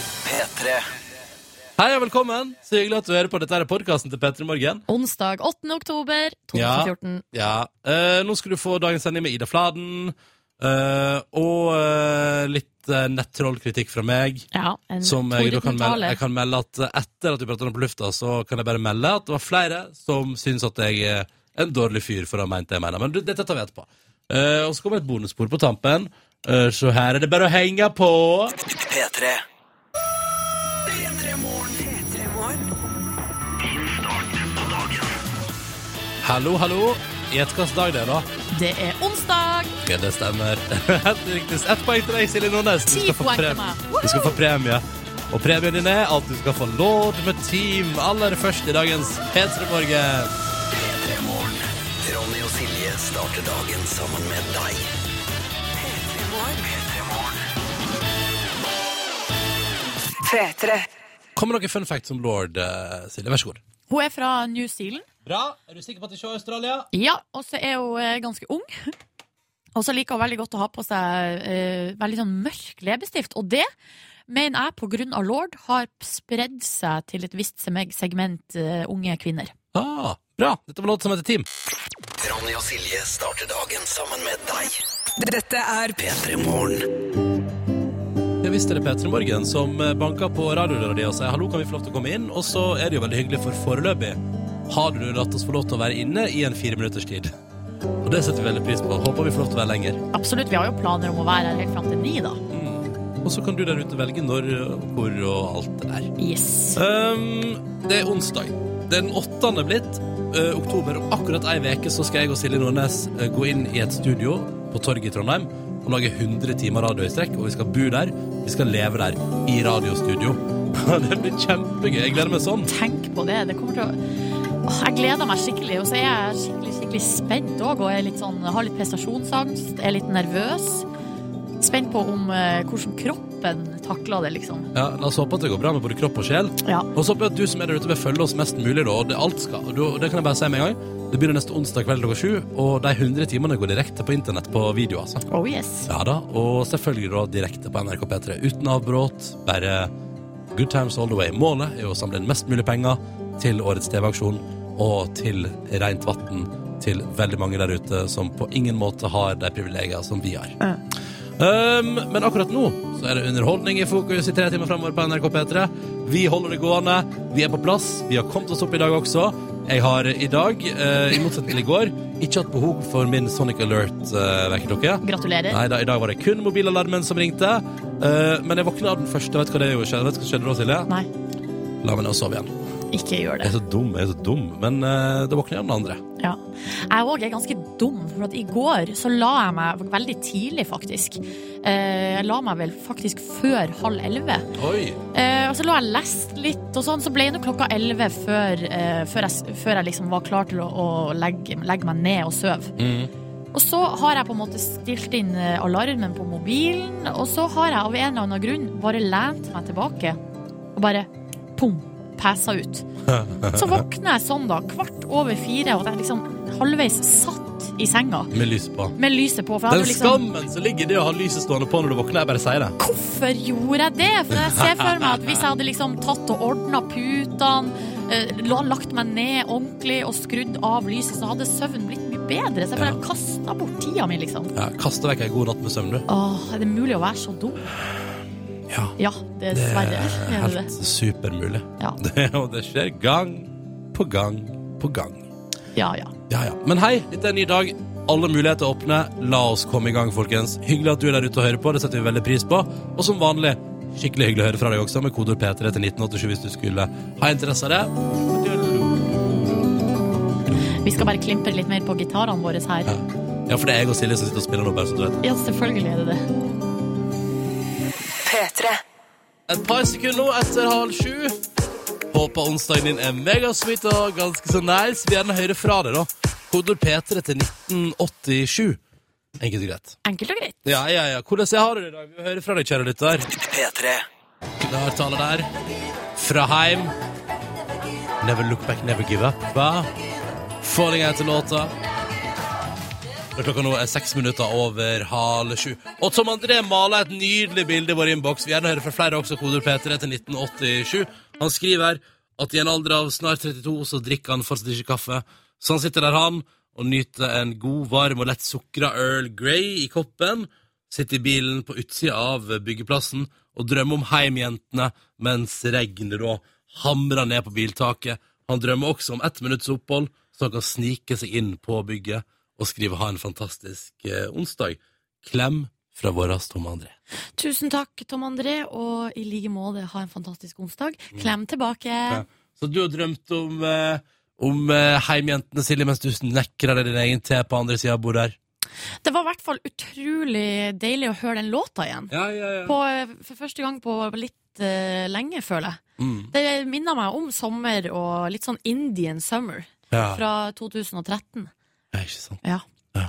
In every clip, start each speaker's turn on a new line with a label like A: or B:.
A: P3.
B: Hei og velkommen! Så hyggelig at du hører på. Dette er podkasten til P3 Morgen.
C: Onsdag 8. oktober 2014.
B: Ja. Eh, nå skal du få dagens sending med Ida Fladen. eh, og eh, litt uh, nettrollkritikk fra meg.
C: Ja, en
B: Som jeg, da kan
C: tordentale.
B: melde, jeg kan melde at eh, etter at vi pratet om på lufta, så kan jeg bare melde at det var flere som syns at jeg er en dårlig fyr, for å ha ment det jeg mener. Men du, dette tar vi etterpå. Eh, og så kommer et bonusspor på tampen, eh, så her er det bare å henge på.
A: P3.
B: Hallo, hallo. Gjett hvilken dag det er, da.
C: Det er onsdag!
B: Ja, det stemmer. Helt riktig. Ett poeng til deg, Silje Nordnes. Du
C: Ti
B: skal få
C: poeng til
B: premie.
C: meg.
B: Du skal få premie. Og premien din er at du skal få Lord med Team aller først i dagens P3 Morgen.
A: P3 Morgen. Ronny og Silje starter dagen sammen med deg. P3 Morgen. P3 Morgen.
B: Kommer noen fun facts om Lord, eh, Silje? Vær så god.
C: Hun er fra New Zealand.
B: Bra. Er du sikker på at det ikke er Australia?
C: Ja, og så er hun eh, ganske ung. Og så liker hun veldig godt å ha på seg eh, veldig sånn mørk leppestift. Og det mener jeg, på grunn av Lord, har spredd seg til et visst semeg- segment eh, unge kvinner.
B: Ah, bra. Dette var låt som heter Team.
A: Ronny og Silje starter dagen sammen med deg.
D: Dette er
A: P3 Morgen.
B: Jeg visste det er Petra Morgen som eh, banker på radiodøra di og sier hallo, kan vi få lov til å komme inn? Og så er det jo veldig hyggelig, for foreløpig har du latt oss få lov til å være inne i en fire minutters tid. Og det setter vi veldig pris på. Håper vi får lov til å være lenger.
C: Absolutt, vi har jo planer om å være her helt fram til ni, da.
B: Og så kan du der ute velge når, og hvor og alt det der.
C: Yes.
B: Um, det er onsdag. Det er den åttende blitt. eh, oktober. Om akkurat ei veke så skal jeg og Silje Nordnes eh, gå inn i et studio på torget i Trondheim og lage 100 timer radio i strekk. Og vi skal bo der. Vi skal leve der. I radiostudio. det blir kjempegøy. Jeg gleder meg sånn.
C: Tenk på det. Det kommer til å Åh, Jeg gleder meg skikkelig, og så er jeg skikkelig skikkelig spent òg. Og er litt sånn, har litt prestasjonsangst, er litt nervøs. Spent på om eh, hvordan kroppen takler det, liksom.
B: Ja, La oss håpe at det går bra med både kropp og sjel.
C: Ja.
B: Og så håper jeg at du som er der ute, vil følge oss mest mulig, da. Og det, alt skal, og da- det kan jeg bare si med en gang. Det begynner neste onsdag kveld klokka sju, og de 100 timene går direkte på internett på video, altså.
C: Oh yes.
B: Ja da, og selvfølgelig da direkte på NRK P3 uten avbråt. Bare good times all the way. Målet er jo å samle inn mest mulig penger til årets TV-aksjon og til rent vann til veldig mange der ute som på ingen måte har de privilegier som vi har. Um, men akkurat nå så er det underholdning i fokus i tre timer fremover på NRK P3. Vi holder det gående. Vi er på plass. Vi har kommet oss opp i dag også. Jeg har i dag, eh, i motsetning til i går, ikke hatt behov for min Sonic eh, Alert-vekkerklokke.
C: Gratulerer.
B: Nei, da, i dag var det kun mobilalarmen som ringte. Eh, men jeg våkna av den første. Vet du hva det gjorde? Skjedde? Vet du hva skjedde da, Silje?
C: Nei,
B: La meg ned og sove igjen.
C: ikke gjør
B: Jeg
C: det.
B: er så dum, jeg er så dum. Men eh, det våkna jeg av den andre.
C: Ja. Jeg òg er ganske dum, for at i går så la jeg meg veldig tidlig, faktisk. Eh, Jeg la meg vel faktisk før halv elleve.
B: Oi!
C: Eh, og så lå jeg og leste litt, og sånn, så ble det klokka elleve før, eh, før, jeg, s- før jeg liksom var klar til å, å legge, legge meg ned og sove. Og så har jeg på en måte stilt inn eh, alarmen på mobilen, og så har jeg av en eller annen grunn bare lent meg tilbake og bare pum, pæsa ut. Så våkna jeg sånn, da, kvart over fire, og at jeg liksom halvveis satt i senga
B: Med lys på.
C: med lyset på. For jeg
B: Den
C: hadde jo liksom
B: skammen som ligger i det å ha lyset stående på når du våkner, jeg bare sier det.
C: Hvorfor gjorde jeg det? For jeg ser for meg at hvis jeg hadde liksom tatt og ordna putene, eh, la- lagt meg ned ordentlig og skrudd av lyset, så hadde søvnen blitt mye bedre. Så jeg bare
B: Ja.
C: kasta bort tida mi, liksom.
B: Ja, Kaste vekk ei god natt med søvn, du.
C: Åh, er det mulig å være så dum?
B: Ja.
C: Ja,
B: Det
C: dessverre.
B: er
C: Er det
B: helt
C: det?
B: supermulig.
C: Ja.
B: Det- Og det skjer gang på gang på gang.
C: ja, ja.
B: Ja, ja. Men hei, dette er en ny dag. Alle muligheter er åpne. La oss komme i gang, folkens. Hyggelig at du er der ute og hører på. Det setter vi veldig pris på. Og som vanlig, skikkelig hyggelig å høre fra deg også, med kodord P3 til 1987 hvis du skulle ha interesse av det.
C: Vi skal bare klimpre litt mer på gitarene våre her.
B: Ja, for det er jeg og Silje som sitter og spiller nå, bare så du vet.
C: Ja, selvfølgelig er det det.
B: Et par sekunder nå etter halv sju. Håper onsdagen din er megasweet og ganske så nice. Vi gjerne hører fra deg, da. Kodord P3 til 1987. Enkelt og greit.
C: Enkelt og greit.
B: Ja, ja, ja. Hvordan jeg har du det i dag? Vi vil høre fra deg, kjære lytter.
A: P3.
B: Klartale der. Fra heim. Never look back, never give up. Hva? Falling out til låta. Når klokka nå er seks minutter over halv sju. Og Tom André maler et nydelig bilde i vår innboks. Vi gjerne hører fra flere også koder P3 til 1987. Han skriver her at i en alder av snart 32 så drikker han fortsatt ikke kaffe. Så han sitter der, han, og nyter en god, varm og lett sukra Earl Grey i koppen. Sitter i bilen på utsida av byggeplassen og drømmer om heimjentene mens regnet da hamrer ned på biltaket. Han drømmer også om ett minutts opphold, så han kan snike seg inn på bygget og skrive 'ha en fantastisk eh, onsdag'. Klem fra vår Tom André.
C: Tusen takk, Tom André, og i like måte ha en fantastisk onsdag.
B: Mm.
C: Klem tilbake.
B: Så du har drømt om, eh, om eh, heimjentene, Silje, mens du snekrer deg din egen te på andre sida av bordet her?
C: Det var i hvert fall utrolig deilig å høre den låta igjen.
B: Ja, ja, ja.
C: På, for første gang på litt eh, lenge, føler jeg.
B: Mm.
C: Det minner meg om sommer og litt sånn Indian summer
B: ja.
C: fra 2013.
B: ja ikke sant.
C: Ja.
B: Ja.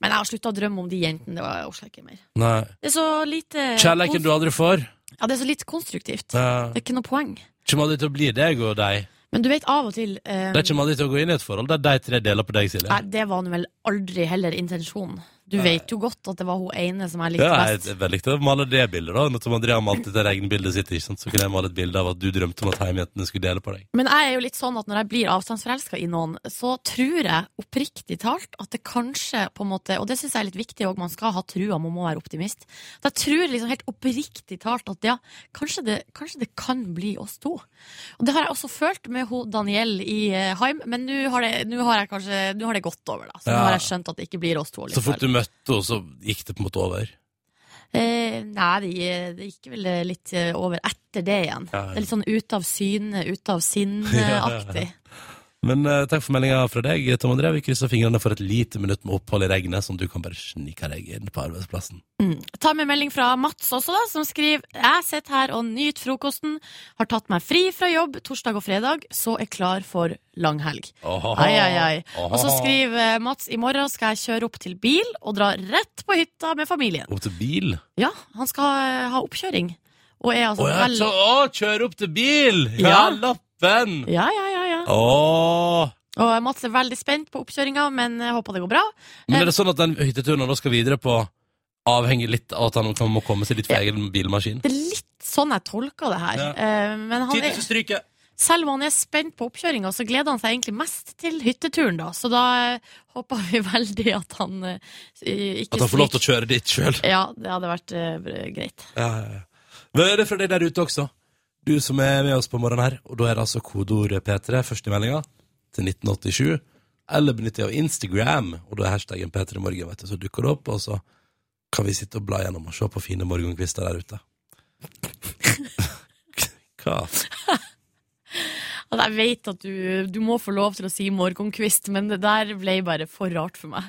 C: Men jeg har slutta å drømme om de jentene. Det var- jeg orker ikke mer.
B: Nei.
C: Det er så lite
B: Kjærleiken du aldri får.
C: Ja, det er så litt konstruktivt.
B: Ja.
C: Det er ikke noe poeng.
B: Kommer aldri til å bli deg og deg.
C: Men du vet av og til eh,
B: De kommer aldri til å gå inn i et forhold der de tre deler på deg, Silje.
C: Nei, det var nå vel aldri heller intensjonen. Du vet jo godt at det var hun ene som jeg likte
B: Ja, jeg,
C: best.
B: jeg likte å male det bildet, da. Når Tom André har malt dette regnbildet sitt, ikke sant? så kunne jeg male et bilde av at du drømte om at heimjentene skulle dele på deg.
C: Men jeg er jo litt sånn at når jeg blir avstandsforelska i noen, så tror jeg oppriktig talt at det kanskje på en måte Og det syns jeg er litt viktig òg, man skal ha trua, man må være optimist. Så jeg tror liksom helt oppriktig talt at ja, kanskje det, kanskje det kan bli oss to. Og det har jeg også følt med ho Danielle i eh, Haim, men nå har, det- nå har jeg kanskje Nå har det gått over, da. Så nå
B: Ja.
C: har jeg skjønt at det ikke blir oss to.
B: Så fort
C: Likevel.
B: du møtte henne, så gikk det på en måte over.
C: Eh, nei, det, det gikk vel eh, litt eh, over etter det igjen.
B: Ja.
C: Det er litt sånn ute av syne, ute av sinne-aktig.
B: Men eh, takk for meldinga fra deg, Tom André. Vi krysser fingrene for et lite minutt med opphold i regnet, som du kan bare snike deg inn på arbeidsplassen.
C: Ta med melding fra Mats også, da, som skriver Jeg sitter her og nyter frokosten. Har tatt meg fri fra jobb torsdag og fredag, så er klar for langhelg. Ai, ai, ai. Og så skriver eh, Mats i morgen skal jeg kjøre opp til bil og dra rett på hytta med familien.
B: Opp til bil?
C: Ja, han skal eh, ha oppkjøring. Og er
B: Å,
C: altså
B: ja,
C: vel-
B: så, å, kjør opp til bil! Ja,
C: Ja.
B: lappen!
C: ja, ja, ja, ja.
B: Å,
C: Og Mats er veldig spent på oppkjøringa, men eh, håper det går bra.
B: men er det sånn at den hytteturen han da skal videre på, avhenger litt av at han kan- må komme seg litt for egen bilmaskin?
C: Det er litt sånn jeg tolker det her.
B: Ja.
C: Eh, Men han er,
B: stryke!
C: selv om han er spent på oppkjøringa, så gleder han seg egentlig mest til hytteturen, da. Så da eh, håper vi veldig at han eh, ikke
B: At han får lov til å kjøre dit sjøl.
C: Ja, det hadde vært eh, greit.
B: Ja, ja, ja. Men er det fra deg der ute også? Du som er med oss på morgenen her. Og da er det altså kodeord P3, først i meldinga, til 1987. Eller benytt deg av Instagram, og da er hashtaggen P3morgen, vet du. Så dukker det opp, og så kan vi sitte og bla gjennom og se på fine morgenkvister der ute. Hva?
C: Og Altså, jeg vet at du, du må få lov til å si morgenkvist, men det der ble bare for rart for meg.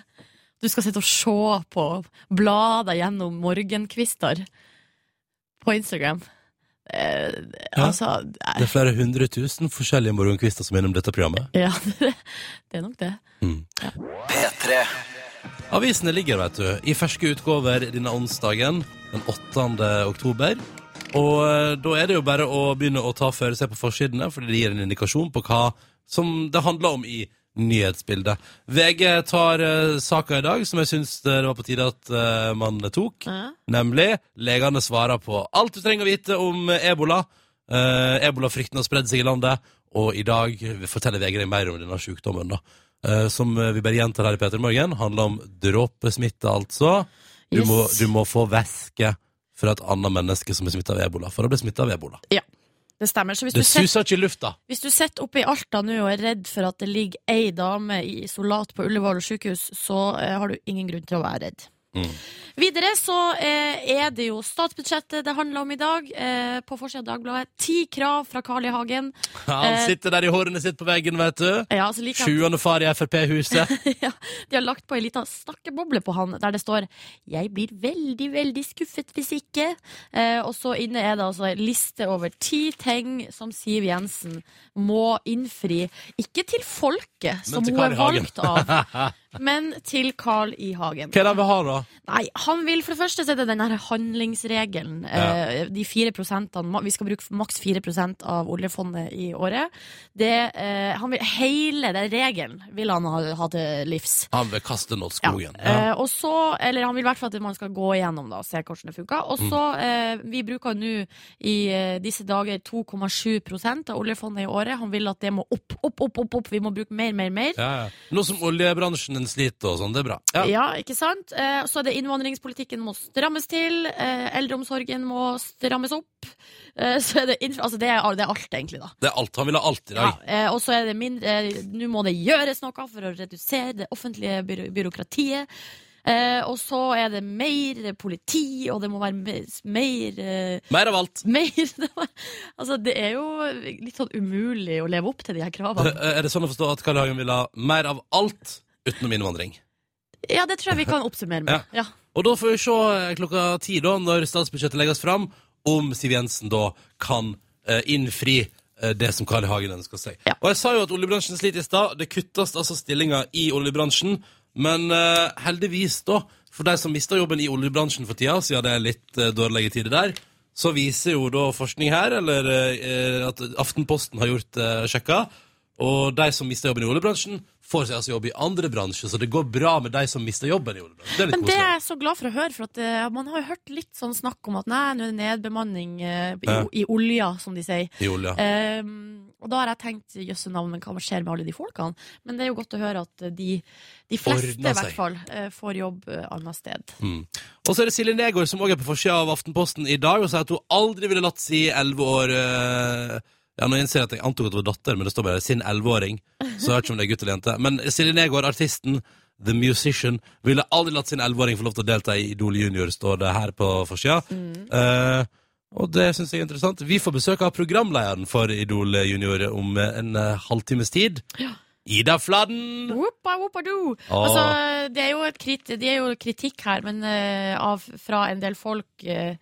C: Du skal sitte og se på, bla deg gjennom morgenkvister på Instagram. Eh,
B: Ja.
C: altså eh,
B: Det er flere hundre tusen forskjellige morgenkvister som er innom dette programmet.
C: Ja, det, det er nok det.
A: P3.
B: Avisene ligger, vet du, i ferske utgaver denne onsdagen, den 8. oktober. Og eh, da er det jo bare å begynne å ta føre seg på forsidene, fordi det gir en indikasjon på hva som det handler om i nyhetsbildet. VG tar uh, saka i dag, som jeg syns det var på tide at eh, man tok. Nemlig legene svarer på alt du trenger å vite om ebola. Eh, Ebolafrykten har spredd seg i landet, og i dag forteller VG deg mer om denne sykdommen. da. Eh, som vi bare gjentar her i Peter Morgen, handler om dråpesmitte, altså. Du,
C: Yes.
B: må, du må få væske fra et annet menneske som er smitta av ebola, for å bli smitta av ebola.
C: Det stemmer. Så hvis
B: Det
C: du sitter-
B: suser ikke i lufta.
C: hvis du sitter oppe i Alta nå og er redd for at det ligger ei dame i isolat på Ullevål sykehus, så eh, har du ingen grunn til å være redd.
B: Mm.
C: Videre så eh, er det jo statsbudsjettet det handler om i dag. Eh, på forsida av Dagbladet. Ti krav fra Carl I. Hagen.
B: Han
C: Eh.
B: sitter der i hårene sitt på veggen, vet du.
C: Ja, altså like at
B: Sjuende far i Frp-huset.
C: De har lagt på ei lita snakkeboble på han, der det står 'Jeg blir veldig, veldig skuffet hvis ikke'. Eh, og så inne er det altså ei liste over ti ting som Siv Jensen må innfri. Ikke til folket, som
B: til
C: hun
B: Carl
C: er
B: I. Hagen.
C: valgt av, men til Carl I. Hagen.
B: Hva er det vi har, da?
C: Nei, han vil for det første sette den her handlingsregelen. eh, De fire prosentene ma- Vi skal bruke maks 4 av oljefondet i året. Det, eh, han vil, hele den regelen vil han ha, ha til livs.
B: Han vil kaste den åt
C: Ja.
B: skogen. Ja.
C: Eh, og så, eller Han vil i hvert fall at man skal gå igjennom da, og se hvordan det funker. Og så, eh, Vi bruker nå i eh, disse dager 2,7 av oljefondet i året. Han vil at det må opp, opp, opp. opp, opp. Vi må bruke mer, mer, mer.
B: Ja, ja. Nå som oljebransjen sliter og sånn, det er bra. Ja.
C: Ja, ikke sant? Eh, Så er det innvandringspolitikken må strammes til, eh, eldreomsorgen må strammes opp. Eh, Så er det, inf- altså det, er, det er alt, egentlig, da.
B: Det er alt. Han vil ha alt i
C: Ja,
B: dag.
C: eh, og så er det mindre eh, Nå må det gjøres noe for å redusere det offentlige byro byråkratiet. Eh, og så er det mer politi, og det må være mer, mer, eh,
B: Mer av alt.
C: mer Altså, det er jo litt sånn umulig å leve opp til de her kravene.
B: Er det sånn å forstå at Karl Hagen vil ha mer av alt utenom innvandring?
C: Ja, det tror jeg vi kan oppsummere med. Ja.
B: Og da får vi se eh, klokka ti, da, når statsbudsjettet legges fram, om Siv Jensen da kan eh, innfri eh, det som Carl I. Hagen ønsker seg.
C: Ja.
B: Og jeg sa jo at oljebransjen sliter i stad. Det kuttes altså stillinger i oljebransjen. Men eh, heldigvis, da, for de som mister jobben i oljebransjen for tida, siden det er litt eh, dårlige tider der, så viser jo da forskning her, eller eh, at Aftenposten har gjort eh, sjekka, og de som mister jobben i oljebransjen, får seg altså jobb i andre bransjer, så det går bra med de som mister jobben i oljebransjen. Det er litt
C: Men det
B: koselig.
C: er jeg så glad for å høre, for at eh, man har jo hørt litt sånn snakk om at nei, nå er det nedbemanning eh, i,
B: Ja.
C: i olja, som de sier.
B: I olja.
C: Ehm, og da har jeg tenkt jøsse navn, men hva skjer med alle de folkene? Men det er jo godt å høre at de, de fleste,
B: Ordner
C: i
B: seg.
C: hvert fall, eh, får jobb eh, annet sted.
B: Mm. Og så er det Silje Negård som også er på forsida av Aftenposten i dag og sier at hun aldri ville latt si elleve år eh, Ja, nå innser jeg at jeg antok at det var datter, men det står bare sin elleveåring. Så jeg vet ikke om det er gutt eller jente. Men Silje Negård, artisten, the musician, ville aldri latt sin elleveåring få lov til å delta i Idol Junior, står det her på forsida. Eh, og det syns jeg er interessant. Vi får besøk av programlederen for Idol Junior om eh, en eh, halvtimes tid. Ida Fladen!
C: Whoopa, whoopa, do.
B: Åh.
C: Altså, det er, jo et krit, det er jo kritikk her, men eh, av, fra en del folk eh,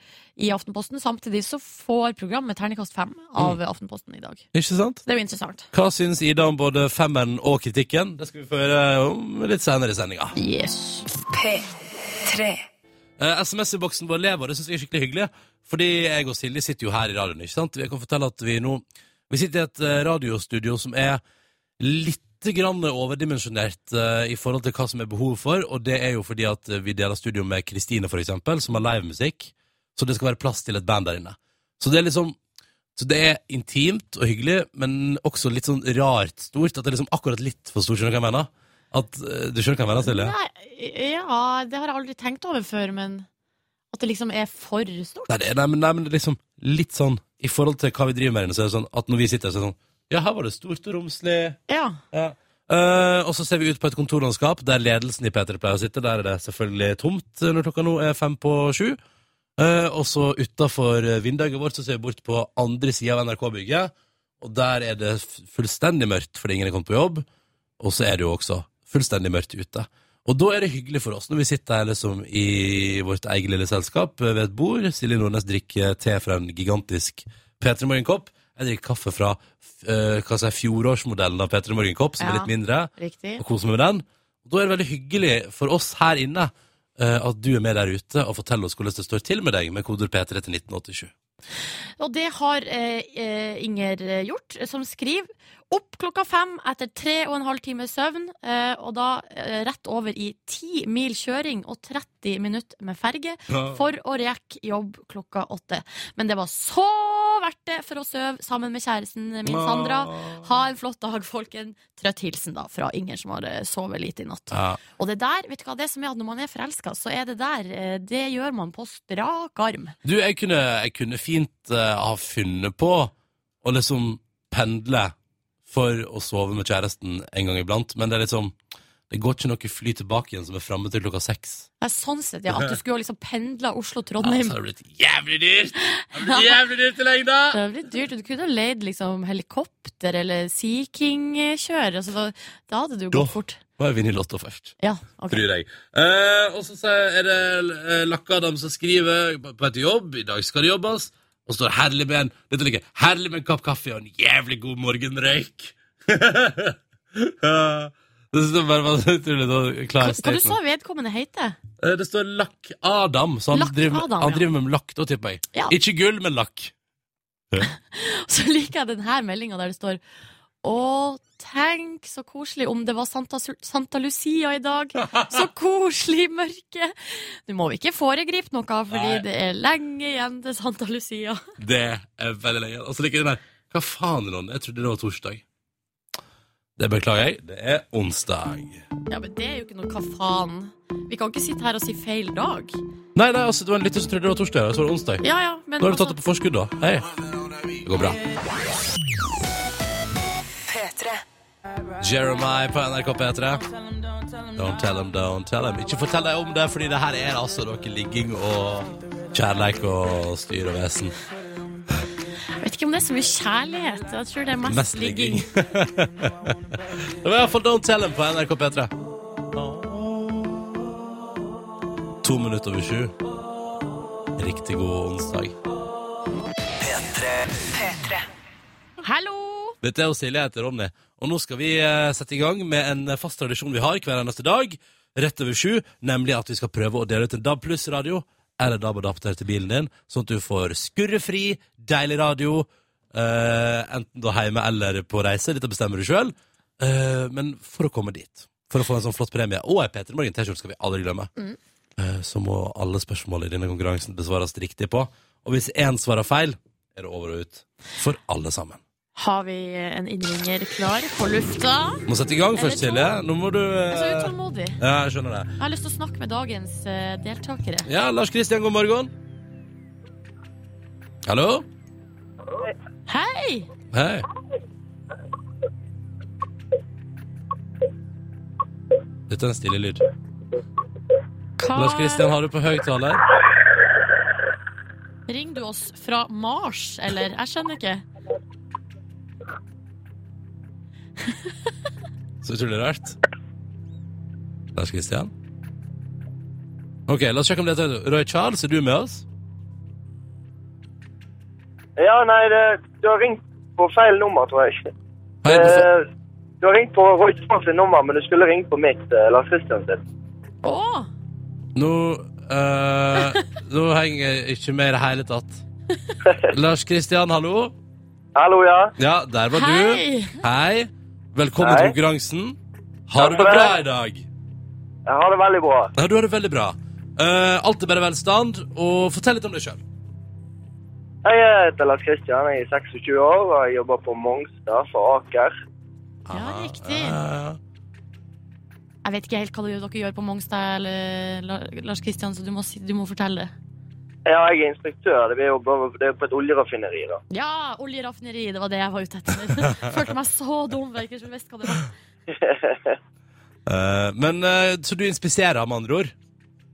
C: i Aftenposten. Samtidig så får programmet terningkast fem av
B: Mm.
C: Aftenposten i dag.
B: Ikke sant?
C: Det er jo interessant.
B: Hva syns Ida om både femmeren og kritikken? Det skal vi få høre om litt senere i sendinga.
C: Yes.
D: P3
B: Eh, SMS-boksen vår lever, og det syns jeg er skikkelig hyggelig. Fordi jeg og Silje sitter jo her i radioen, ikke sant? Jeg kan fortelle at vi nå Vi sitter i et eh, radiostudio som er litt grann overdimensjonert eh, i forhold til hva som er behovet for, og det er jo fordi at eh, vi deler studio med Kristine, for eksempel, som har livemusikk, så det skal være plass til et band der inne. Så det er liksom så det er intimt og hyggelig, men også litt sånn rart stort. At det er liksom akkurat litt for stort, skjønner du hva jeg mener? At, eh, du skjønner hva jeg mener, Silje?
C: Nei, ja, det har jeg aldri tenkt over før, men at det liksom er for stort.
B: Nei, det, nei, men, nei, men det er liksom litt sånn I forhold til hva vi driver med her inne, så er det sånn at når vi sitter her, så er det sånn Ja, her var det stort og romslig.
C: Ja.
B: Ja. Eh, og så ser vi ut på et kontorlandskap der ledelsen i P3 pleier å sitte. Der er det selvfølgelig tomt når klokka nå er fem på sju. Eh, og så utafor vinduet vårt så ser vi bort på andre sida av NRK-bygget, og der er det f- fullstendig mørkt fordi ingen er kommet på jobb. Og så er det jo også fullstendig mørkt ute. Og da er det hyggelig for oss når vi sitter her liksom i vårt eget lille selskap eh, ved et bord. Silje Nordnes drikker te fra en gigantisk P3 Morgenkopp. Jeg drikker kaffe fra eh, hva skal jeg, si, fjorårsmodellen av P3 Morgenkopp, som er
C: Ja.
B: litt mindre,
C: Riktig.
B: og koser meg med den. Og da er det veldig hyggelig for oss her inne eh, at du er med der ute og forteller oss hvordan det står til med deg med koder P3 til 1987.
C: Og det har eh, eh, Inger eh, gjort, eh, som skriver opp klokka fem etter tre og en halv time søvn, eh, og da eh, rett over i ti mil kjøring og 30 minutter med ferge for å rekke jobb klokka åtte. Men det var så verdt det for å sove sammen med kjæresten min Sandra. Ha en flott dag, folken. Trøtt hilsen da fra Inger, som har eh, sovet lite i natt.
B: Ja.
C: Og det der, vet du hva, det som er at når man er forelska, så er det der eh, Det gjør man på strak arm.
B: Du, jeg kunne, jeg kunne fint eh, ha funnet på å liksom pendle for å sove med kjæresten en gang iblant, men det er liksom Det går ikke noe fly tilbake igjen som er framme til klokka seks.
C: Nei, sånn sett, ja. At du skulle liksom pendla
B: Ja, altså.
C: Oslo-Trondheim.
B: så har det blitt jævlig dyrt! Det har blitt jævlig dyrt i lengda!
C: det blir dyrt. Du kunne jo leid liksom helikopter eller Sea King-kjør. Altså, da, da hadde det jo
B: Da.
C: gått fort.
B: Må jeg vinne i Lotto først.
C: Ja, ok.
B: Tror jeg. Eh, og så sier- er det eh, Lakk-Adam som skriver på på et jobb. I dag skal det jobbes. Og så står det 'herlig med en Dette liker jeg. 'Herlig med en kopp kaffe og en jævlig god morgenrøyk'. Det står bare var så utrolig sånn klar
C: Hva, hva du
B: statement.
C: sa vedkommende heter?
B: Eh, Det står Lakk Adam, så han,
C: Lakk
B: driver, med-
C: Adam,
B: han
C: ja.
B: driver med lakk, da tipper jeg.
C: Ja.
B: Ikke gull, men lakk.
C: Så liker jeg denne meldinga der det står Å, tenk så koselig om det var Santa, Su- Santa Lucia i dag. Så koselig i mørket. Du må ikke foregripe noe, fordi
B: Nei.
C: det er lenge igjen til Santa Lucia.
B: Det er veldig lenge. Og så liker jeg den der. Hva faen, Ron? Jeg trodde det var torsdag. Det beklager jeg. Det er onsdag.
C: Ja, men det er jo ikke noe hva faen. Vi kan ikke sitte her og si feil dag.
B: Nei, nei, altså, det var en lytter som trodde det var torsdag, og så var det onsdag.
C: Ja, ja, men
B: Nå har du tatt
C: altså-
B: det på forskudd, da. Hei. Det går bra.
D: P3.
B: Jeremiah på NRK P3. Don't tell them, don't tell them. Ikke fortell deg om det, fordi det her er altså noe ligging og kjærleik og styr og vesen.
C: Jeg vet ikke om det er så mye kjærlighet. Jeg tror det er mest,
B: Mest
C: ligging.
B: ligging. det var i hvert fall Don't tell them på NRK P3. To minutter over sju. Riktig god onsdag.
D: P3.
C: Hallo!
B: Dette er jo Silje, jeg heter Ronny. Og nå skal vi eh, sette i gang med en eh, fast tradisjon vi har hver eneste dag, rett over sju, nemlig at vi skal prøve å dele ut en DAB pluss-radio, eller DAB-adapter til bilen din, sånn at du får skurrefri, deilig radio, eh, enten da hjemme eller på reise, dette bestemmer du sjøl, eh, men for å komme dit, for å få en sånn flott premie, og ei Peter Morgen-T-skjorte skal vi aldri glemme, eh, så må alle spørsmål i denne konkurransen besvares riktig på, og hvis én svarer feil, er det over og ut for alle sammen.
C: Har vi en innringer klar på lufta?
B: Må sette i gang først,
C: Eller
B: Silje. Nå må du
C: Jeg er så
B: eh,
C: utålmodig.
B: Ja, jeg skjønner det.
C: Jeg har lyst til å snakke med dagens eh, deltakere.
B: Ja, Lars Kristian, god morgen. Hallo?
C: Hei!
B: Hei. Dette er en stille lyd.
C: Hva
B: Lars Kristian, har du på høyttaler?
C: Ringer du oss fra Mars, eller? Jeg skjønner ikke.
B: Så utrolig rart. Lars Kristian? OK, la oss sjekke om dette er Roy Charles, er du med oss?
E: Ja, nei, det, du har ringt på feil nummer, tror jeg.
B: Hei, du får...
E: Eh, du har ringt på Roy Charles sin nummer, men du skulle ringt på mitt, eh, Lars Christian sitt.
C: Å!
B: Nå eh, Nå henger jeg ikke med i det hele tatt. Lars Kristian, hallo?
E: Hallo, ja.
B: Ja, der var du.
C: Hei!
B: Hei. Velkommen
E: Hei.
B: til konkurransen. Har du
E: Takk
B: det
E: for
B: bra
E: det.
B: i dag?
E: Jeg har det veldig bra.
B: Ja, du har det veldig bra. Eh, alt er bare velstand, og fortell litt om deg sjøl.
E: Jeg heter Lars Christian, jeg er 26 år, og jeg jobber på Mongstad for Aker.
C: Ja, riktig.
B: Eh,
C: Jeg vet ikke helt hva dere gjør på Mongstad eller La- Lars Kristian, så du må, si, du må fortelle.
E: Ja, jeg er instruktør. Det blir jo bare- det er på et oljeraffineri, da.
C: Ja, oljeraffineri, det var det jeg var ute etter. Følte meg så dum, virker som jeg visste hva det var.
B: Eh, men eh, Så du inspiserer, med andre ord?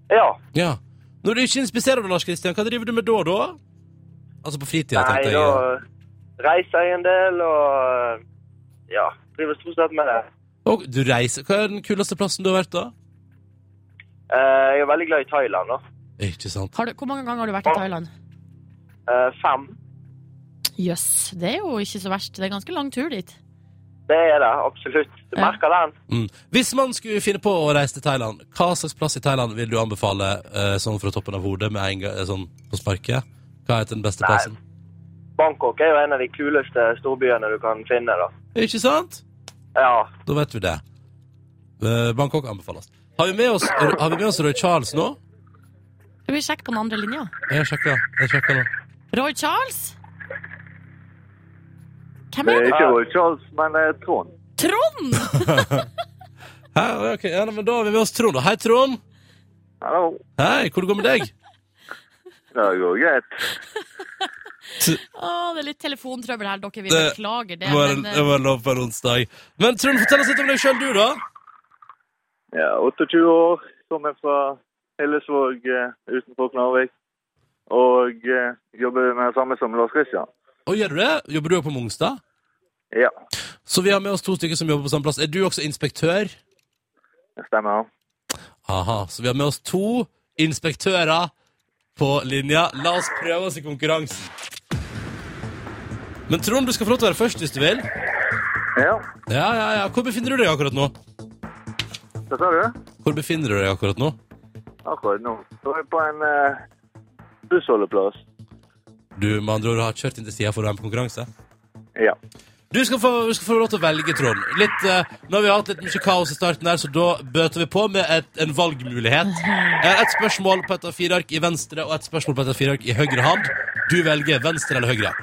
E: Ja.
B: Ja. Når du ikke inspiserer, da, Lars Kristian, hva driver du med da, da? Altså på fritida,
E: Nei,
B: tenkte jeg.
E: da reiser jeg en del, og eh, ja, driver stort sett med det.
B: Og du reiser. Hva er den kuleste plassen du har vært, da?
E: Eh, jeg er veldig glad i Thailand, da.
B: Ikke sant.
C: Har du, hvor mange ganger har du vært i Thailand?
E: Eh, fem.
C: Jøss, det er jo ikke så verst. Det er ganske lang tur dit.
E: Det er det, absolutt. Du
C: Ja.
E: merker den.
B: Mm. Hvis man skulle finne på å reise til Thailand, hva slags plass i Thailand vil du anbefale eh, sånn fra toppen av hodet med en gang, eh, sånn på sparket? Hva heter den beste
E: Nei.
B: plassen?
E: Bangkok er jo en av de kuleste storbyene du kan finne, da.
B: Ikke sant?
E: Ja.
B: Da vet vi det. Eh, Bangkok anbefales. Har vi med oss, har vi med oss Roy Charles nå?
C: Skal vi sjekke på den andre linja?
B: Jeg sjekker, jeg sjekker nå.
C: Roy Charles? Hvem er det?
E: ikke
F: Roy Charles, men Trond.
C: Trond!
B: Hæ, ok, ja, nei, men Da har vi med oss Trond. da. Hei, Trond.
F: Hallo.
B: Hei, Hvordan går det med deg?
F: Det går greit.
C: Å, det er litt telefontrøbbel her, dere. Vi
B: Det
C: beklager det.
B: Det var,
C: Men, eh,
B: det var lov på en onsdag. Men Trond, fortell oss litt om deg sjøl, du, da.
F: Ja, 28 år, kommer fra Hillesvåg eh, utenfor Knarvik. Og eh, jobber med det samme som Lars Christian.
B: Og gjør du det? Jobber du også på Mongstad?
F: Ja,
B: Så vi har med oss to stykker som jobber på samme plass. Er du også inspektør?
F: det stemmer.
B: Aha, så vi har med oss to inspektører på linja. La oss prøve oss i konkurransen. Men Trond, du skal få lov til å være først hvis du vil.
F: Ja.
B: Ja, ja, ja. Hvor befinner du deg akkurat nå?
F: Hva sa du?
B: Hvor befinner du deg akkurat nå?
F: Akkurat nå. Så er jeg på en eh, bussholdeplass.
B: Du med andre ord har kjørt inn til sida for å være med på konkurranse?
F: Ja.
B: Du skal få, du skal få lov til å velge, Trond. Litt, eh, nå har vi hatt litt mye kaos i starten, her, så da bøter vi på med et, en valgmulighet. Eh, et spørsmål på et A4-ark i venstre og et spørsmål på et A4-ark i høyre hand. Du velger venstre eller høyre.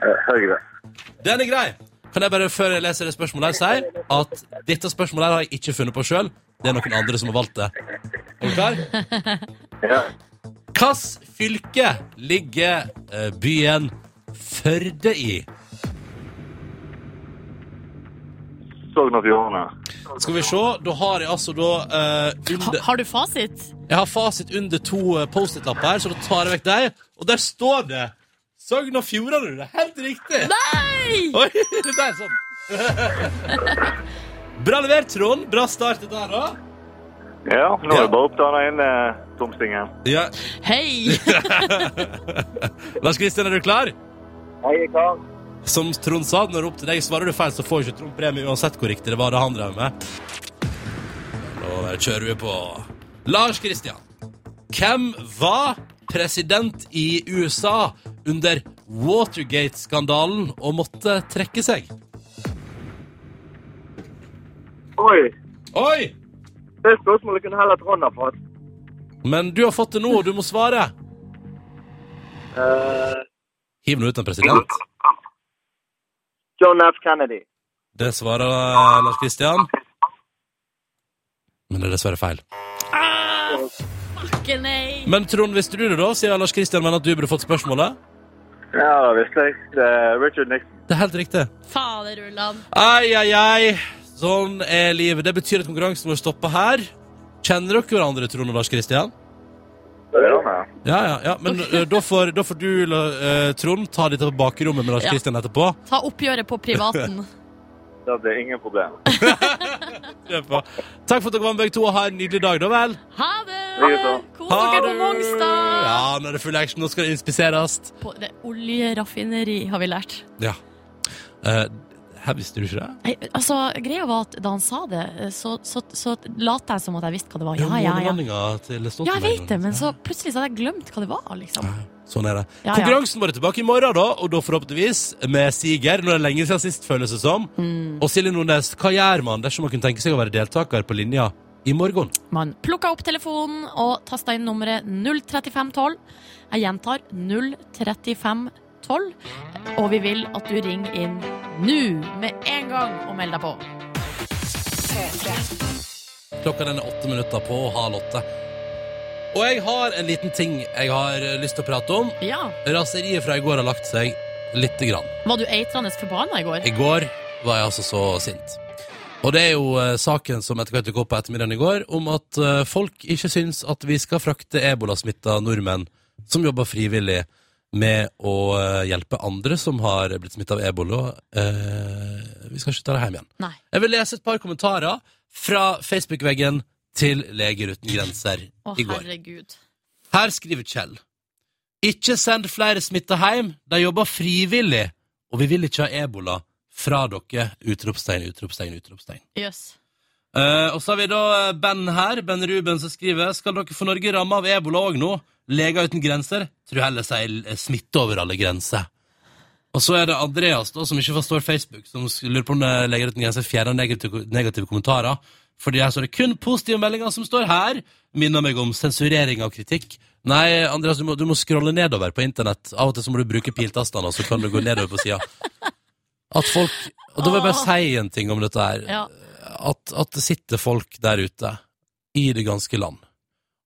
F: Eh, høyre.
B: Den er grei. Kan jeg bare før jeg leser det spørsmålet her, si at dette spørsmålet her har jeg ikke funnet på sjøl. Det er noen andre som har valgt det. Er du klar?
F: Ja.
B: Hvilket fylke ligger eh, byen Førde i?
F: Sogn og Fjordane.
B: Skal vi se, da har jeg altså da eh,
C: Ha,
B: under,
C: har du fasit?
B: Jeg har fasit under to eh, Post-It-lapper her, så da tar jeg vekk deg. Og der står det Sogn og Fjordane! Det er helt riktig!
C: Nei!
B: Oi, det der sånn. Bra levert, Trond. Bra start det der òg.
F: Ja, nå
B: Ja.
F: er det bare opp til den ene eh, tomstingen.
B: Ja.
C: Hei!
B: Lars Kristian, er du klar?
E: Hei, kar.
B: Som Trond sa, når det er opp til deg svarer du feil, så får ikke Trond premie uansett hvor riktig det var det han drev med. Nå bare kjører vi på. Lars Kristian, hvem var president i USA under Watergate-skandalen og måtte trekke seg?
E: Oi,
B: Oi!
E: det spørsmålet kunne heller Trond ha fått.
B: Men du har fått det nå, og du må svare.
E: Eh,
B: Hiv nå ut en president.
E: John F. Kennedy.
B: Det svarer eh, Lars Kristian. Men det er dessverre feil.
C: Ikke nei!
B: Men Trond, visste du det da, siden Lars Kristian mener at du burde fått spørsmålet?
F: Ja, det visste jeg. Det er Richard Nixon.
B: Det er helt riktig.
C: Faderullan.
B: Ai, ai, ai. Sånn er livet. Det betyr at konkurransen vår stopper her. Kjenner dere hverandre, Trond og Lars Kristian?
F: Det er han, ja.
B: Ja, ja, ja. Men eh, da, får, da får du, eh, Trond, ta dette på bakrommet med Lars
C: Ja.
B: Kristian etterpå.
C: Ta oppgjøret på privaten.
F: Det blir ingen problem.
B: Kjør på. Takk for at dere var med begge to, og ha en nydelig dag, da vel.
C: Ha det!
F: Likeså.
C: Kos dere på
B: det.
C: Mongstad!
B: Ja, nå er det full action. Nå skal det inspiseres.
C: På det oljeraffineri, har vi lært.
B: Ja. Eh, her visste du ikke det?
C: Nei, altså, greia var at da han sa det, eh, så, så, så lot jeg som at jeg visste hva det var. Ja, ja, ja.
B: Månelandingen til
C: Ja, jeg
B: Stoltenberg.
C: vet det, men
B: liksom.
C: så plutselig så hadde jeg glemt hva det var, liksom.
B: Sånn er det.
C: Ja, ja.
B: Konkurransen vår er tilbake i morgen, da, og da forhåpentligvis med Siger. Nå er det lenge siden sist, føles det som.
C: Mm.
B: Og Silje Nordnes, hva gjør man dersom man kunne tenke seg å være deltaker på linja i morgen?
C: Man plukka opp telefonen og tasta inn nummeret 03512. Jeg gjentar 03512. Og vi vil at du ringer inn nå med en gang og melder deg på.
B: Klokka den er åtte minutter på halv åtte. Og jeg har en liten ting jeg har eh, lyst til å prate om.
C: Ja.
B: Raseriet fra i går har lagt seg lite grann.
C: Var du eitrende forbanna i går?
B: I går var jeg altså så sint. Og det er jo eh, saken som etter hvert dukket opp på ettermiddagen i går, om at eh, folk ikke syns at vi skal frakte ebolasmitta nordmenn som jobber frivillig med å eh, hjelpe andre som har blitt smitta av ebola. Eh, vi skal ikke ta det hjem igjen.
C: Nei.
B: Jeg vil lese et par kommentarer fra Facebook-veggen til Leger uten grenser
C: Å,
B: i går.
C: herregud.
B: Her skriver Kjell Ikke send flere smitta hjem De jobber frivillig Og vi vil ikke ha ebola Fra dere Utropstein, utropstein, utropstein
C: Jøss.
B: Eh, Og så har vi da eh, Ben her Ben Ruben som skriver Skal dere få Norge ramme av ebola også nå? Leger uten grenser Tror heller sier eh, smitte over alle grenser og så er det Andreas da, som ikke forstår Facebook, som sk- lurer på om eh, det legger ut en grense fjerner negative, negative kommentarer. Fordi her står det kun positive meldinger som står her. Minner meg om sensurering av kritikk. Nei, Andreas, du må, du må scrolle nedover på internett. Av og til så må du bruke piltastene, og så kan du gå nedover på sida. At folk Og da vil jeg bare si en ting om dette her.
C: Ja.
B: At, at det sitter folk der ute, i det ganske land,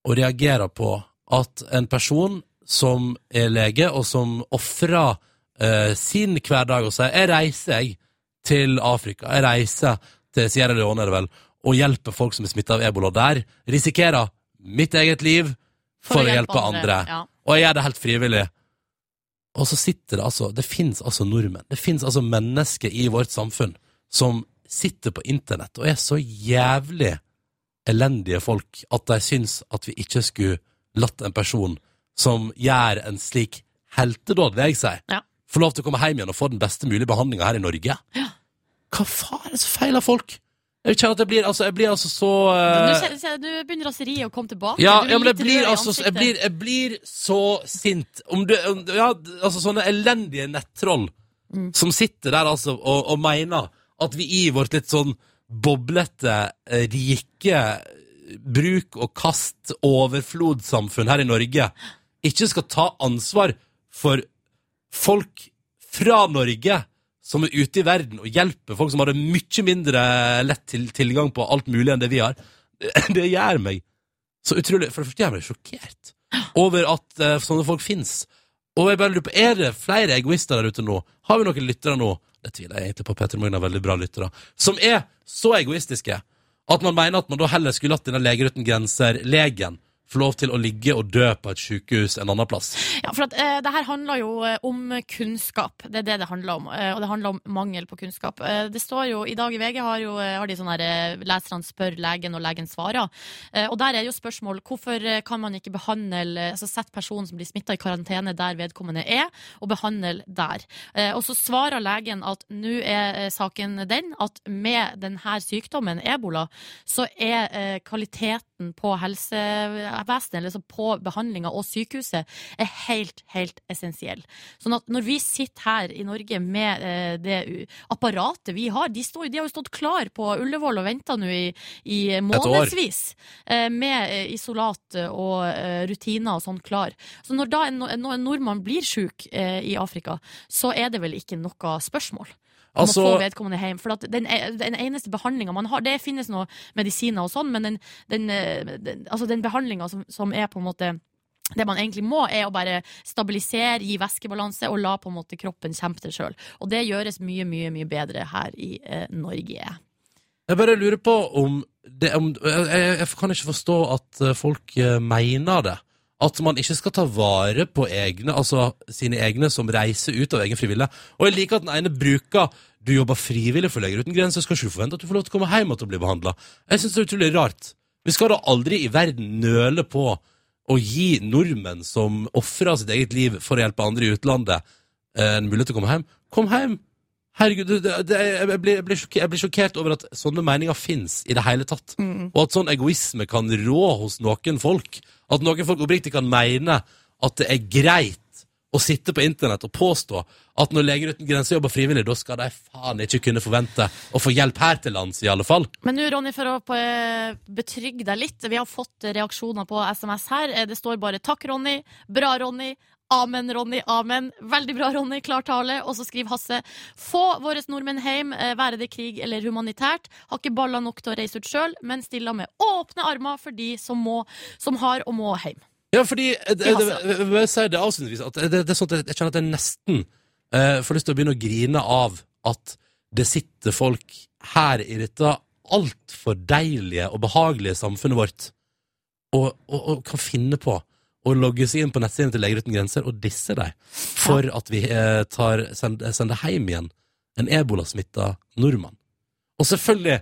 B: og reagerer på at en person som er lege, og som ofrer eh, sin hverdag og sier 'jeg reiser jeg til Afrika', 'jeg reiser til Sierra Leone', er det vel, og hjelper folk som er smitta av ebola der, risikerer mitt eget liv for, å hjelpe, andre.
C: Ja.
B: Og jeg gjør det helt frivillig. Og så sitter det altså Det fins altså nordmenn. Det fins altså mennesker i vårt samfunn som sitter på internett og er så jævlig elendige folk at de syns at vi ikke skulle latt en person som gjør en slik heltedåd, vil jeg si,
C: Ja.
B: få lov til å komme hjem igjen og få den beste mulige behandlinga her i Norge. Hva faen er det som feiler folk? Jeg kjenner at jeg blir, altså, jeg blir altså så
C: Nå
B: eh,
C: kjenner- kjenner- Nå begynner raseriet å komme tilbake.
B: ja,
C: Du er
B: ja, men jeg
C: litt rød
B: blir,
C: i
B: altså, jeg,
C: ansiktet.
B: blir, jeg blir så sint. Om du, om, ja, altså sånne elendige nettroll
C: Mm.
B: som sitter der altså og, og mener at vi i vårt litt sånn boblete, eh, rike bruk og kast overflodssamfunn her i Norge ikke skal ta ansvar for folk fra Norge som er ute i verden og hjelper folk som har det mye mindre lett til, tilgang på alt mulig enn det vi har. Det gjør meg så utrolig For det første gjør meg sjokkert over at eh, sånne folk fins. Og jeg bare lurer på, er det flere egoister der ute nå? Har vi noen lyttere nå? Det tviler jeg egentlig på. Petter Morgen har veldig bra lyttere. Som er så egoistiske at man mener at man da heller skulle latt denne Leger uten grenser-legen få lov til å ligge og dø på et sykehus en annen plass.
C: Ja, for at, eh, det her handler jo eh, om kunnskap. Det er det det handler om. eh, og det handler om mangel på kunnskap. Eh, det står jo, I dag i VG har, jo, eh, har de sånn her eh, leserne spør legen, og legen svarer. Eh, og der er jo spørsmål hvorfor eh, kan man ikke behandle eh, altså Sette personen som blir smitta i karantene der vedkommende er, og behandle der. Eh, og så svarer legen at nå er eh, saken den at med denne sykdommen, ebola, så er eh, kvaliteten på helsevesenet, eller så på behandlinga og sykehuset, er helt, helt essensiell. Sånn at når vi sitter her i Norge med eh, det u- apparatet vi har De, står, de har jo stått klar på Ullevål og venta nå i, i månedsvis eh, med eh, isolat og eh, rutiner og sånn klar. Så når da en, no- en, en nordmann blir sjuk eh, i Afrika, så er det vel ikke noe spørsmål. Om
B: Altså-
C: å få vedkommende hjem. For at den, e- den eneste behandlinga man har Det finnes noen medisiner og sånn, men den, den, eh, den, altså den behandlinga som, som er på en måte det man egentlig må, er å bare stabilisere, gi væskebalanse og la på en måte kroppen kjempe det sjøl. Og det gjøres mye, mye mye bedre her i eh, Norge.
B: Jeg bare lurer på om, det, om jeg, jeg, jeg kan ikke forstå at eh, folk eh, mener det. At man ikke skal ta vare på egne, altså sine egne som reiser ut av egen frivillige. Og jeg liker at den ene bruker Du jobber frivillig for Leger uten grenser, skal ikke du forvente at du får lov til å komme hjem og til å bli behandla? Jeg syns det er utrolig rart. Vi skal da aldri i verden nøle på å gi nordmenn som ofrer sitt eget liv for å hjelpe andre i utlandet, eh, en mulighet til å komme hjem. Kom hjem! Herregud, det, det, det, jeg, jeg, blir, jeg, blir sjokkert, jeg blir sjokkert over at sånne meninger fins i det hele tatt. Og at sånn egoisme kan rå hos noen folk. At noen folk oppriktig kan mene at det er greit å sitte på internett og påstå at når Leger uten grenser jobber frivillig, da skal de faen ikke kunne forvente å få hjelp her til lands, i alle fall.
C: Men nå, Ronny, for å eh, betrygge deg litt. Vi har fått reaksjoner på SMS her. Eh, Det står bare 'takk, Ronny', 'bra, Ronny'. Amen, Ronny. Amen. Veldig bra, Ronny. Klar tale. Og så skriver Hasse Få våre nordmenn hjem, eh, være det krig eller humanitært. Har ikke baller nok til å reise ut sjøl, men stiller med åpne armer for de som, må, som har og må hjem.
B: Ja, fordi eh, det,
C: Ja,
B: det,
C: altså.
B: jeg vil bare si det avslutningsvis at det, det er sånn at jeg, jeg kjenner at jeg nesten eh, får lyst til å begynne å grine av at det sitter folk her i dette altfor deilige og behagelige samfunnet vårt og, og, og kan finne på å logge seg inn på nettsiden til Leger uten grenser og disse dem for at vi eh, tar, send, sender hjem igjen en ebolasmitta nordmann. Og selvfølgelig,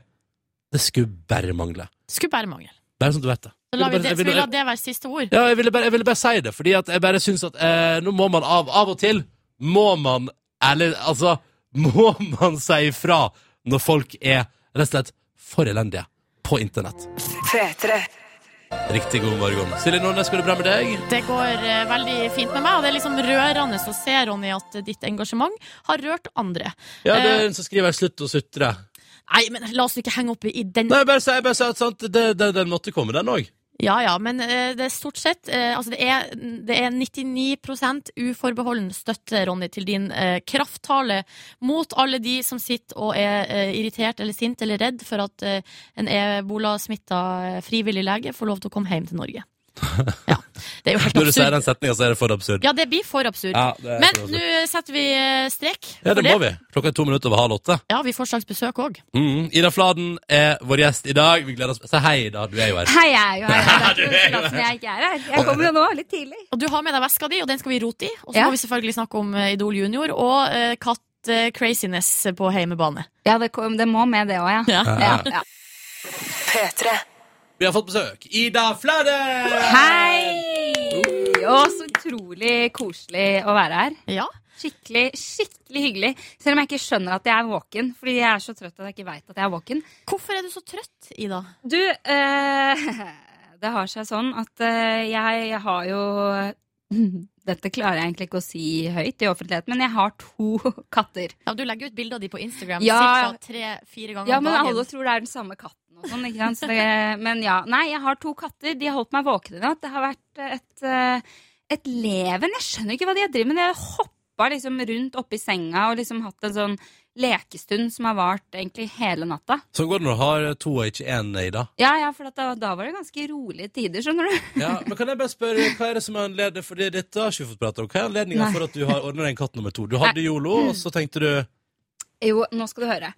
B: det skulle bare mangle.
C: Skulle bare mangle.
B: Bare sånn at du vet det.
C: Så lar vi
B: Jeg
C: det,
B: vil
C: skal vi
B: bare-
C: la det være siste ord?
B: ja, jeg ville bare, jeg ville bare si det, fordi at jeg bare syns at eh, nå må man av, av og til må man Eller altså Må man si ifra når folk er rett og slett for elendige på internett.
D: P3.
B: Riktig god morgen. Silje Nordnes, går det bra med deg?
C: Det går eh, veldig fint med meg, og det er liksom rørende å se, Ronny, at ditt engasjement har rørt andre.
B: Ja, det er
C: Eh,
B: en som skriver 'slutt å sutre'.
C: Nei, men la oss ikke henge opp i den
B: Nei, bare si bare si at sant, det, det, den måtte komme, den òg.
C: Ja ja, men eh, det er stort sett eh, Altså, det er, det er 99 uforbeholden støtte, Ronny, til din eh, krafttale mot alle de som sitter og er eh, irritert eller sint eller redd for at eh, en ebolasmitta frivillig lege får lov til å komme hjem til Norge. Ja. Det er jo helt
B: Når du sier
C: absurd.
B: den setninga, så er det for absurd.
C: Ja, det blir for absurd.
B: det er
C: Men
B: for absurd.
C: nå setter vi eh, strek.
B: ja, det
C: for
B: må vi. Klokka er to minutter over halv åtte.
C: Ja, vi får slags besøk òg.
B: Mm, Ida Fladen er vår gjest i dag. Vi gleder oss Si hei, Ida. Du er jo her.
G: Hei, jeg er jo her. Det er ikke noe sånn at jeg ikke er her. Jeg kommer jo nå, litt tidlig.
C: Og du har med deg veska di, og den skal vi rote i. Og så
G: Ja.
C: må vi selvfølgelig snakke om eh, Idol junior og eh, katt eh, craziness på heimebane.
G: Ja, det, kom, det må med det òg, ja.
C: Ja.
G: Ja, ja.
D: P3.
B: Vi har fått besøk. Ida Fladen!
G: Hei! Å, Og så utrolig koselig å være her.
C: Ja.
G: Skikkelig, skikkelig hyggelig. Selv om jeg ikke skjønner at jeg er våken, fordi jeg er så trøtt at jeg ikke veit at jeg er våken.
C: Hvorfor er du så trøtt, Ida?
G: Du, eh, det har seg sånn at eh, jeg, jeg har jo Dette klarer jeg egentlig ikke å si høyt i offentligheten, men jeg har to katter.
C: Ja, du legger ut bilder av de på Instagram
G: Ja.
C: cirka tre-fire ganger
G: Ja,
C: om
G: men
C: dagen.
G: alle tror det er den samme katten og sånn, ikke sant? Så det, men ja. Nei, jeg har to katter. De har holdt meg våken i natt. Det har vært et, eh, et leven. Jeg skjønner ikke hva de har drevet med. De har hoppa liksom rundt oppi senga og liksom hatt en sånn lekestund som har vart egentlig hele natta.
B: Sånn går det når du har to og ikke én, Ida.
G: Ja, ja, for at da, da var det ganske rolige tider, skjønner du.
B: Ja, men kan jeg bare spørre, Hva er det som er anledning for det- dette? har ikke vi fått prate om. Hva er anledningen
G: Nei.
B: for at du har ordna en katt nummer to? Du hadde Yolo, og så tenkte du
G: Jo, nå skal du høre.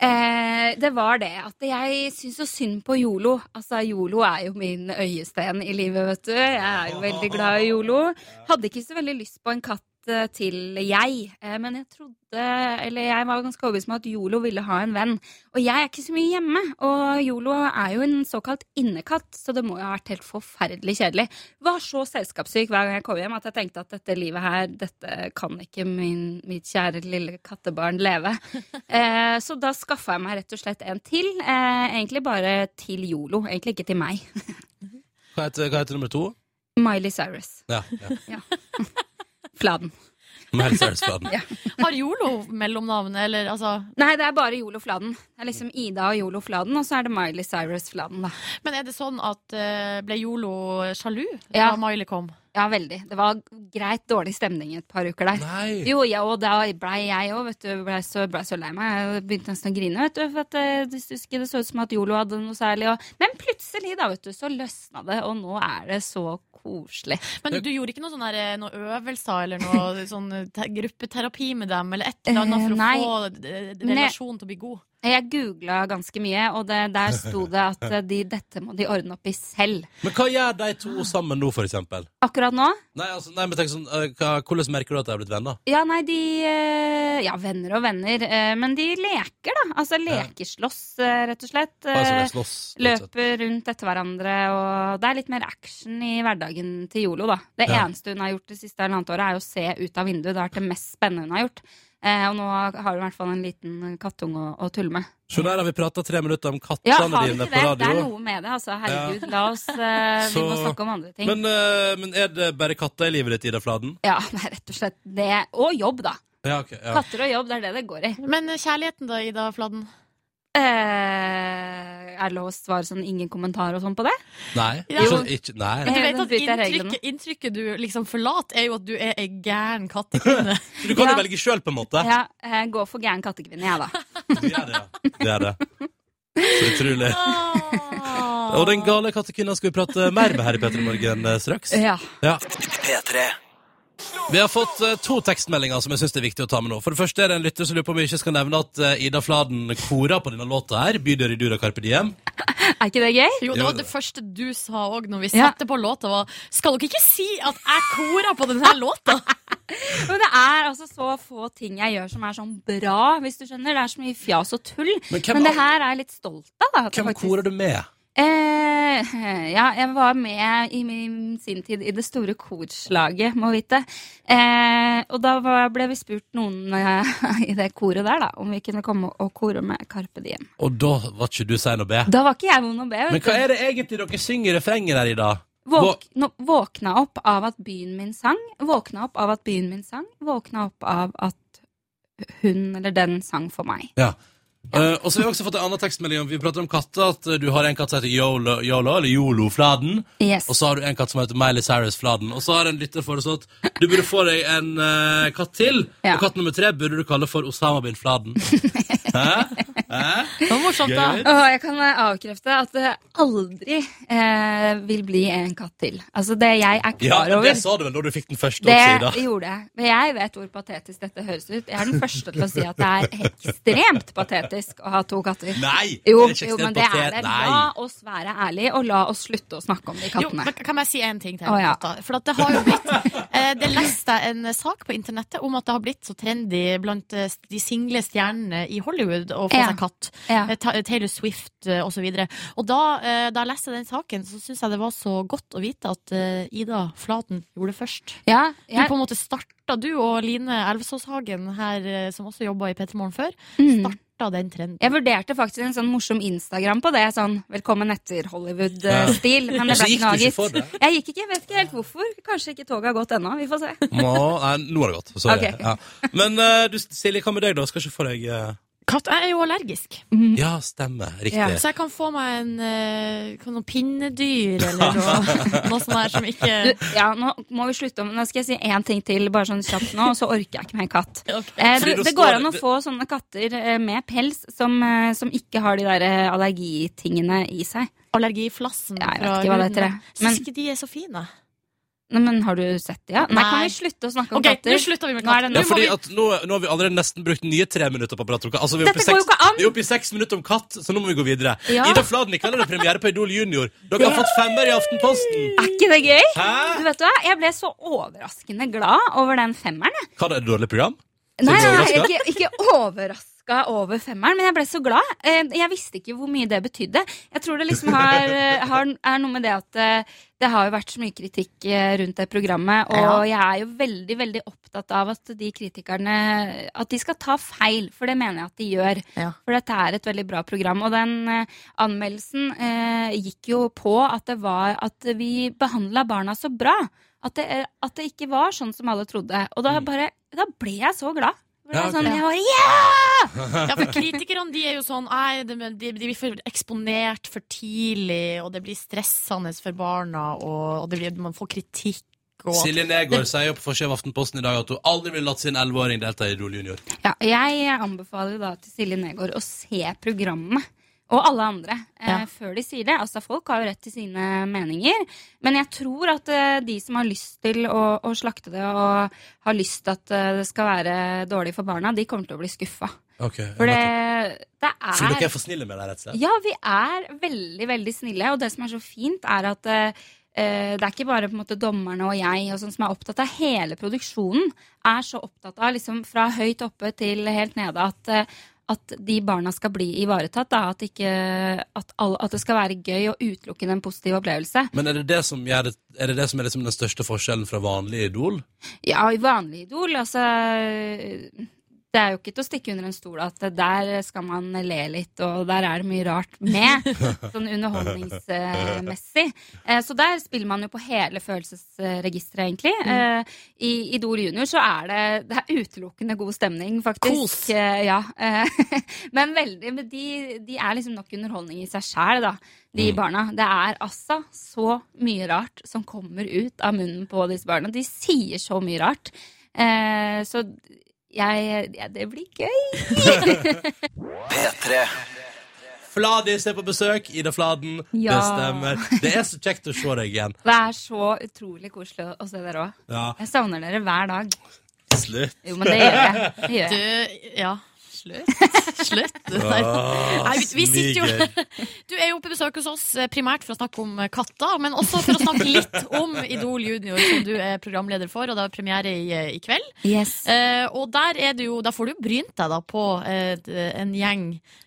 G: Eh, det var det at jeg syns så synd på Yolo. Altså, Yolo er jo min øyesten i livet, vet du. Jeg er jo veldig glad i Yolo. Hadde ikke så veldig lyst på en katt eh, til jeg, eh, men jeg trodde Eller jeg var ganske overbevist om at Yolo ville ha en venn. Og jeg er ikke så mye hjemme, og Yolo er jo en såkalt innekatt, så det må jo ha vært helt forferdelig kjedelig. Var så selskapssyk hver gang jeg kom hjem at jeg tenkte at dette livet her, dette kan ikke min, mitt kjære lille kattebarn leve. Eh, så da skaffa jeg meg rett og slett en til. Eh, egentlig bare til Yolo, egentlig ikke til meg.
B: Hva heter, hva heter nummer to?
G: Miley Cyrus.
B: Ja. ja.
G: Fladen.
B: Med Helt seriøst, Fladen.
C: Har Jolo mellomnavn, eller altså
G: Nei, det er bare Yolo Fladen. Det er liksom Ida og Yolo Fladen, og så er det Miley Cyrus Fladen, da.
C: Men er det sånn at eh, ble Jolo sjalu
G: Ja.
C: da Miley kom?
G: Ja, veldig. Det var greit dårlig stemning i et par uker der.
B: Nei!
G: Jo, ja, og da blei jeg òg, vet du. Blei så, blei så lei meg. Jeg begynte nesten å grine, vet du. For at eh, det, synes ikke det så ut som at Yolo hadde noe særlig. Og... Men plutselig, da, vet du, så løsna det, og nå er det så koselig.
C: Men du gjorde ikke noe sånn der, eh, noe øvelser eller noe sånn te gruppeterapi med dem, eller et eller annet
G: Eh,
C: for å
G: nei.
C: få eh,
G: Nei.
C: relasjonen til å bli god?
G: Jeg googla ganske mye, og det, der sto det at eh, de, dette må de ordne opp i selv.
B: Men hva gjør de to sammen nå, for eksempel?
G: Akkurat nå
B: Nei, altså, nei, men tenk sånn, eh, hva, Hvordan merker du at de har blitt venner?
G: Ja, nei, de eh, Ja, venner og venner, eh, men de leker, da. Altså lekeslåss, eh, rett og slett.
B: Bare som
G: Eh,
B: de slåss, rett og slett.
G: Løper rundt etter hverandre, og det er litt mer action i hverdagen til Yolo, da. Det
B: Ja.
G: eneste hun har gjort det siste halvannet året, er å se ut av vinduet. Det har vært det mest spennende hun har gjort. Eh, og nå har hun i hvert fall en liten kattunge å, å tulle med.
B: Så der har vi prata tre minutter om
G: Ja,
B: kattene
G: har vi
B: dine
G: ikke
B: på
G: det? Det er
B: radio.
G: noe med det, altså. Herregud, la oss eh, Vi må
B: Så-
G: snakke om andre ting.
B: Men, eh, men er det bare katter i livet ditt, Ida Fladen?
G: Ja, det er rett og slett det. Og jobb, da.
B: Ja, ok. Ja.
G: Katter og jobb, det er det det går i.
C: Men eh, kjærligheten da, Ida Fladen?
G: Eh, er det lov å svare sånn ingen kommentar og sånn på det?
B: Nei,
C: Ja.
B: ikke, ikke, nei.
C: Du
B: nei.
G: Eh,
C: vet
G: nå
C: at
G: bryter jeg reglene.
C: inntrykket, inntrykket du liksom forlater, er jo at du er ei gæren kattekvinne.
B: Du kan jo
G: Ja.
B: velge sjøl, på en måte.
G: Ja, eh, gå for gæren kattekvinne, jeg, da.
B: Det er det, ja. Det er det. Så utrolig.
C: Ah.
B: Og den gale kattekvinna skal vi prate mer med her i Petter i Morgen eh, straks.
G: Ja.
B: Ja.
A: P3.
B: Vi har fått eh, to tekstmeldinger som jeg synes det er viktig å ta med nå. For det første er det en lytter som lurer på om vi ikke skal nevne at eh, Ida Fladen korer på denne låta her. Bydør i dura Carpe Diem.
G: Er ikke det gøy?
C: Jo, det
B: Jo,
C: var
B: det-
C: det første du sa òg når vi
G: Ja.
C: satte på låta, var Skal dere ikke si at jeg kora på denne låta?
G: Men det er altså så få ting jeg gjør som er sånn bra, hvis du skjønner. Det er så mye fjas og tull.
B: Men
G: Men,
B: hvem-
G: det her er jeg litt stolt av, da. at jeg
B: Hvem
G: faktisk-
B: korer du med?
G: Eh, ja, jeg var med i min, sin tid i det store korslaget, må vite. Eh, og da var, ble vi spurt noen eh, i det koret der, da, om vi kunne komme og kore med Carpe Diem.
B: Og da var ikke du sein å be.
G: Da var ikke jeg vond å be.
B: Men
G: vet
B: hva
G: du.
B: er det egentlig dere synger i refrenget der, Ida?
G: Våk, nå, våkna opp av at byen min sang, våkna opp av at byen min sang, våkna opp av at hun eller den sang for meg.
B: Ja. Eh, og så har vi også fått en annen tekstmelding. om- Vi prater om katter. At eh, du har en katt som heter Yolo, Yolo eller Yolo Fladen.
G: Yes.
B: Og så har du en katt som heter Miley Cyrus Fladen. Og så har en lytter foreslått du burde få deg en eh, katt til.
G: Ja.
B: Og katt nummer tre burde du kalle for Osama bin Fladen. Hæ? Hæ?
C: Det var morsomt, da.
G: Og jeg kan eh, avkrefte at det aldri eh, vil bli en katt til. Altså, det jeg er
B: Ja,
G: klar
B: men
G: over
B: det sa du vel da du fikk den første
G: det
B: oppsida.
G: gjorde jeg. Men jeg vet hvor patetisk dette høres ut. Jeg er den første til å si at det er ekstremt patetisk å ha to katter.
B: Nei!
G: Jo,
B: det er ikke
G: jo, men det
B: ekstremt
G: er det.
B: patet-
G: La
B: Nei.
G: oss være ærlige, og la oss slutte å snakke om de
C: Jo,
G: kattene.
C: men kan jeg si en ting til?
G: Å, ja.
C: Lotta? For at det har jo blitt eh, Det leste jeg en sak på internettet om at det har blitt så trendy blant eh, de single stjernene i Hollywood og få
G: Ja.
C: seg katt.
G: Ja.
C: Eh, Ta- Taylor Swift eh, og så videre. Og da, eh, da jeg leste den saken, så syns jeg det var så godt å vite at eh, Ida Flaten gjorde det først.
G: Ja,
C: Du
G: jeg,
C: på en måte starta, du og Line Elvesåshagen her, eh, som også jobba i P3 Morgen før,
G: mm.
C: starta den trenden.
G: jeg vurderte faktisk en sånn morsom Instagram på det. Sånn 'velkommen etter Hollywood'-stil. Men det
B: Så
G: ble
B: gikk
G: ikke
B: du
G: noe av,
B: ikke
G: gitt.
B: for det?
G: Jeg gikk ikke, jeg vet ikke helt hvorfor. Kanskje ikke toget har gått ennå. Vi får se.
B: Må, nei, nå har det gått. Sorry.
G: Ok.
B: Ja. Men eh, du, Silje, hva med deg, da? Skal ikke få deg eh,
C: Katt, jeg er jo allergisk,
B: Ja, stemmer. Riktig.
G: Ja,
C: så jeg kan få meg en eh, kan noe pinnedyr eller noe, noe sånt der som ikke
G: Du, ja, nå må vi slutte om Nå skal jeg si én ting til, bare sånn kjapt nå, og så orker jeg ikke mer katt. Eh,
B: Fordi
G: det,
B: da
G: det
B: står-
G: går an å få sånne katter eh, med pels som, eh, som ikke har de der eh, allergitingene i seg.
C: Allergiflassen
G: Ja, jeg vet
C: fra
G: ikke hva det
C: huden.
G: heter, jeg.
C: Syns
G: Men-
C: ikke de er så fine.
G: Nei, men har du sett det, ja? Nei,
C: Nei.
G: kan vi slutte å snakke om
C: Ok, nå
G: katter?
C: slutter vi med
G: Nå
C: katt.
G: er det
B: Ja,
G: nå må
B: fordi
G: vi-
B: at nå, nå har vi allerede nesten brukt nye tre minutter på å prate om katt. Altså, vi er oppe i
G: Dette går jo
B: seks-
G: ikke an!
B: Vi er oppe i seks minutter om katt, så nå må vi gå videre.
G: Ja.
B: Ida Fladen, i kveld er det premiere på Idol Junior. Dere har fått femmer i Aftenposten.
G: Er ikke det gøy?
B: Hæ?
G: Du vet hva, Jeg ble så overraskende glad over den femmeren. jeg.
B: Hva, er det et dårlig program? Så
G: Nei,
B: du ble
G: nei,
B: overrasket?
G: ikke, ikke overraska over femmeren, men jeg ble så glad. Eh, Jeg visste ikke hvor mye det betydde. Jeg tror det liksom har, har, er noe med det at eh, det har jo vært så mye kritikk eh, rundt det programmet, og
C: Ja.
G: jeg er jo veldig veldig opptatt av at de kritikerne At de skal ta feil, for det mener jeg at de gjør.
C: Ja.
G: For dette er et veldig bra program. Og den eh, anmeldelsen eh, gikk jo på at, det var, at vi behandla barna så bra. At det, eh, at det ikke var sånn som alle trodde. Og da, bare, da ble jeg så glad. Da
B: Ja,
G: Ble jeg sånn,
B: ok.
G: jeg var, yeah!
C: Ja, for kritikerne de er jo sånn Nei, de, de blir for eksponert for tidlig Og det blir stressende for barna Og, og det blir, man får kritikk og,
B: Silje Negård sier jo på forsiden av Aftenposten i dag at hun aldri ville latt sin 11-åring delta i Idol Junior.
G: ja, jeg anbefaler da til Silje Negård å se programmet. Og alle andre. Eh,
C: Ja.
G: Før de sier det. Altså, folk har jo rett til sine meninger. Men jeg tror at eh, de som har lyst til å, å slakte det, og har lyst til at eh, det skal være dårlig for barna, de kommer til å bli skuffa.
B: Okay,
G: For det, det
B: Fordi dere
G: er
B: er for snille med deg, rett og slett?
G: Ja, vi er veldig, veldig snille. Og det som er så fint, er at eh, eh, det er ikke bare på en måte dommerne og jeg og sånn som er opptatt av hele produksjonen. Er så opptatt av, liksom fra høyt oppe til helt nede, at eh, at de barna skal bli ivaretatt. Da. At, ikke, at, alle, at det skal være gøy og utelukkende en positiv opplevelse.
B: Men er det det som, gjør det, er, det det som er liksom den største forskjellen fra vanlig Idol?
G: Ja, i vanlig Idol, altså Det er jo ikke til å stikke under en stol at der skal man le litt, og der er det mye rart med, sånn underholdningsmessig. Eh, Så der spiller man jo på hele følelsesregisteret, egentlig. Eh, I Idol junior så er det, det er utelukkende god stemning, faktisk.
C: Kos.
G: Eh, Ja. eh, Men veldig men de, de er liksom nok underholdning i seg sjæl, da, de barna. Det er altså så mye rart som kommer ut av munnen på disse barna. De sier så mye rart. Eh, så jeg ja, Det blir gøy.
A: P3.
B: Fladis er på besøk. Ida Fladen. Det
G: Ja.
B: stemmer. Det er så kjekt å se deg igjen.
G: Det er så utrolig koselig å- å se dere òg.
B: Ja,
G: Jeg savner dere hver dag.
B: slutt.
G: Jo, men det gjør jeg. Det gjør
C: Du,
G: jeg.
C: ja Slutt, slutt Nei,
B: Ah,
C: Nei, vi, vi sitter jo
B: sniger.
C: Du er jo på besøk hos oss eh, primært for å snakke om eh, katter Men også for å snakke litt om Idol Junior Som du er programleder for Og det er premiere i, eh, i kveld
G: Yes.
C: Eh, og der er det jo, da får du jo brynt deg da på eh, d- en gjeng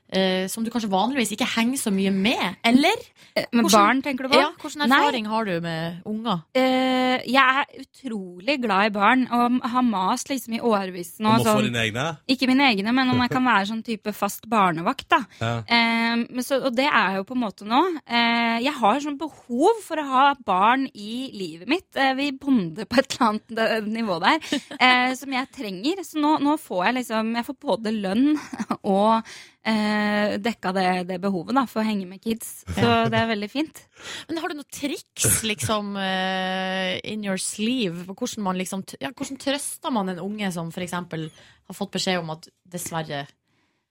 C: eh, som du kanskje vanligvis ikke henger så mye med, eller?
G: Eh, Men
C: hvordan-
G: barn, tenker du på?
C: Ja, Hvilken erfaring har du med unger?
G: Eh, jeg er utrolig glad i barn og har mast liksom i årevis nå.
B: Om å få
G: sånn-
B: dine egne?
G: Ikke mine egne, men om jeg kan være sånn type fast barnevakt. da.
B: Ja.
G: Eh, men så, og det er jeg jo på en måte nå. Eh, jeg har sånn behov for å ha barn i livet mitt. Eh, vi bonder på et eller annet eh, nivå der eh, som jeg trenger. Så nå, nå får jeg liksom Jeg får både lønn og eh, dekka det, det behovet da, for å henge med kids. Så det er veldig fint.
C: Men Har du noen triks liksom eh, in your sleeve? På hvordan, man liksom, t- ja, hvordan trøster man en unge som f.eks. har fått beskjed om at dessverre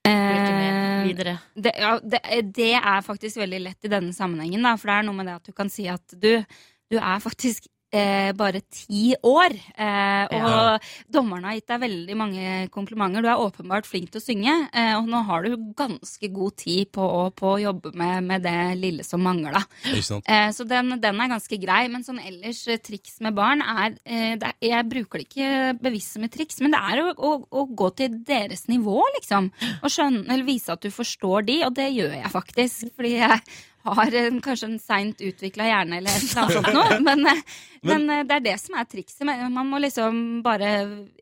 C: blir du ikke med
G: Eh,
C: videre?
G: det, ja, det, det er faktisk veldig lett i denne sammenhengen, da, for det er noe med det at du kan si at du, du er faktisk eh, bare ti år. Eh, og
B: Ja.
G: dommerne har gitt deg veldig mange komplimenter. Du er åpenbart flink til å synge, eh, og nå har du ganske god tid på å, på å jobbe med, med det lille som mangler. da.
B: Ikke sant?
G: Eh, så den, den er ganske grei. Men sånn ellers eh, triks med barn er, eh, det er Jeg bruker det ikke bevisst som et triks, men det er å, å, å gå til deres nivå, liksom. Og skjønne, eller vise at du forstår de, og det gjør jeg faktisk. Fordi jeg har en, kanskje en seint utvikla hjerne eller et eller annet sånt noe. Men, eh, men, eh, det er det som er trikset. men Man må liksom bare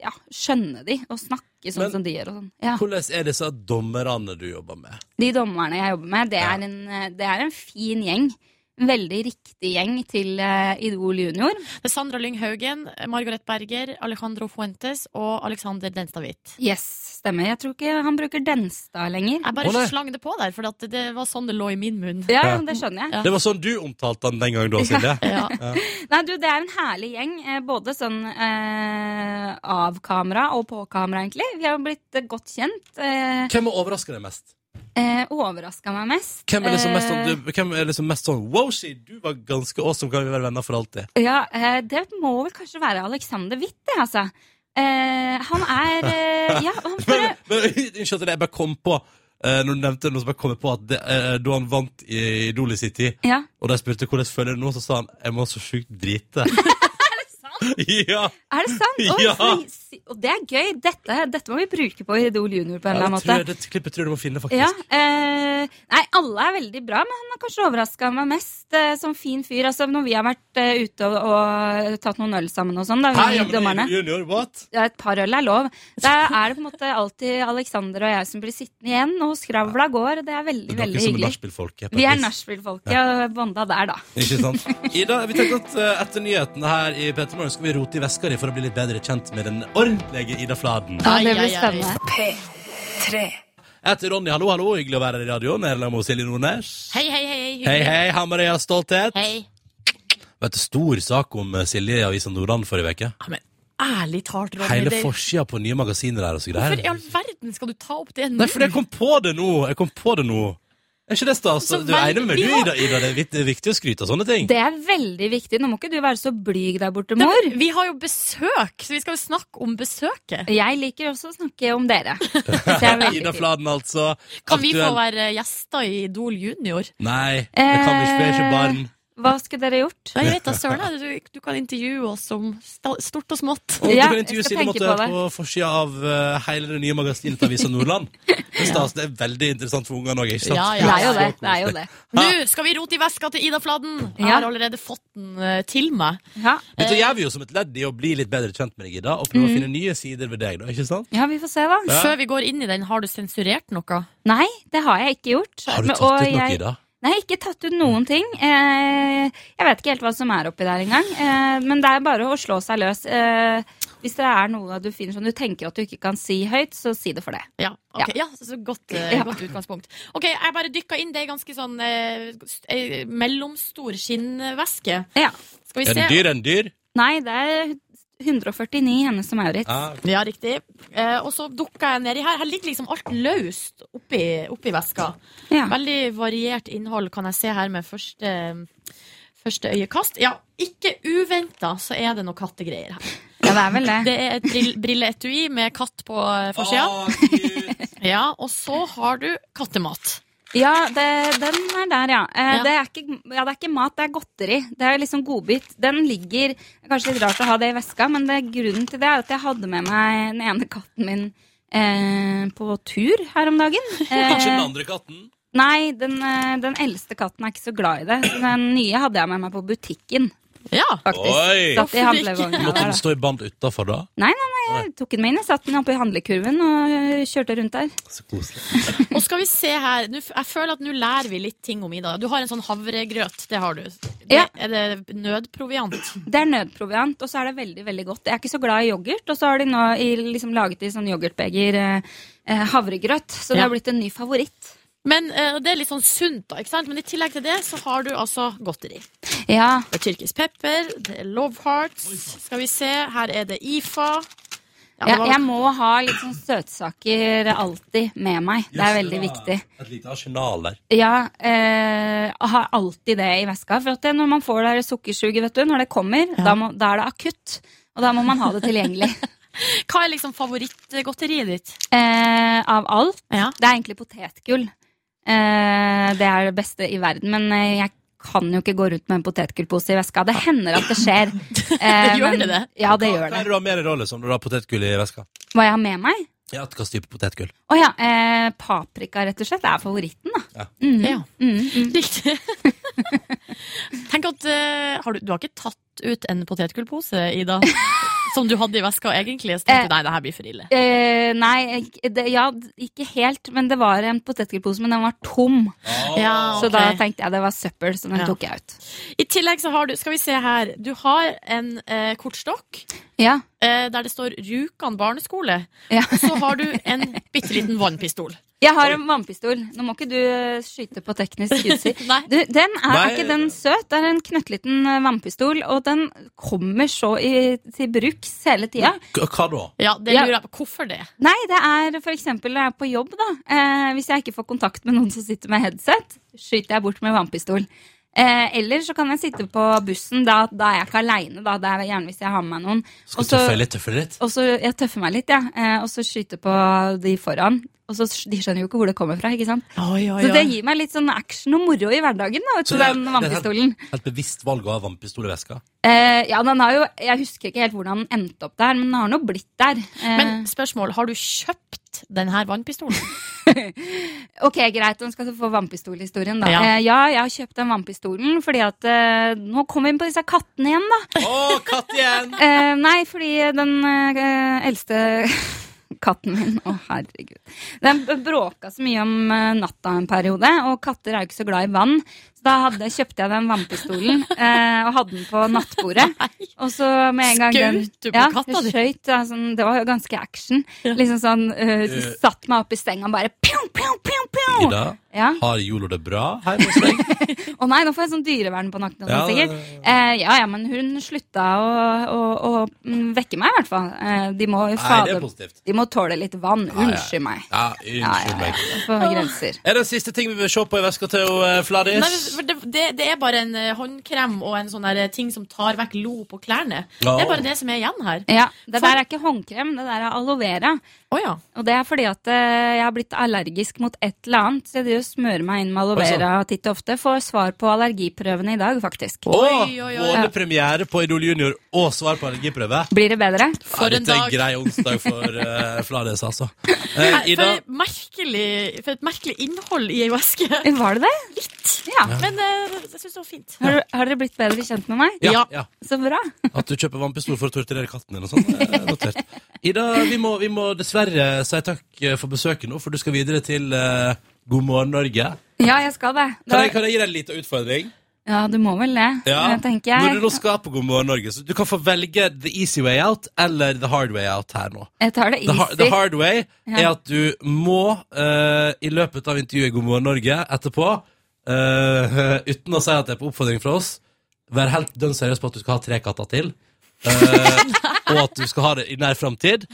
G: ja, skjønne de, og snakke sånn
B: Men-
G: som de gjør. Og sånn. ja.
B: Hvordan er disse dommerne du jobber med?
G: De dommerne jeg jobber med, det
B: Ja.
G: er en, eh, det er en fin gjeng. En veldig riktig gjeng til eh, Idol junior.
C: Det er Sandra Lyng Haugen, Margaret Berger, Alejandro Fuentes og Alexander Denstavit.
G: Yes, stemmer. Jeg tror ikke han bruker Denstad lenger.
C: Jeg
B: Å,
C: bare
B: nei.
C: slang det på der, for at det var sånn det lå i min munn.
G: Ja,
B: Ja.
G: det skjønner jeg.
B: Det var sånn du omtalte han den gangen da, Silje.
C: Ja.
G: Nei, du, det er en herlig gjeng. eh, Både sånn eh, av kamera og på kamera, egentlig. Vi har blitt eh, godt kjent. Eh,
B: Hvem har overraska deg mest?
G: eh, Overraska meg mest.
B: Hvem er liksom mest
G: Eh,
B: sånn, du, hvem er liksom mest sånn Wow, si, du var ganske awesome, kan vi være venner for alltid?
G: Ja, eh, det må vel kanskje være Alexander Witt, det, altså. Eh, han er eh, Ja, han bare
B: Men, men unnskyld at jeg bare kom på eh, Når du nevnte noe som jeg kom på at det, eh, Da han vant i Idol i sin tid
G: Ja.
B: Og de spurte hvordan føler du nå Så sa han, jeg må så sykt drite Ja,
G: Er det sant? Oi,
B: Ja.
G: så- si- Og det er gøy. Dette, dette må vi bruke på Idol junior på en
B: ja
G: eller annen
B: det, tror jeg,
G: måte.
B: det klippet tror jeg du må finne faktisk
G: Ja, eh, nei, alle er veldig bra, men han har kanskje overraska meg mest eh, som fin fyr. Altså, når vi har vært eh, ute og, og eh, tatt noen øl sammen og sånn, da,
B: Hei,
G: vi
B: ja, men
G: dommerne.
B: junior, what?
G: Ja, et par øl er lov. Da er det på en måte alltid Alexander og jeg som blir sittende igjen, og skravla går. og Det er veldig,
B: Det er
G: veldig
B: dere som er
G: hyggelig.
B: nachspiel-folket på
G: Vi
B: et
G: er
B: vis.
G: nachspiel-folket og bonda der, da.
B: Ikke sant? Ida, vi tenker at eh, etter nyhetene her i Peter Morgen Skal vi rote i veska di for å bli litt bedre kjent med den ordentlige Ida Fladen
G: Ja, det
C: Ai, ai,
G: blir
C: ai.
G: spennende.
D: P3.
B: Jeg heter Ronny, hallo, hallo Hyggelig å være her i radioen Erlend Mo, Silje Nordnes
C: Hei, hei, hei. hei, hyggelig.
B: Hei, hei, ha Maria Stolthet
C: Hei.
B: Vet du, stor sak om eh, Silje i Avisa Nordland forrige veke
C: Ja, men ærlig talt, Ronny.
B: Hele
C: det-
B: forsida på nye magasiner der og så
C: Hvorfor i
B: greier.
C: all verden skal du ta opp det nå?
B: Nei, fordi jeg kom på det nå! Jeg kom på det nå. Er ikke det stas?
C: Så
B: Du er enig
C: veldig-
B: med meg, du,
C: Ja.
B: Ida, Ida? Det er vikt- det er viktig å skryte av sånne ting.
G: Det er veldig viktig. Nå må ikke du være så blyg der borte,
C: Nei,
G: mor.
C: men vi har jo besøk, så vi skal jo snakke om besøket.
G: Jeg liker også å snakke om dere. Så jeg er veldig
B: Ida
G: fint.
B: Fladen, altså.
C: Kan vi få
B: Aktuell-
C: være gjester i Idol junior?
B: Nei, det kan vi ikke. Vi er ikke barn.
G: Hva skulle dere gjort?
C: Nei, jeg vet da, Søren. jeg. Du, du kan intervjue oss om sta- stort og smått.
B: Og
G: Ja,
B: du kan
G: jeg
B: intervjue
G: skal
B: Silje
G: tenke
B: Motte
G: på det.
B: på forsida av eh, hele det nye magasinet til Avisa Nordland. Det er stas. Det er veldig interessant for ungene òg, ikke sant?
C: Ja,
G: Det er jo det.
B: Så
G: det, er jo
B: koselig.
G: det.
C: Nå skal vi rote i veska til Ida Fladen! Jeg
G: Ja.
C: har allerede fått den eh, til meg.
G: Ja.
B: Dette gjør vi jo som et ledd i å bli litt bedre kjent med deg, Ida, og
G: Mm.
B: prøve å finne nye sider ved deg, da, ikke sant?
G: ja, vi får se, da.
B: Ja.
C: Før vi går inn i den, har du sensurert noe?
G: Nei, det har jeg ikke gjort.
B: Har du
G: Men-
B: tatt ut
G: og
B: noe,
G: jeg-
B: Ida?
G: Nei, ikke tatt ut noen ting. Eh, jeg vet ikke helt hva som er oppi der engang. Eh, men det er bare å slå seg løs. Eh, hvis det er noe du finner som du tenker at du ikke kan si høyt, så si det for det.
C: Ja, ok. ja. så- så godt, eh,
G: Ja.
C: godt utgangspunkt. Ok, Jeg bare dykka inn. Det er ganske sånn eh, st- eh, mellomstor skinnveske.
G: Ja.
C: Skal vi
B: Er
C: se.
B: den dyr? Er den dyr?
G: Nei, det er 149 Hennes og Maurits.
B: Ja,
C: Ja, riktig. Eh, og så dukka jeg nedi her. Her ligger liksom alt løst oppi, oppi veska.
G: Ja.
C: Veldig variert innhold kan jeg se her med første, første øyekast. Ja, ikke uventa så er det noe kattegreier her.
G: ja, det er vel det.
C: Det er et brill- brilleetui med katt på eh, forsida.
B: Å, Gud.
C: Ja, og så har du kattemat.
G: Ja, det, den er der, ja. Eh,
C: Ja.
G: Det, er ikke, ja. Det er ikke mat, det er godteri. Det er liksom godbit. Den ligger det er Kanskje litt rart å ha det i veska, men det, grunnen til det er at jeg hadde med meg den ene katten min eh, på tur her om dagen.
B: Ikke den
G: Eh,
B: andre katten.
G: nei, den, eh, den eldste katten er ikke så glad i det. Så den nye hadde jeg med meg på butikken,
C: Ja.
G: faktisk.
B: Oi!
G: Satt i
C: Hvorfor ikke?
G: handlevogna
B: Måtte
G: der,
B: den
G: da.
B: stå i band utafor, da?
G: Nei, nei, nei, jeg tok den med inn. Jeg satte den oppi handlekurven og eh, kjørte rundt der.
B: Så koselig.
C: Og skal vi se her Nå f- Jeg føler at nå lærer vi litt ting om Ida. Du har en sånn havregrøt. Det har du. Det,
G: Ja.
C: Er det nødproviant?
G: Det er nødproviant, og så er det veldig veldig godt. Jeg er ikke så glad i yoghurt, og så har de nå i, liksom, laget i sånn yoghurtbeger eh, eh, havregrøt. Så det
C: Ja.
G: har blitt en ny favoritt.
C: Men eh, Det er litt sånn sunt, da. ikke sant? Men i tillegg til det så har du altså godteri.
G: Ja,
C: Det er tyrkisk pepper, det er love hearts. Skal vi se, her er det IFA. Ja, det
G: Jeg,
C: var-
G: jeg må ha litt sånn søtsaker alltid med meg. Det er veldig viktig.
B: Et lite arsenal der.
G: Ja, eh, har alltid det i veska. For at det, når man får det her sukkersuget, vet du, når det kommer, da, må, da er det akutt. Og da må man ha det tilgjengelig.
C: Hva er liksom favorittgodteriet ditt?
G: eh, av alt.
C: Ja.
G: Det er egentlig potetgull. Eh, det er det beste i verden. Men eh, jeg kan jo ikke gå rundt med en potetgullpose i veska. Det hender at det skjer. Eh,
C: gjør
G: men-
C: det det?
G: Ja, det gjør
B: Hva er
G: det.
B: det du har med deg da, liksom, når du har potetgull i veska?
G: Hva jeg har med meg?
B: Ja, hva slags type potetgull?
G: Å ja, eh, paprika rett og slett er favoritten, da.
C: Ja.
G: Mm, mm.
C: Riktig. Tenk at eh, har du, du har ikke tatt ut en potetgullpose, Ida? Som du hadde i veska egentlig? Så tenkte du nei, det her blir for ille.
G: Eh, nei, ik- det, ja, d- ikke helt, men det var en potetgullpose, men den var tom.
C: Ja,
G: Så da
C: ok.
G: tenkte jeg det var søppel, så den
C: Ja.
G: tok jeg ut.
C: I tillegg så har du Skal vi se her. Du har en eh, kortstokk
G: Ja,
C: eh, der det står Rjukan barneskole.
G: ja.
C: Og så har du en bitte liten vannpistol.
G: Jeg har en vannpistol. Nå må ikke du eh, skyte på teknisk utstyr.
C: Nei.
G: Du, den er,
B: Nei.
G: er ikke den søt? Det er en knøttliten eh, vannpistol, og den kommer så i, til bruks hele tida.
B: K hva da?
C: Ja, det
G: Ja.
C: lurer jeg på. Hvorfor det?
G: Nei, det er for eksempel når jeg er på jobb, da. Eh, hvis jeg ikke får kontakt med noen som sitter med headset, skyter jeg bort med vannpistol. Eh, eller så kan jeg sitte på bussen, da, da er jeg ikke aleine, da. Det er gjerne hvis jeg har med meg noen.
B: Skal
G: Og så-
B: tøffe litt, tøffe litt?
G: Og så Jeg tøffer meg litt, jeg. Ja. Eh, og så skyter på de foran. Og så sk- De skjønner jo ikke hvor det kommer fra. ikke sant?
C: Oi,
G: Så det gir meg litt sånn action og moro i hverdagen, da, vet du,
B: Så det er-
G: den
B: det er
G: vannpistolen.
B: Helt, helt bevisst valg av vannpistol i veska?
G: Eh, ja, den har jo Jeg husker ikke helt hvordan den endte opp der, men den har nå blitt der. Eh,
C: Men spørsmål, har du kjøpt denne vannpistolen?
G: ok, greit, hun skal få vannpistolhistorien, da.
C: Ja.
G: Ja. Eh, ja, jeg har kjøpt den vannpistolen fordi at eh, Nå kommer vi inn på disse kattene igjen, da.
B: Å, katt igjen!
G: Eh, nei, fordi den eh, eldste katten min Å, herregud. Den b- bråka så mye om eh, natta en periode, og katter er jo ikke så glad i vann. Så da hadde, kjøpte jeg den vannpistolen eh, og hadde den på nattbordet. Og så med en gang den
C: Skjøt du på
G: ja,
C: katta di?
G: jeg skjøt, ja, sånn, Det var jo ganske action. Liksom sånn eh, så Satt meg opp i stenga og bare pjong, pjong, pjong, pjong.
B: Ida,
G: Ja.
B: har Jolo det bra her hos deg?
G: Å nei, nå får jeg sånn dyrevern på nakken. og
B: Ja,
G: sånn, sikkert. Eh, ja, ja, men hun slutta å, å, å mm, vekke meg, i hvert fall. Eh, de må
B: Nei, det
G: jo
B: er
G: fader
B: positivt.
G: De må tåle litt vann.
B: ja.
G: Unnskyld meg.
B: Ja,
G: Ja,
B: unnskyld
G: ja,
B: meg.
G: ja. På grenser.
B: Er det en siste ting vi vil se på i veska til eh, Fladis?
C: Nei, men for det, det, det er bare en eh, håndkrem og en sånn der ting som tar vekk lo på klærne.
B: Ja.
C: Det er bare det som er igjen her.
G: Ja, Det
C: For-
G: der er ikke håndkrem, det der er aloe vera.
C: Å ja.
G: Og det er fordi at eh, jeg har blitt allergisk mot et eller annet. Så jeg driver og smører meg inn med aloe
B: Oi, sånn.
G: vera titt og ofte. Får svar på allergiprøvene i dag, faktisk.
B: Å,
C: Oi, oi, oi.
B: både premiere på Idol Junior og svar på allergiprøve.
G: Blir det bedre?
C: For
B: ja,
C: en
B: dette er
C: dag.
B: grei onsdag for eh, Fladis, altså. Eh,
C: Nei,
B: Ida,
C: For, et merkelig, for et merkelig innhold i ei veske.
G: Var det det? Ja.
C: Men eh, jeg syns det var fint.
G: Har, du- har dere blitt bedre kjent med meg?
B: ja,
C: ja.
B: ja.
G: Så bra.
B: At du kjøper vannpistol for å torturere katten din og sånn. eh, Notert. Ida, vi må, vi må dessverre si takk eh, for besøket nå, for du skal videre til eh, God morgen, Norge.
G: Ja, jeg skal det. Det
B: Kan jeg,
G: var-
B: kan jeg gi deg en liten utfordring?
G: Ja, du må vel det,
B: Ja.
G: eh, tenker jeg.
B: Når du nå skal på God morgen, Norge, så du kan få velge the easy way out eller the hard way out her nå.
G: Jeg tar det
B: The, har, the
G: easy.
B: hard way er
G: Ja.
B: at du må, eh, i løpet av intervjuet i God morgen Norge etterpå, eh, uten å si at det er på oppfordring fra oss, være helt dønn seriøs på at du skal ha tre katter til. eh, og at du skal ha det i nær framtid.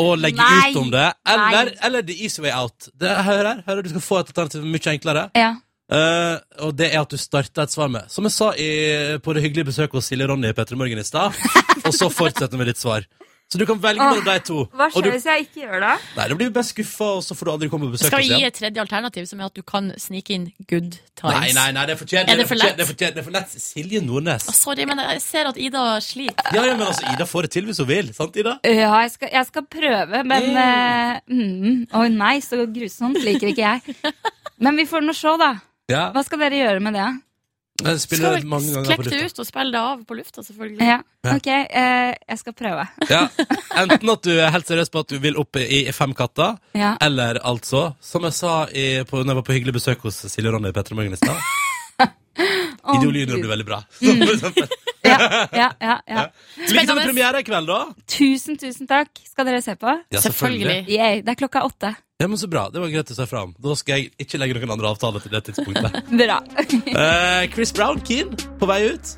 B: Og legge
G: Nei.
B: ut om det. Eller,
G: Nei.
B: eller the easy way out. Det, hør her, hør her, du skal få et alternativ mye enklere.
G: Ja.
B: Eh, og det er at du starter et svar med Som jeg sa i, på det hyggelige besøket hos Silje Ronny i Petter Morgen i stad. og så fortsetter med ditt svar. Så du kan velge mellom de to. og du,
G: jeg ikke gjør det?
B: nei, du blir jo bare skuffa, og så får du aldri komme på besøk
C: Skal
B: hos
C: vi gi
B: igjen.
C: et tredje alternativ, som er at du kan snike inn good times?
B: Nei, nei, nei, det er for kjedelig.
C: Er det for
B: kjedelig,
C: lett?
B: Det er for, kjedelig, det er for lett. Silje Nordnes.
C: Å, Sorry, men jeg ser at Ida sliter.
B: Ja, ja, men altså, Ida får det til hvis hun vil. Sant, Ida?
G: Ja, jeg skal, jeg skal prøve, men eh, mm, Å nei, så grusomt liker ikke jeg. Men vi får nå se, da.
B: Ja.
G: Hva skal dere gjøre med det?
B: Jeg spiller
C: Skal vel
B: mange ganger på
C: klekke det
B: lufta.
C: ut og spille det av på lufta, selvfølgelig.
G: Ja, ok, eh, jeg skal prøve.
B: Ja. Enten at du er helt seriøs på at du vil opp i i fem katter,
G: Ja.
B: eller altså, som jeg sa i, på, når jeg var på hyggelig besøk hos Silje Ronny i Petter Morgen i stad
G: Å,
B: Idiolyder
G: Gud.
B: blir veldig bra. For
C: Mm.
B: eksempel.
G: Ja, ja, ja, ja.
B: Lykke til med premiere i kveld, da.
G: Tusen, tusen takk. Skal dere se på?
B: Ja,
C: selvfølgelig.
G: Yay, det er klokka åtte.
B: Ja, men Så bra. Det var greit å si fra om. Da skal jeg ikke legge noen andre avtaler til det tidspunktet.
G: Bra.
B: Eh, Chris Brown, Keen, på vei ut.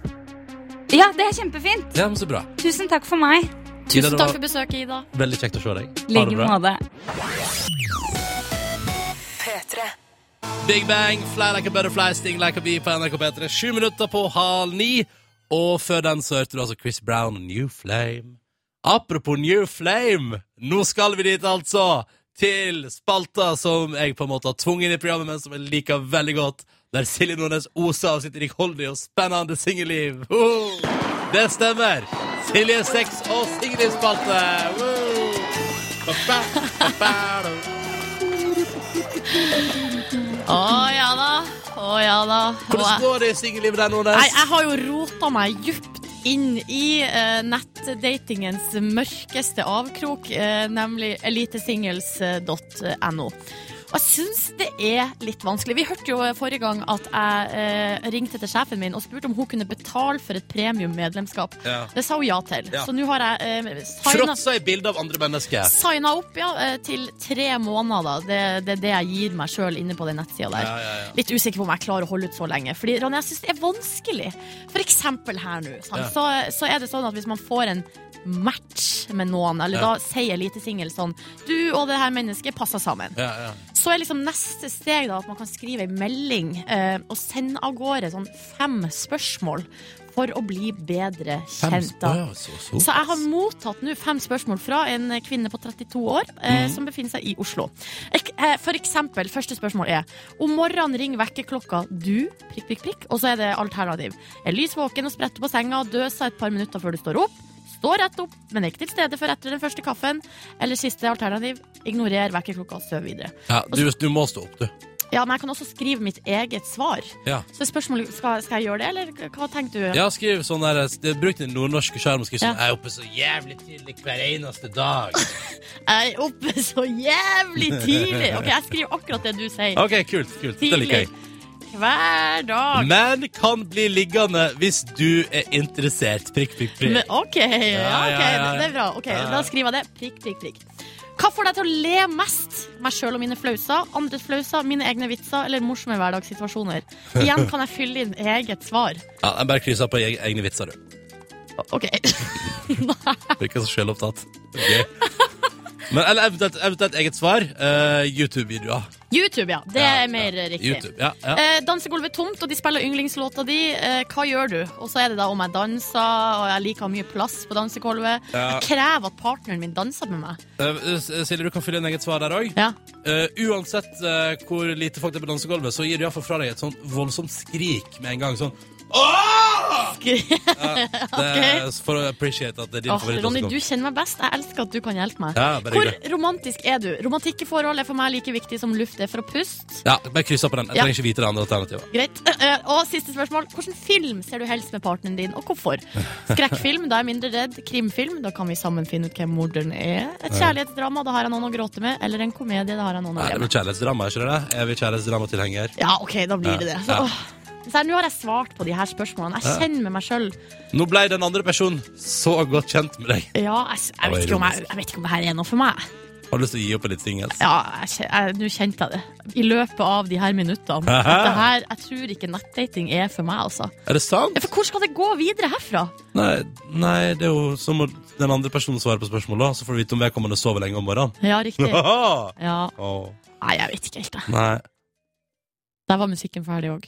G: Ja, det er kjempefint.
B: Ja, men så bra.
G: Tusen takk for meg.
B: Ida,
C: Tusen
B: det
C: takk
B: var-
C: for besøket, Ida.
B: Veldig kjekt å se deg.
G: I like måte.
B: Big Bang, Fly Like a Butterfly, Sting Like a Bee på NRK P3. Sju minutter på halv ni. Og før den så hørte du altså Chris Brown og New Flame. Apropos New Flame, nå skal vi dit, altså! Til spalta som jeg på en måte har tvunget inn i programmet, men som jeg liker veldig godt. Der Silje Nordnes oser av sitt rikholdige og spennende singelliv. Ho! Det stemmer! Silje Sex og singellivsspalte! Woo! Ba, ba, ba, ba, da.
C: Å ja da. Å ja da. Og
B: Hvordan
C: jeg-
B: går det i singellivet der, Nordnes?
C: Nei, jeg har jo rota meg djupt inn i eh, nettdatingens mørkeste avkrok, eh, nemlig elitesingles.no. Og jeg syns det er litt vanskelig. Vi hørte jo forrige gang at jeg eh, ringte til sjefen min og spurte om hun kunne betale for et premiummedlemskap.
B: Ja.
C: Det sa hun ja til.
B: Ja.
C: Så nå har jeg eh, signa
B: Fråtsa i bildet av andre mennesker.
C: Signa opp ja, eh, til tre måneder. Da. Det, det er det jeg gir meg sjøl inne på den nettsida der.
B: Ja, ja, ja.
C: Litt usikker på om jeg klarer å holde ut så lenge. Fordi Ronny, jeg syns det er vanskelig. For eksempel her nå. sant?
B: Ja.
C: Så, så er det sånn at hvis man får en match med noen, eller
B: Ja.
C: da sier elitesingel sånn Du og det her mennesket passer sammen.
B: Ja, ja.
C: Så er liksom neste steg da at man kan skrive ei melding eh, og sende av gårde sånn fem spørsmål for å bli bedre kjent. da.
B: Å, ja, så, så.
C: Så jeg har mottatt nå fem spørsmål fra en kvinne på 32 år eh, som befinner seg i Oslo. Ek, eh, for eksempel, første spørsmål er Om morgenen ringer vekkerklokka du, prikk, prikk, prikk, og så er det alternativ. Er lys våken og spretter på senga og døser et par minutter før du står opp. Står rett opp, men er ikke til stede før etter den første kaffen. Eller siste alternativ, ignorer vekkerklokka og søv videre.
B: Ja, du,
C: Altså-
B: du må stå opp, du.
C: Ja, men jeg kan også skrive mitt eget svar.
B: Ja.
C: Så spørsmålet, skal, skal jeg gjøre det, eller hva tenker du?
B: Ja, skriv sånn der det- Bruk den nordnorske skjermen og skriv sånn
C: Ja.
B: Jeg er oppe så jævlig tidlig hver eneste dag.
C: Jeg er oppe så jævlig tidlig! Ok, Jeg skriver akkurat det du sier.
B: OK, kult. kult. Det liker jeg.
C: Hver dag.
B: Men kan bli liggende hvis du er interessert. Prikk, prikk, prikk.
C: Men, ok, ja,
B: ja,
C: ok,
B: ja, ja.
C: det er bra. Ok,
B: Ja, ja.
C: Da skriver jeg det. Prikk, prikk, prikk. Hva får deg til å le mest? Meg sjøl og mine flauser? Andres flauser? Mine egne vitser? Eller morsomme hverdagssituasjoner? Igjen kan jeg fylle inn eget svar.
B: Ja, jeg bare krysser på eg- egne vitser, du.
C: Ok.
B: Virker så selvopptatt. Gøy. Men, eller eventuelt, eventuelt eget svar. eh, YouTube-videoer.
C: YouTube, ja. Det
B: Ja,
C: er mer
B: ja.
C: riktig.
B: YouTube, ja, ja.
C: Eh, dansegulvet er tomt, og de spiller yndlingslåta di. Eh, hva gjør du? Og så er det da om jeg danser, og jeg liker å ha mye plass på dansegulvet.
B: Ja.
C: Jeg krever at partneren min danser med meg.
B: Eh, S- Silje, du kan fylle inn eget svar der òg.
C: Ja.
B: Eh, uansett eh, hvor lite folk det er på dansegulvet, så gir du iallfall fra deg et sånn voldsomt skrik med en gang. Sånn Åh! Det er for å appreciate at det er din
C: Åh, Ronny, du
B: favorittdansegulv.
C: kjenner meg best. Jeg elsker at du kan hjelpe meg.
B: Ja, bare
C: Hvor
B: hyggelig.
C: romantisk er du? Romantikke forhold er for meg like viktig som luft er for å puste.
B: Ja, bare kryss av på den. Jeg
C: Ja.
B: trenger ikke vite det andre alternativet.
C: Greit. Eh, Og siste spørsmål. Hvilken film ser du helst med partneren din, og hvorfor? Skrekkfilm, da er jeg mindre redd. Krimfilm, da kan vi sammen finne ut hvem morderen er. Et kjærlighetsdrama, da har jeg noen å gråte med. Eller en komedie, da har jeg noen
B: Nei, det
C: å le
B: er vel
C: med.
B: kjærlighetsdrama, er ikke det det? Er vi kjærlighetsdramatilhenger?
C: Ja, ok, da blir det det. Så,
B: Ja.
C: åh. Så her, Nå har jeg svart på de her spørsmålene. Jeg kjenner med meg sjøl.
B: Nå ble den andre personen så godt kjent med deg.
C: Ja, jeg, s- jeg, vet ikke om jeg, jeg vet ikke om det her er noe for meg.
B: Har du lyst til å gi opp en litt singels?
C: Ja, jeg kje- jeg- Nå kjente jeg det. I løpet av de her minuttene. At det her, jeg tror ikke nettdating er for meg, altså.
B: Er det sant?
C: Ja, For hvor skal det gå videre herfra?
B: Nei, nei, det er jo som å den andre personen svarer på spørsmålet, så får du vite om vedkommende sover lenge om morgenen.
C: Ja, riktig.
B: Haha!
C: Ja.
B: Åh.
C: Nei, jeg vet ikke helt, jeg.
B: Nei.
C: Der var musikken ferdig òg.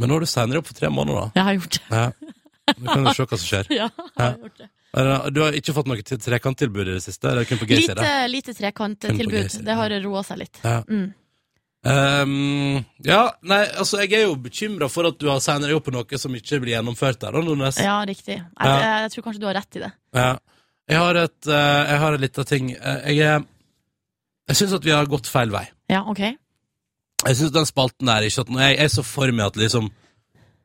B: Men nå er du seinere opp for tre måneder, da.
C: Jeg har gjort det.
B: Ja. Du kan jo se hva som skjer.
C: Ja, jeg har gjort det.
B: Er det- Du har ikke fått noe til- trekanttilbud i det siste? Det er kun på Gayside.
C: Lite, lite
B: Kun på G-sida.
C: trekanttilbud. Det har roa seg litt.
B: Ja.
C: Mm.
B: Ehm, ja, nei, altså jeg er jo bekymra for at du har seinere opp på noe som ikke blir gjennomført der. da, Nordnes.
C: Ja, riktig. Jeg,
B: Ja.
C: jeg, jeg tror kanskje du har rett i det.
B: Ja. Jeg har et eh, Jeg har en liten ting. Eh, Jeg er Jeg syns at vi har gått feil vei.
C: Ja, OK.
B: Jeg synes den spalten der ikke at Jeg jeg så for meg at liksom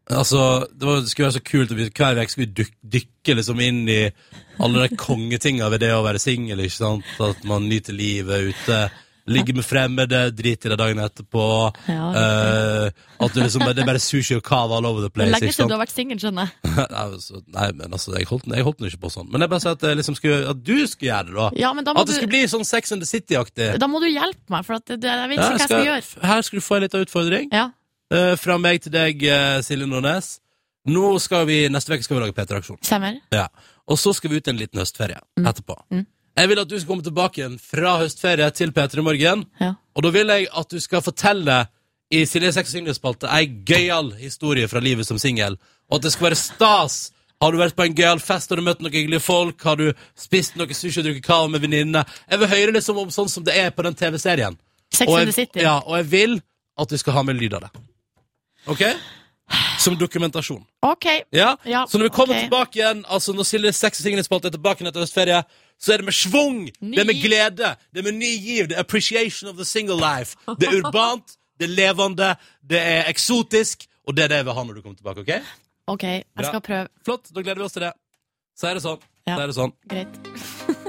B: Altså, det var, det skulle være så kult å bli- Hver vek skulle vi dyk, dykke liksom inn i Alle de kongetinga ved det å være singel, ikke sant? At man nyter livet ute Ligger med fremmede, driter i det dagen etterpå
C: Ja,
B: eh, At du liksom, bare- det er bare sushi og kava all over the
C: Det
B: place
C: legger
B: ikke
C: seg til
B: sant?
C: du har vært singel, skjønner jeg.
B: Nei, altså, nei, men altså, jeg holdt, den- jeg holdt den ikke på sånn Men jeg bare sa at, jeg liksom skulle, at du skulle gjøre det da
C: Ja, men da må,
B: At
C: du,
B: det skulle bli sånn Sex and the City-aktig
C: da må du hjelpe meg, for at det, det, jeg vet ikke
B: Ja,
C: hva jeg skal gjøre.
B: Her skal du få en liten utfordring
C: Ja.
B: Eh, fra meg til deg, eh, Silje Nordnes. Nå skal vi, Neste uke skal vi lage P3-aksjon.
C: Stemmer.
B: Ja. Og så skal vi ut i en liten høstferie
C: Mm.
B: etterpå.
C: Mm.
B: Jeg vil at du skal komme tilbake igjen fra høstferie til P3 Morgen.
C: Ja.
B: Og da vil jeg at du skal fortelle i Silje Seks og Single-spalte ei gøyal historie fra livet som singel. Og at det skal være stas. Har du vært på en gøyal fest, har du møtt noen hyggelige folk, har du spist noe sushi og drukket kava med venninnene? Jeg vil høre liksom om sånn som det er på den TV-serien.
C: Sex
B: Og
C: and the
B: jeg-
C: City.
B: Ja, og jeg vil at du skal ha med lyd av det. OK? Som dokumentasjon.
C: OK.
B: Ja,
C: Ja,
B: Så når vi kommer
C: ok.
B: tilbake igjen, altså når Silje Sex og Sigrid-spalte er tilbake igjen etter høstferie, så er det med schwung,
C: Ny
B: det er med
C: giv.
B: glede, det er med ny giv, det er appreciation of the single life. Det er urbant, det er levende, det er eksotisk, og det er det jeg vil ha når du kommer tilbake, OK?
C: OK, jeg skal prøve.
B: Flott, da gleder vi oss til det. Så er det sånn.
C: Ja.
B: Så er det sånn.
C: Greit.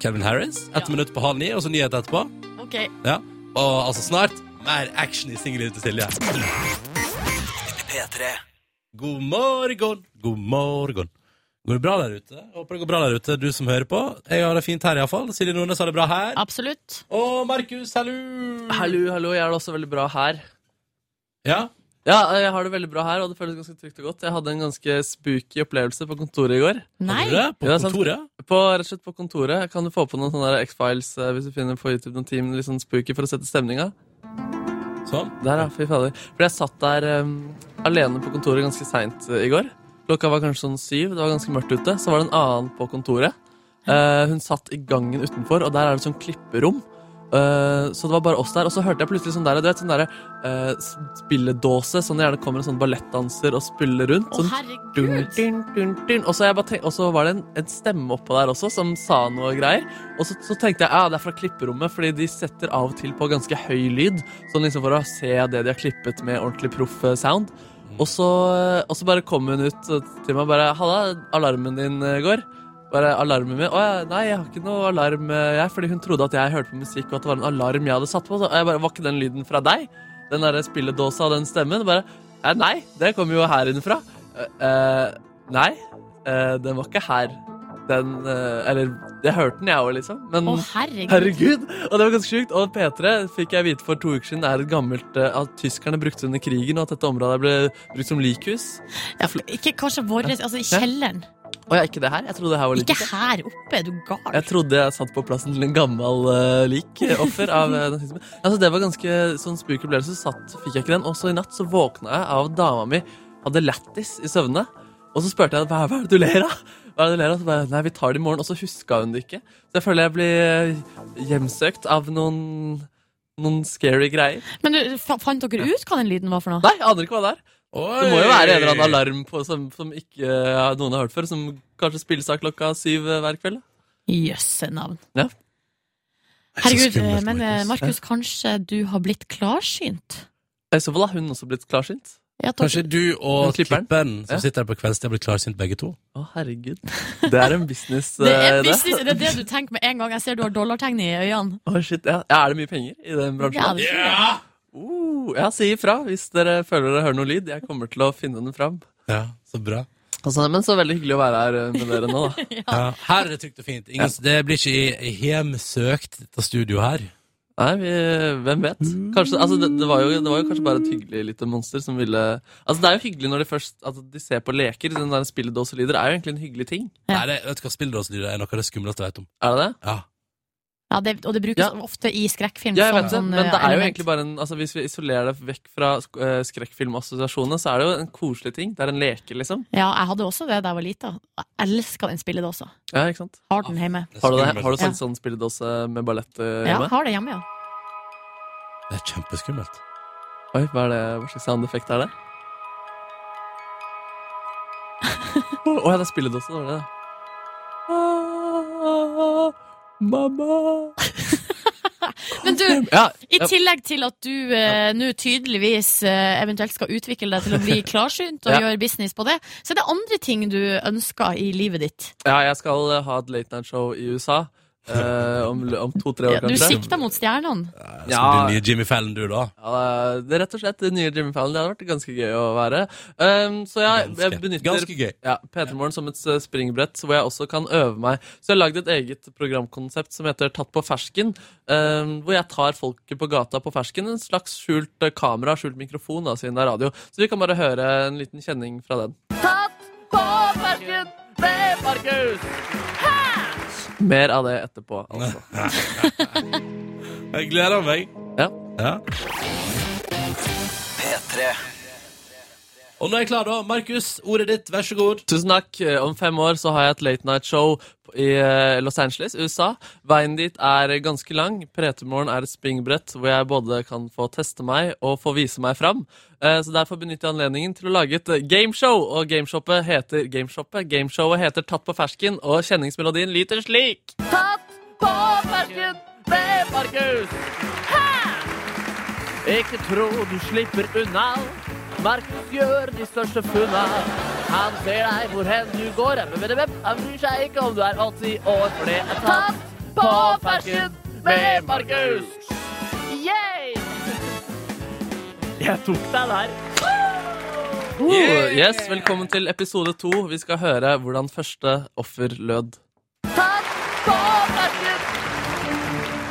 B: Calvin Harris, ett
C: Ja.
B: minutt på halv ni, og så nyhet etterpå.
C: OK.
B: Ja. Og altså snart mer action i Singel til Silje.
A: P3.
B: God morgen, god morgen. Går det bra der ute? Jeg Håper det går bra der ute, du som hører på. Jeg har det fint her iallfall. Silje Nordnes har det bra her.
C: Absolutt.
B: Og Markus, hallo!
H: Hallo, hallo, jeg har det også veldig bra her.
B: Ja,
H: Ja, jeg har det veldig bra her, og det føles ganske trygt og godt. Jeg hadde en ganske spooky opplevelse på kontoret i går.
C: Nei.
B: har du det? På
H: Ja, sant.
B: kontoret?
H: På, rett og slett på kontoret. Kan du få på noen sånne der X-Files eh, hvis du finner på YouTube noen team litt sånn spooky for å sette stemninga?
B: Sånn.
H: Der, ja. Fy fader. For jeg satt der em, alene på kontoret ganske seint i går. Klokka var kanskje sånn syv, det var ganske mørkt ute. Så var det en annen på kontoret. Eh, hun satt i gangen utenfor, og der er det sånn klipperom. Eh, så det var bare oss der. Og så hørte jeg plutselig sånn der, du vet, sånn der eh, s- spilledåse, sånn det gjerne kommer en sånn ballettdanser og spiller rundt.
C: Å,
H: Sånn Dun,
C: herregud.
H: dun, dun, dun. Og så jeg bare tenk- og så var det en, en stemme oppå der også som sa noe greier. Og så, så tenkte jeg ja, det er fra klipperommet, fordi de setter av og til på ganske høy lyd. Sånn liksom for å se det de har klippet med ordentlig proff eh, sound. Og så, eh, og så bare kom hun ut eh, til meg og bare 'Halla, alarmen din eh, går.' Bare alarmen min. 'Å ja, nei, jeg har ikke noe alarm, eh, jeg.' Fordi hun trodde at jeg hørte på musikk, og at det var en alarm jeg hadde satt på. Så jeg bare 'Var ikke den lyden fra deg?' Den derre spilledåsa og den stemmen. Bare «Eh, 'Nei, det kom jo her innenfra'. Eh, eh, nei, eh, den var ikke her. Den eh, Eller, jeg hørte den, jeg òg, liksom. Men
C: Å, herregud.
H: Herregud! Og det var ganske sjukt. Og P3 fikk jeg vite for to uker siden er et gammelt eh, at tyskerne brukte under krigen, og at dette området ble brukt som likhus.
C: Ja, for ikke kanskje vår Altså, i kjelleren.
H: Å ja, ikke det her? Jeg trodde det her var
C: Ikke
H: likhus.
C: her oppe, er du gal?
H: Jeg trodde jeg satt på plassen til en gammel eh, lik eh, offer av eh, nazisme. Altså, det var ganske sånn spooky opplevelse. Så satt, fikk jeg ikke den. Og så i natt så våkna jeg av at dama mi hadde lættis i søvne. Og så spurte jeg hva, hva er det du ler av? Hva er det du ler av? Så bare, Nei, vi tar det i morgen. Og så huska hun det ikke. Så jeg føler jeg blir eh, hjemsøkt av noen, noen scary greier.
C: Men du, fa- fant dere ut hva den lyden var for noe?
H: Nei, jeg aner ikke hva det er.
B: Oi!
H: Det må jo være en eller annen alarm på, som, som ikke eh, noen har hørt før, som kanskje spilles av klokka syv eh, hver kveld.
C: Jøsse navn.
H: Ja.
C: Herregud,
B: skummelt,
C: men eh,
B: Markus.
C: Markus, kanskje du har blitt klarsynt?
H: I så fall har hun også blitt klarsynt.
C: Ja, dere-
B: Kanskje du og
H: Og Sånn klipperen.
B: klipperen, som
H: Ja.
B: sitter her på kveldstid, har blitt klarsynt begge to?
H: Å, herregud. Det er en business.
C: det er
H: eh,
C: business, det er det du tenker med en gang. Jeg ser du har dollartegn i øynene.
H: Å, shit, ja. ja, Er det mye penger i den
C: Ja,
H: bransjen?
C: det
H: Ja,
C: tror jeg.
H: uh, ja Si ifra hvis dere føler dere hører noe lyd. Jeg kommer til å finne den fram.
B: Ja, så bra.
H: Altså, men så veldig hyggelig å være her eh, med dere nå, da.
B: Ja. Her er det trygt og fint. Ingen, Det blir ikke i- i hjemsøkt, dette studioet her.
H: Nei, vi, hvem vet? Kanskje, altså, det, det, var jo, det var jo kanskje bare et hyggelig lite monster som ville Altså, Det er jo hyggelig når de først altså, de ser på leker. Den der spilledåselyder er jo egentlig en hyggelig ting.
B: Nei,
C: Ja.
B: det, vet du hva, spilledåselyder er noe av det skumleste jeg vet om.
H: Er det det?
B: Ja.
C: Ja, det, og det brukes
H: Ja.
C: ofte i skrekkfilm.
H: Ja, jeg
C: som
H: vet det,
C: sånn,
H: men
C: eh,
H: det er jo
C: element.
H: egentlig bare en altså, Hvis vi isolerer det vekk fra sk- eh, skrekkfilmassosiasjonene, så er det jo en koselig ting. Det er en leke, liksom.
C: Ja, jeg hadde også det da jeg var lita. Jeg elska den spilledåsa.
H: Ja, ikke sant?
C: Har den hjemme.
B: Det er
H: Har du, det,
B: skummelt.
H: har du
C: Ja.
H: sånn, sånn spilledåse med ballett eh,
C: Ja,
H: hjemme?
C: har det hjemme, ja.
B: Det er kjempeskummelt.
H: Oi, hva, er det, hva slags soundeffekt er det? Å ja, det er spilledåse. Det var det. Ah, mamma
C: Men du,
H: ja,
C: i
H: ja.
C: tillegg til at du eh, nå tydeligvis eh, eventuelt skal utvikle deg til å bli klarsynt og
H: Ja.
C: gjøre business på det, så er det andre ting du ønsker i livet ditt.
H: ja, jeg skal eh, ha et late night show i USA. eh, om om to-tre år,
C: Du
H: kanskje.
C: sikter mot stjernene.
B: Som
H: Ja.
B: du nye Jimmy Fallon, du, da.
H: Ja, det er rett og slett det nye Jimmy Fallon. Det hadde vært ganske gøy å være. Um, så jeg, jeg
B: Ganske-
H: benytter
B: Ganske gøy.
H: ja, P3 Morgen som et eh, springbrett hvor jeg også kan øve meg. Så jeg har lagd et eget programkonsept som heter Tatt på fersken, um, hvor jeg tar folket på gata på fersken. En slags skjult eh, kamera, skjult mikrofon, da, siden det er radio. Så vi kan bare høre en liten kjenning fra den. Tatt på fersken! Se, Markus! Mer av det etterpå, altså.
B: Jeg gleder meg.
H: Ja.
B: Ja.
A: P3.
B: Og nå er jeg klar, da. Markus, ordet ditt, vær så god.
H: Tusen takk. Eh, Om fem år så har jeg et late night show i eh, Los Angeles, USA. Veien dit er ganske lang. Pretemorgen er et springbrett hvor jeg både kan få teste meg og få vise meg fram. Eh, Så derfor benytter jeg anledningen til å lage et eh, gameshow. Og gameshowet heter Gameshowet Gameshowet heter Tatt på fersken, og kjenningsmelodien lyter slik. Tatt på fersken med Markus. Ikke tro du slipper unna. Markus gjør de største funna. Han ser deg hvor hen du går. Epp, epp, epp. Han bryr seg ikke om du er 80 år, for det er tatt på fersken med Markus. Jeg tok deg der. Yes, Velkommen til episode to. Vi skal høre hvordan første offer lød.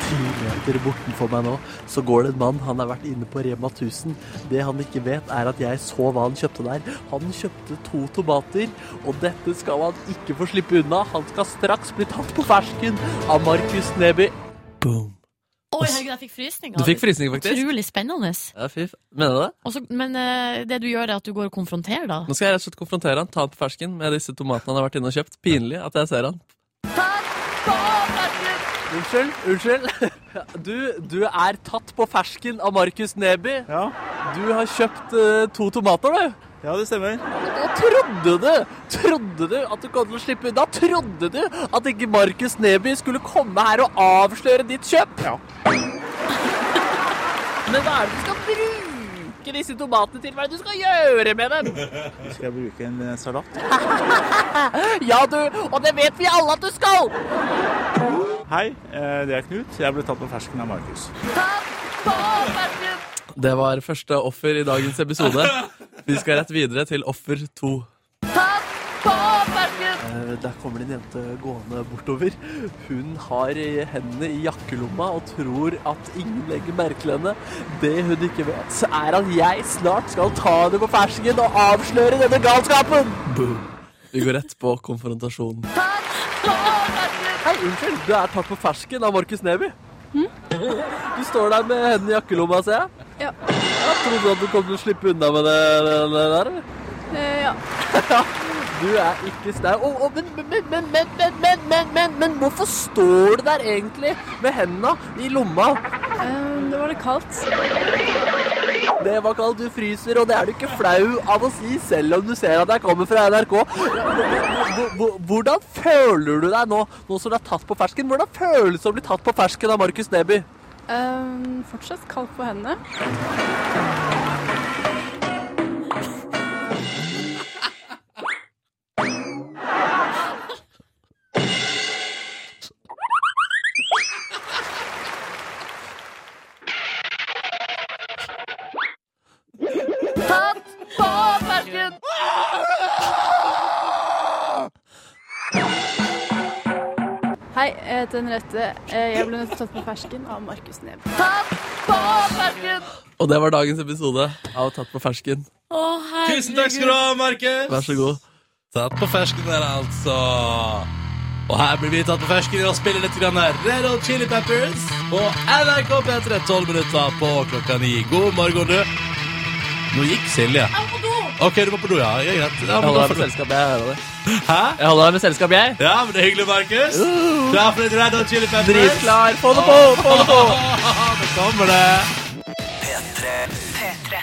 H: Ti meter bortenfor meg nå, så går det en mann. Han har vært inne på Rema 1000. Det han ikke vet, er at jeg så hva han kjøpte der. Han kjøpte to tomater, og dette skal han ikke få slippe unna. Han skal straks bli tatt på fersken av Markus Neby. Boom.
C: Oi, herregud, jeg fikk frysninger.
H: Du fikk frysning, faktisk.
C: Utrolig spennende.
H: Ja, fy f... Mener du det?
C: Og så- men eh, det du gjør, er at du går og konfronterer, da.
H: Nå skal jeg rett og slett konfrontere han, ta han på fersken med disse tomatene han har vært inne og kjøpt. Pinlig at jeg ser han. Unnskyld, unnskyld. Du, du er tatt på fersken av Markus Neby.
I: Ja.
H: Du har kjøpt eh, to tomater, du.
I: ja, det stemmer.
H: Og trodde du, trodde du at du kom til å slippe unna? Trodde du at ikke Markus Neby skulle komme her og avsløre ditt kjøp?
I: Ja.
H: Men hva er det du skal bruke disse tomatene til? Hva er det du skal gjøre med dem?
I: Skal jeg bruke en eh, salat?
H: Ja, du, og det vet vi alle at du skal!
I: Hei, eh, det er Knut. Jeg ble tatt på fersken av Markus.
H: Det var første offer i dagens episode. Vi skal rett videre til offer to. Eh, Der kommer det en jente gående bortover. Hun har eh, hendene i jakkelomma og tror at ingen legger merke til henne. Det hun ikke vet, er at jeg snart skal ta henne på fersken og avsløre denne galskapen! Boom. Vi går rett på konfrontasjon. Hei, unnskyld. Du er tatt på fersken av Markus Neby. Du står der med hendene i jakkelomma, ser jeg.
J: Ja.
H: Jeg trodde du at du kom til å slippe unna med det, det, det der. eller?
J: Eh, ja.
H: Du er ikke snau. Å, å, men, men, men, men, men, men, men, men, men hvorfor står du der egentlig med hendene i lomma?
J: Eh, det var litt kaldt.
H: Det var kaldt, du fryser, og det er du ikke flau av å si selv om du ser at jeg kommer fra NRK. Hvor- hvor- Hvordan føler du deg nå, nå som du er tatt på fersken? Hvordan føles det å bli tatt på fersken av Markus Neby?
J: Eh, fortsatt kaldt på hendene. Hei, jeg heter Henriette. Eh, Jeg ble nødt til å tatt på fersken av Markus Neby.
H: Og det var dagens episode av Tatt på fersken.
C: Å, herregud.
B: Tusen takk skal du ha, Markus.
H: Vær så god.
B: Tatt på fersken der, altså. Og her blir vi tatt på fersken ved å spille litt grann her. Red Hot Chili Peppers på NRK P3 12 minutter på klokka ni. God morgen, du. Nå gikk Silje.
C: Jeg må på do!
B: OK, du må på do, ja. Ja, Greit. Ja,
H: Jeg
B: men da
H: holder deg
B: får
H: med
B: du.
H: selskap, jeg. jeg hører det.
B: Hæ?
H: Jeg holder deg med selskap, jeg.
B: Ja, men det er hyggelig, Markus. Klar for litt Red Hot Chili Peppers?
H: Uh. Dritklar. Få det på! Få det på!
B: Det kommer, det.
A: P3.
D: P3.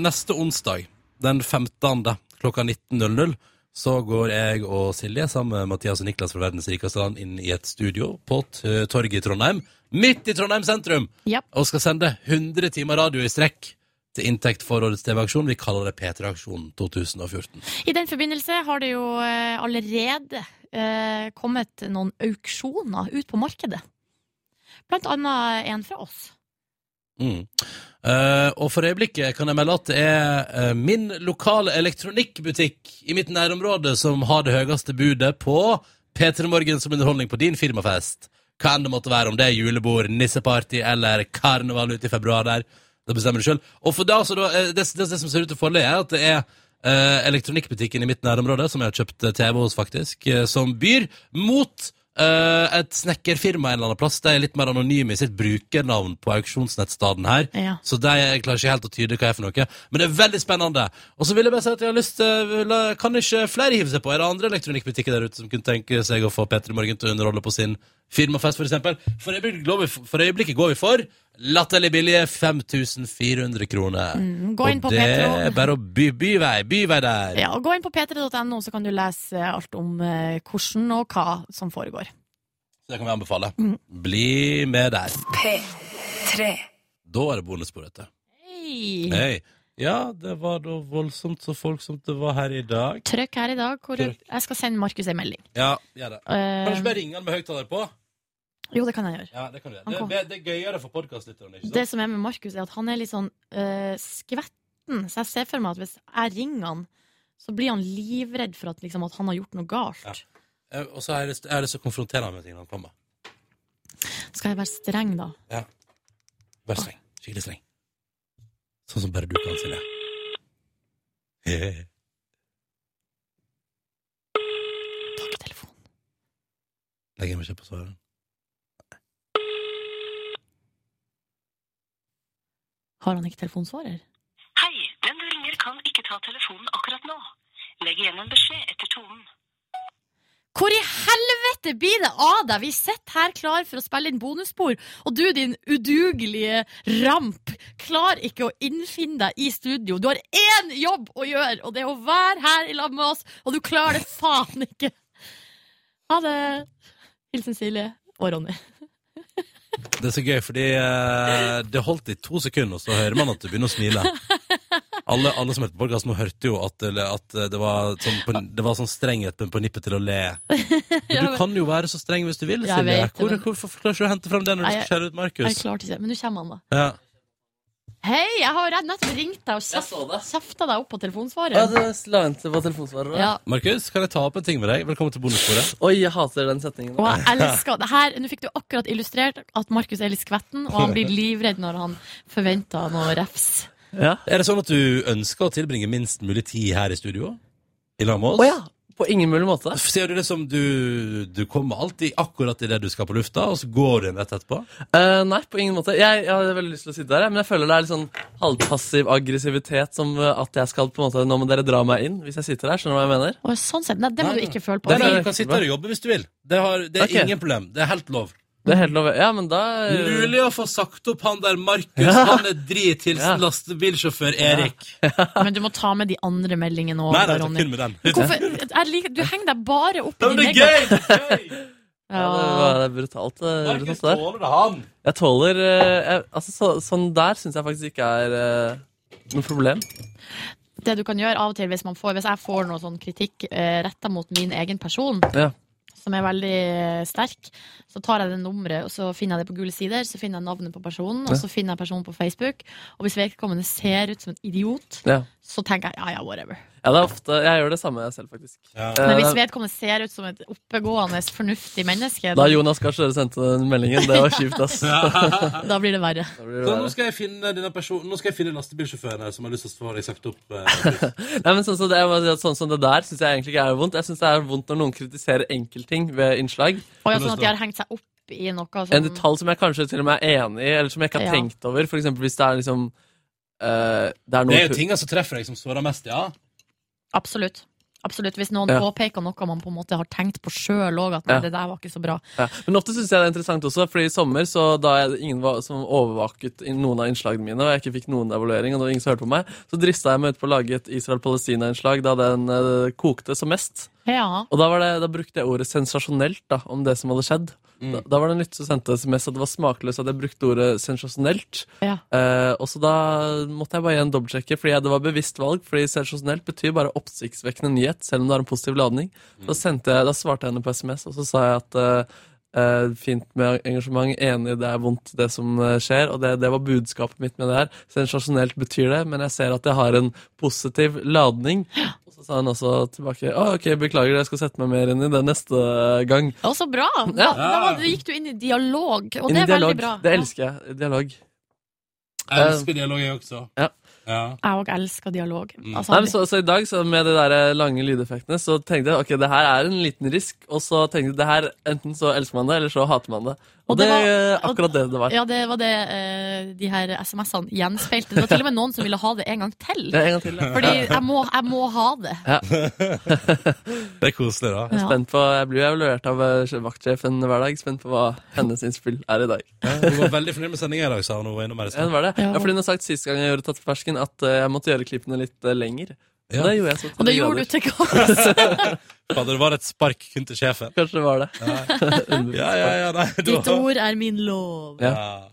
B: Neste onsdag, den 15. klokka 19.00, så går jeg og Silje sammen med Mathias og Niklas fra Verdens rikeste land inn i et studio på t- torget i Trondheim, midt i Trondheim sentrum,
C: Ja.
B: og skal sende 100 timer radio i strekk til inntekt for årets TV-aksjon. Vi kaller det P3-aksjonen 2014.
C: I den forbindelse har det jo eh, allerede eh, kommet noen auksjoner ut på markedet. Blant annet en fra oss.
B: Mm. Eh, og for øyeblikket kan jeg melde at det er eh, min lokale elektronikkbutikk i mitt nærområde som har det høyeste budet på P3 Morgen som underholdning på din firmafest. Hva enn det måtte være, om det er julebord, nisseparty eller karneval ute i februar der. Det bestemmer du sjøl. Og for da, så da, eh, det, det, det som ser ut til å forlige, er at det er eh, elektronikkbutikken i mitt nærområde, som jeg har kjøpt eh, TV hos, faktisk, eh, som byr mot eh, et snekkerfirma en eller annen plass. De er litt mer anonyme i sitt brukernavn på auksjonsnettstaden her.
C: Ja.
B: Så de jeg klarer ikke helt å tyde hva er for noe. Men det er veldig spennende. Og så vil jeg bare si at jeg har lyst til vil- Kan ikke flere hive seg på? Er det andre elektronikkbutikker der ute som kunne tenke seg å få Petter i Morgen til å underholde på sin firmafest, for eksempel? For øyeblikket, går vi for, for øyeblikket går vi for latterlig billige 5400 kroner.
C: Mm, gå inn på
B: Og det
C: Petro.
B: er bare å by, byvei, byvei der.
C: Ja, og gå inn på p3.no, så kan du lese alt om eh, hvordan og hva som foregår.
B: Så Det kan vi anbefale.
C: Mm.
B: Bli med der.
D: P3.
B: Da er det bonusspor, dette.
C: Hei.
B: Hei. Ja, det var da voldsomt så folksomt det var her i dag.
C: Trykk her i dag. Hvor
B: Trykk.
C: jeg skal sende Markus en melding.
B: Ja, gjør det. Kan du ikke bare ringe han med høyttaler på?
C: Eh, Jo, det kan jeg gjøre.
B: Ja, det kan du gjøre.
C: Han
B: Det,
C: kom.
B: det, det er gøyere for podkastlytterne, ikke sant?
C: Det som er med Markus, er at han er litt sånn eh, skvetten. Så jeg ser for meg at hvis jeg ringer han, så blir han livredd for at, liksom, at han har gjort noe galt.
B: Eh, Og så har jeg lyst jeg har lyst til å konfrontere han med ting når han kommer.
C: Skal jeg være streng, da?
B: Ja. Vær streng. Skikkelig streng. Sånn som bare du kan, Silje. Takk,
C: telefonen.
B: Legger meg ikke på svaret.
C: Har han ikke telefonsvarer?
K: Hei, den du ringer kan ikke ta telefonen akkurat nå. Legg igjen en beskjed etter tonen.
C: Hvor i helvete blir det av deg? Vi sitter her klar for å spille inn bonusspor, og du, din udugelige ramp, klarer ikke å innfinne deg i studio. Du har én jobb å gjøre, og det er å være her i lag med oss, og du klarer det faen ikke. Ha det. Hilsen Silje og Ronny.
B: Det er så gøy, fordi eh, det holdt i to sekunder, og så hører man at du begynner å smile. Alle, alle som hørte på podkasten, hørte jo at, eller at det, var sånn, på, det var sånn strenghet, men på nippet til å le. Men du kan jo være så streng hvis du vil,
C: Jeg
B: Silje.
C: vet det,
B: Hvor,
C: men-
B: hvorfor klarer du ikke å hente frem det når du skal skjære ut
C: Jeg
B: Markus?
C: klarte ikke, men nå kommer han, da.
B: Ja.
C: Hei, jeg har jo nettopp ringt deg og kjeft- kjefta deg opp på
H: Ja,
C: telefonsvaret.
H: det la jeg til på telefonsvareren.
C: Ja.
B: Markus, kan jeg ta opp en ting med deg? Velkommen til bonusbordet.
H: Oi, jeg hater den setningen.
C: Og jeg elsker det her. Nå fikk du akkurat illustrert at Markus er litt skvetten, og han blir livredd når han forventer noe refs.
B: Er det sånn at du ønsker å tilbringe minst mulig tid her i studio? I lag med oss?
H: På ingen mulig måte.
B: Ser du det som du, du kommer alltid akkurat idet du skal på lufta, og så går du inn rett etterpå?
H: Eh, nei, på ingen måte. Jeg, jeg hadde veldig lyst til å sitte der, jeg, men jeg føler det er litt sånn halvpassiv aggressivitet. Som eh, at jeg skal på en måte Nå må dere dra meg inn hvis jeg sitter der. Skjønner du hva jeg mener?
C: Og sånn sett, nei, Det må
H: Nei,
C: du ikke føle på.
B: Nei, nei, du kan sitte her og jobbe hvis du vil. Det, har, det er
H: Ok.
B: ingen problem. Det er helt lov.
H: Det er helt lov. Ja, men da eh,
B: Mulig å få sagt opp han der Markus. Han er drithilsen lastebilsjåfør Erik.
C: Men du må ta med de andre meldingene òg.
B: Nei, nei, ta kun med den.
C: Hvorfor, jeg liker, du henger deg bare opp i de
B: Men det er gøy!
C: negative.
B: Det er gøy!
H: Ja, det var det er brutalt. eh, det er
B: Markus
H: brutalt
B: tåler det, han.
H: Jeg tåler eh, jeg, Altså, så, sånn der syns jeg faktisk ikke er eh, noe problem.
C: Det du kan gjøre av og til hvis, man får, hvis jeg får noe sånn kritikk eh, retta mot min egen person,
H: Ja.
C: som er veldig eh, sterk, så tar jeg det nummeret, og så finner jeg det på gule sider, så finner jeg navnet på personen, og
H: Ja.
C: så finner jeg personen på Facebook, og hvis vedkommende ser ut som en idiot,
H: Ja.
C: så tenker jeg ja ja, whatever.
H: ja, det er ofte Jeg gjør det samme selv, faktisk. Eh,
C: Men hvis
H: det-
C: vedkommende ser ut som et oppegående, fornuftig menneske,
H: da Jonas Gahr Støre sendte den meldingen, det var kjipt, ass.
C: da blir det verre.
H: blir det
B: Så
H: verre.
B: nå skal jeg finne denne personen Nå skal jeg finne lastebilsjåføren her som har lyst til å få deg sagt opp. eh.
H: Nei, men sånn som det, jeg må si at sånn som det der syns jeg egentlig ikke er vondt. Jeg syns det er vondt når noen kritiserer enkeltting ved innslag.
C: Og ja, sånn at de har hengt seg opp i noe sånn-
H: En
C: som
H: detalj som jeg kanskje til og med er enig i, eller som jeg ikke har
C: Ja.
H: tenkt over. For eksempel hvis det er liksom eh, det, er noe
B: Det er jo tingene som treffer deg som sårer mest, ja.
C: Absolutt. Absolutt. Hvis noen
H: Ja.
C: påpeker noe man på en måte har tenkt på sjøl òg, at nei,
H: Ja.
C: det der var ikke så bra.
H: Ja. Men ofte syns jeg det er interessant også, Fordi i sommer så da jeg, ingen var, som overvaket i noen av innslagene mine, og jeg ikke fikk noen evaluering, og det var ingen som hørte på meg, så drista jeg meg ut på å lage et Israel-Palestina-innslag da den eh, kokte som mest.
C: Ja.
H: Og da, var det, da brukte jeg ordet sensasjonelt da, om det som hadde skjedd.
C: Mm.
H: Da, da var det en lytter som sendte SMS at det var smakløst at jeg brukte ordet sensasjonelt.
C: Ja.
H: Eh, og så da måtte jeg bare igjen dobbeltsjekke, fordi jeg, det var bevisst valg. Fordi sensasjonelt betyr bare oppsiktsvekkende nyhet, selv om det har en positiv ladning.
C: Mm.
H: Da, sendte jeg, da svarte jeg henne på SMS, og så sa jeg at eh, eh, fint med engasjement, enig, det er vondt det som eh, skjer. Og det, det var budskapet mitt med det her. Sensasjonelt betyr det, men jeg ser at jeg har en positiv ladning. Og så sa hun også tilbake Å, ok, beklager, jeg skal sette meg mer inn i det neste gang.
C: Ja, så bra! Da,
H: Ja.
C: da var, det- gikk du inn i dialog, og
H: Inn
C: det
H: i
C: er veldig
H: dialog.
C: bra.
H: Det elsker jeg. Dialog.
B: Jeg elsker dialog, jeg også.
H: Ja.
B: Ja.
C: Jeg òg elsker dialog. Altså,
H: Nei, men så, så i dag, så med de der eh, lange lydeffektene, så tenkte jeg ok, det her er en liten risk. Og så tenkte jeg det her, enten så elsker man det, eller så hater man det. Og,
C: det
H: det
C: var-
H: er akkurat det det var.
C: Ja, det var det eh, de her SMS-ene gjenspeilte. Det var til og med noen som ville ha det en gang til.
H: Ja, en gang til, ja.
C: Fordi jeg må, jeg må ha det.
B: det er koselig, da.
H: Jeg, er spent på, jeg blir jo evaluert av eh, vaktsjefen hver dag. Spent på hva hennes innspill er i dag.
B: Hun var veldig fornøyd med sendinga i dag, sa hun. hun var innom her i
H: Ja,
B: sted.
H: det var det.
B: Ja.
H: Ja. fordi hun har sagt sist gang jeg gjorde Tatt på fersken, at eh, jeg måtte gjøre klippene litt eh, lenger. Og
B: Ja.
H: det gjorde jeg så til
B: Og det
H: de
B: gjorde du
H: grader.
B: til gangs. Fader, det var et spark kun til sjefen.
H: Kanskje det var det.
B: Ja, ja, ja, nei, det
C: Ditt
B: var-
C: ord er min lov.
B: Ja.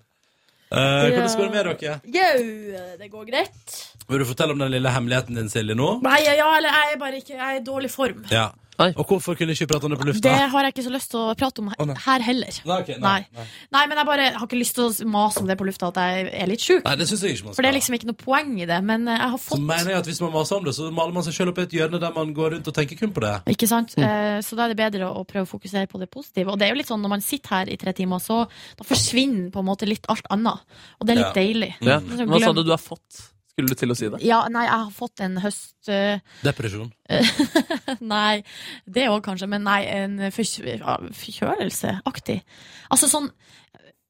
B: Eh, hvordan går det med dere?
L: Jau, det går greit.
B: Vil du fortelle om den lille hemmeligheten din, Silje, nå?
L: Nei, ja, ja, eller jeg er bare ikke Jeg er i dårlig form.
B: Ja. Og hvorfor kunne du ikke prate om det på lufta?
C: Det har jeg ikke så lyst til å prate om he- her heller.
B: Nei, ok, nei, nei.
C: Nei, men jeg bare har ikke lyst til å mase om det på lufta at jeg er litt sjuk.
B: Nei, det synes jeg ikke man
C: For det er
B: skal.
C: liksom ikke noe poeng i det. Men eh, jeg har
B: Så
C: fått
B: mener jeg at hvis man maser om det, så maler man seg selv opp i et hjørne der man går rundt og tenker kun på det.
C: Ikke sant?
H: Mm.
C: Eh, Så da er det bedre å å prøve å fokusere på det positive. Og det er jo litt sånn når man sitter her i tre timer, så da forsvinner på en måte litt alt annet. Og det er litt deilig.
H: Ja.
C: Så
H: Men Hva sa
C: Mm. glem-
H: du du har fått? Skulle du til å si det?
C: Ja, nei, jeg har fått en høst eh,
B: Depresjon.
C: Nei, det òg kanskje, men nei, en forkj- ja, forkjølelseaktig. Altså sånn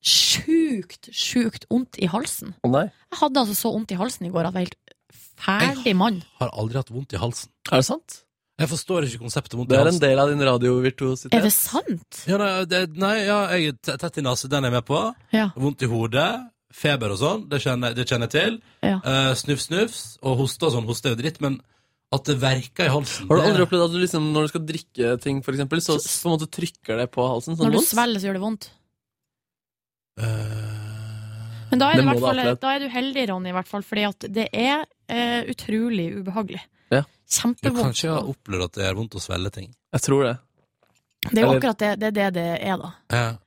C: sjukt, sjukt vondt i halsen.
H: Å nei.
C: Jeg hadde altså så vondt i halsen i går at jeg var helt ferdig mann.
B: Har aldri hatt vondt i halsen.
H: Er det sant?
B: Jeg forstår ikke konseptet vondt
H: Det
B: i
H: er en
B: halsen.
H: del av din radiovirtuositet.
C: Er det sant?
B: Ja, nei, det, nei ja, jeg er t- tett i nesen, den er jeg med på.
C: Ja.
B: Vondt i hodet, feber og sånn, det kjenner, det kjenner jeg til.
C: Ja.
B: Eh, snufs, snufs, og hoste og sånn, hoste er jo dritt, men at det verker i halsen
H: Har du
B: det-
H: aldri opplevd at du liksom, når du skal drikke ting, for eksempel, så s- på en måte trykker det på halsen? Sånn
C: Når du
H: vondt?
C: svelger, så gjør det vondt.
B: Eh,
C: Men da er, det i
H: det må
C: hvert
H: du ha
C: fall,
H: opplevd.
C: da er du heldig, Ronny, i hvert fall, fordi at det er eh, utrolig ubehagelig.
H: Ja.
B: Du kan
C: Kjempevondt.
B: ikke ha opplevd at det er vondt å svelge ting.
H: Jeg tror det.
C: Det er jo akkurat det det, er det, det er, da.
B: Ja.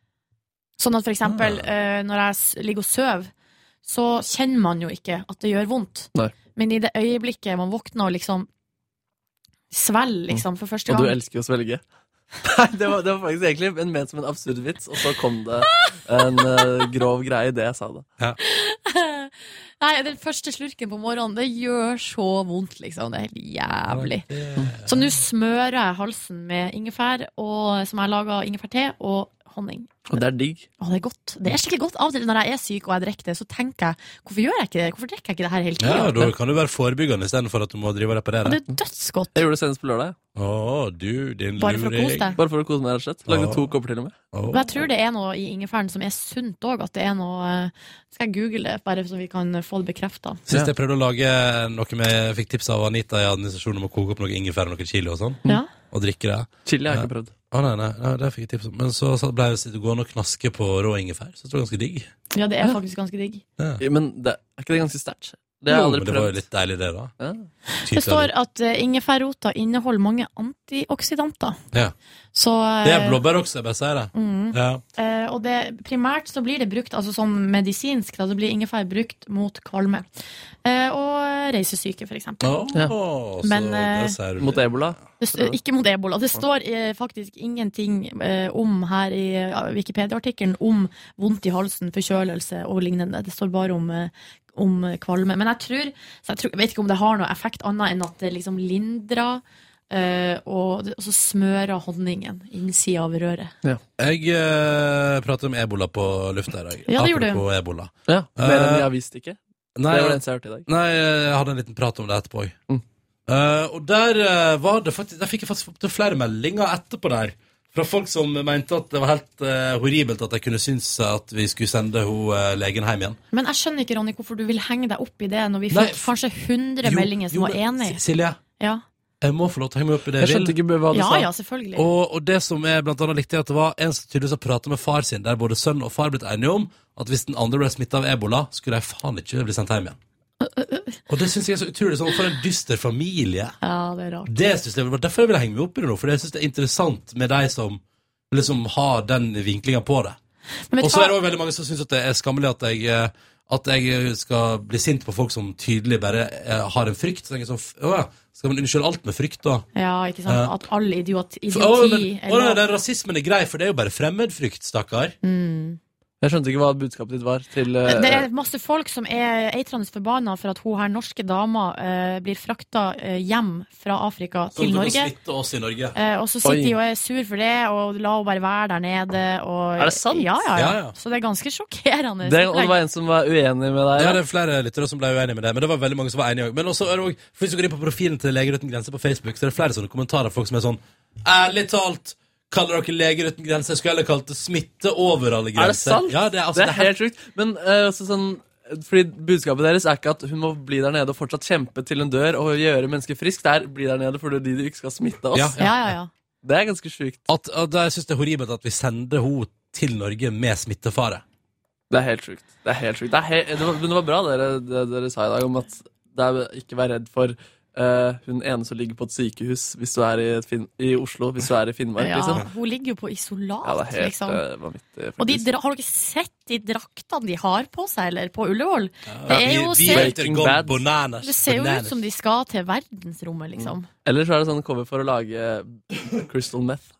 C: Sånn at for eksempel
H: Ah.
C: eh, når jeg s- ligger og sover, så kjenner man jo ikke at det gjør vondt.
H: Nei.
C: Men i det øyeblikket man våkner og liksom svelger liksom, for første
H: Og du
C: gang
H: elsker jo å svelge. Nei, det var, det var faktisk egentlig en ment som en absurd vits, og så kom det en eh, grov greie i det jeg sa det.
C: Nei, den første slurken på morgenen, det gjør så vondt, liksom. Det er helt jævlig. Mm. Så nå smører jeg halsen med ingefær, og, som jeg lager av ingefærte, og honning.
H: Og det er digg.
C: Å, det er godt. Det er skikkelig godt. Av og til når jeg er syk og jeg drikker det, så tenker jeg hvorfor gjør jeg ikke det? Hvorfor drikker jeg ikke det her hele tida?
B: Ja, da kan du være forebyggende istedenfor at du må drive og reparere.
C: Det er dødsgodt.
H: Jeg gjorde det senest på lørdag.
B: Å, du, din
C: Bare for å
B: luring.
C: kose deg.
H: Bare for å kose meg, rett og slett. Lagde
B: Åh.
H: to kopper til og med.
C: Men jeg tror det er noe i ingefæren som er sunt òg, at det er noe eh, Skal jeg google det, bare så vi kan få det bekrefta?
B: Sist jeg prøvde å lage noe med Jeg fikk tips av Anita i administrasjonen om å koke opp noe ingefær og noe chili og sånn.
C: Ja.
B: Og drikke det.
H: Chili har jeg ikke prøvd.
B: Å, nei, nei, nei, det fikk jeg tips om. Men så satt- ble jeg sitte- gående og knaske på rå ingefær. Så det var ganske digg.
C: Ja, det er faktisk ganske digg.
H: Ja, Men det, er ikke det ganske sterkt? Det har
B: Jo,
H: jeg aldri
B: men det var jo
H: prøvd.
B: litt deilig, det, da.
C: Det står at eh, ingefærrota inneholder mange antioksidanter.
B: Ja.
C: Så, eh,
B: Det er blåbær også, jeg bare sier det.
C: Mm.
B: Ja.
C: Eh, og det, primært så blir det brukt altså som medisinsk, da, så blir ingefær brukt mot kvalme. Eh, og reisesyke, for eksempel.
H: Ja.
C: Men, eh,
H: Mot ebola.
C: Det st- ikke mot ebola. Det står eh, faktisk ingenting eh, om her i eh, Wikipedia-artikkelen om vondt i halsen, forkjølelse og lignende. Det står bare om, eh, om eh, kvalme. Men jeg tror, så jeg tror Jeg vet ikke om det har noe effekt annet enn at det liksom lindrer, eh, og, og så smører honningen innsida av røret.
B: Jeg eh, pratet om ebola på lufta i dag.
C: Ja, det gjorde du.
B: Apropos ebola.
H: Ja, Mer enn
B: Eh,
H: jeg visste ikke.
B: Nei,
H: det var det eneste jeg hørte i dag.
B: Nei, jeg hadde en liten prat om det etterpå. jeg.
H: Mm.
B: Eh, og der eh, var det faktisk Der fikk jeg faktisk opptil flere meldinger etterpå der. Fra folk som mente at det var helt eh, horribelt at de kunne synes at vi skulle sende ho, eh, legen hjem igjen.
C: Men jeg skjønner ikke, Ronny, hvorfor du vil henge deg opp i det når vi
B: Nei,
C: fikk kanskje 100
B: jo,
C: meldinger som
B: jo,
C: var
B: men
C: enig.
B: S- Silje,
C: Ja.
B: jeg må få lov til å henge meg opp i det
H: Jeg skjønte ikke hva du
C: Ja,
H: sa.
C: ja, selvfølgelig.
B: Og, og det som er blant annet likte, er at det var en som tydeligvis har pratet med far sin, der både sønn og far blitt enige om at hvis den andre ble smittet av ebola, skulle de faen ikke bli sendt hjem igjen. Og det synes jeg er så utrolig sånn, for en dyster familie.
C: Ja, det er rart.
B: Det synes jeg, det var derfor jeg ville henge meg opp i det nå, for jeg synes det er interessant med de som liksom har den vinklingen på det.
C: Men
B: Og
C: vet du
B: så er det
C: hva?
B: også veldig mange som synes at det er skammelig at jeg, eh, at jeg skal bli sint på folk som tydelig bare eh, har en frykt. Så tenker jeg sånn, f- å ja, skal man unnskylde alt med frykt da?
C: Ja, ikke sant?
B: Ja.
C: At all idiot,
B: For, å, men,
C: idioti
B: å, nei,
C: eller
B: den rasismen er grei, for det er jo bare fremmedfrykt, stakkar.
C: mm.
H: Jeg skjønte ikke hva budskapet ditt var til eh,
C: Det er masse folk som er eitrende forbanna for at hun her norske dama eh, blir frakta eh, hjem fra Afrika til Norge.
B: oss i Norge.
C: Eh, og så sitter de og er sur for det, og la henne bare være der nede. Og,
H: Er det sant?
C: Ja, ja, ja.
B: Ja, ja.
C: Så det er ganske sjokkerende. Sånn
B: Det- og det var
H: en som var uenig med deg?
B: Ja, det er flere lyttere som ble uenige med deg, men det var veldig mange som var enige òg. Men også, er det også- for hvis du går inn på profilen til Leger uten grenser på Facebook, så er det flere sånne kommentarer folk som er sånn Ærlig talt, kaller dere Leger uten grenser? Skulle heller kalt det smitte over alle grenser.
H: Er det sant?
B: Ja, det er, altså, det er
H: helt sjukt. Men eh, også sånn fordi Budskapet deres er ikke at hun må bli der nede og fortsatt kjempe til hun dør og gjøre mennesker frisk. Det er bli der nede fordi de du ikke skal smitte oss.
B: Ja, ja. Ja,
H: Det er ganske sjukt.
B: At, at jeg synes det er horribelt at vi sender henne til Norge med smittefare.
H: Det er helt sjukt. Det er helt sjukt. Det er he det var, men det var bra dere, det dere sa i dag om at det er ikke vær redd for eh, hun ene som ligger på et sykehus hvis du er i, et fin i Oslo, hvis du er i Finnmark,
C: Ja,
H: liksom.
C: hun ligger jo på isolat,
H: Ja, det er helt
C: liksom.
H: eh, vanvittig.
C: Og de, dra- har dere sett de draktene de har på seg, eller? På Ullevål?
H: Ja,
C: det, er
H: de-
C: jo,
H: de
C: ser,
H: Breaking Bad.
B: Bananas.
C: det ser jo ut
H: bananas.
C: som de skal til verdensrommet, liksom.
H: Eller så er det sånn cover for å lage crystal meth.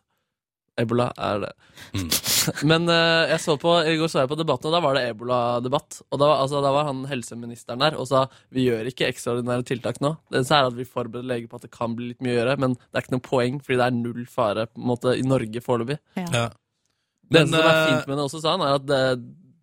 H: Ebola er det. Men eh, jeg så på, i går så jeg på debatten, og da var det ebola-debatt. Og da, var- altså, da var han helseministeren der og sa vi gjør ikke ekstraordinære tiltak nå. Det eneste er at vi forbereder leger på at det kan bli litt mye å gjøre, men det er ikke noe poeng, fordi det er null fare på en måte, i Norge foreløpig.
B: Ja.
H: Det
B: Men,
H: eneste som er
B: eh,
H: fint med det også, sa han, er at det,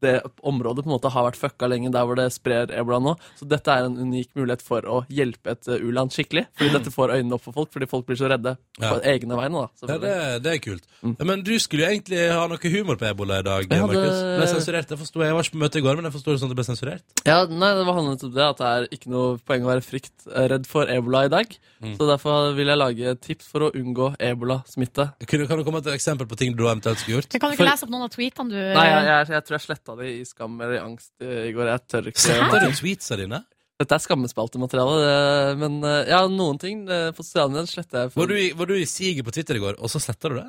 H: det området på en måte har vært fucka lenge der hvor det sprer ebola nå. Så dette er en unik mulighet for å hjelpe et eh, u-land skikkelig. Fordi dette får øynene opp for folk, fordi folk blir så redde på
B: Ja.
H: egne vegne. da,
B: Ja, det,
H: selvfølgelig.
B: det er kult. Men du skulle jo egentlig ha noe humor på ebola i dag,
H: Mm. Jeg hadde-
B: Markus. Ble sensurert, jeg forstod. Jeg var ikke på møte i går, men jeg forstod det sånn at det ble sensurert.
H: Ja, nei, det var handlet om det, at det er ikke noe poeng å være frykt eh, redd for ebola i dag.
B: Mm.
H: Så derfor vil jeg lage et tips for å unngå ebola-smitte.
B: Kan, kan du komme med et eksempel på ting du eventuelt skulle gjort?
C: Jeg kan jo ikke lese opp noen av tweetene du
H: Nei, jeg, jeg, jeg tror jeg sletta det i skam eller i angst eh, i går. Jeg tør ikke.
B: Sletter du tweetsa dine?
H: Dette er skammespaltemateriale, det- men eh, ja, noen ting eh, på sosiale medier sletter jeg. for-
B: Var du, i- var du i siget på Twitter i går, og så sletta du det?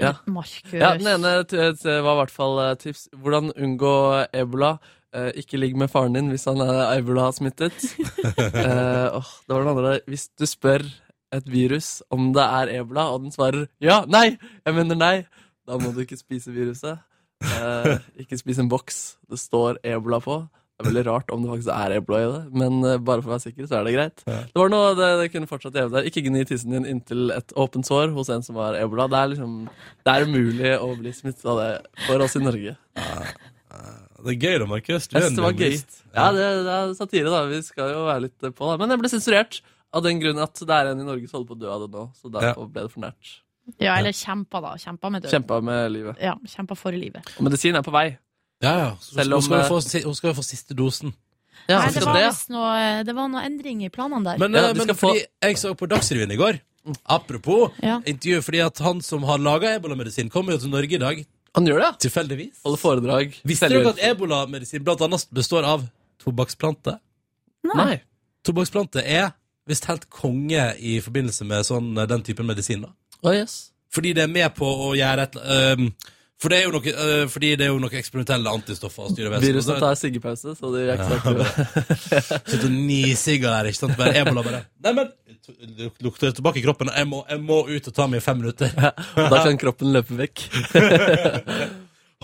H: Ja.
C: eh, Markus.
H: Ja, den ene t- t- var i hvert fall eh, tips. Hvordan unngå ebola. Eh, ikke ligg med faren din hvis han er ebola-smittet. eh, åh, det var den andre. Hvis du spør et virus om det er ebola, og den svarer ja, nei, jeg mener nei, da må du ikke spise viruset. Eh, ikke spis en boks det står ebola på. Det er veldig rart om det faktisk er ebola i det, men eh, bare for å være sikker, så er det greit. Det var noe det, det kunne fortsatt gjøre deg. Ikke gni tissen din inntil et åpent sår hos en som har ebola. Det er liksom, det er umulig å bli smittet av det for oss i Norge.
B: Det er gøy da, Markus. Du er
H: Jeg synes det var
B: en
H: gøy.
B: humorist.
H: Ja, det, det er satire, da. Vi skal jo være litt eh, på, da. Men jeg ble sensurert av den grunn at det er en i Norge som holder på å dø av det nå. Så derfor ble det for nært.
C: Ja, eller kjempa, da. Kjempa med døden.
H: Kjempa med livet.
C: Ja, kjempa for livet.
H: Og medisin er på vei.
B: Ja, ja. Så
H: Selv om,
B: hun, skal jo
H: eh,
B: få, si- hun skal jo få siste dosen.
C: Nei, det var visst noe, eh, det var noe endring i planene der.
B: Men, eh, men fordi jeg så på Dagsrevyen i går, apropos intervju, fordi at han som har laga ebolamedisin, kommer jo til Norge i dag.
H: Han gjør det, ja.
B: Tilfeldigvis.
H: Holder foredrag.
B: Visste
H: Selger-
B: dere at ebolamedisin blant annet består av tobakksplanter?
H: Nei.
B: Tobakksplanter er visst helt konge i forbindelse med sånn, den typen medisin. da.
H: Å, yes.
B: Fordi det er med på å gjøre et øhm, for det er jo noe, øh, Fordi det er jo noe eksperimentelle antistoffer og styrer vesenet.
H: Viruset tar siggepause, så de er ikke så aktive.
B: Sitter og nisigger der, sånn ikke sant? Bare ebola bare Nei, men det lukter det tilbake i kroppen. og Jeg må, jeg må ut og ta meg fem minutter.
H: Og Da kan kroppen løpe vekk.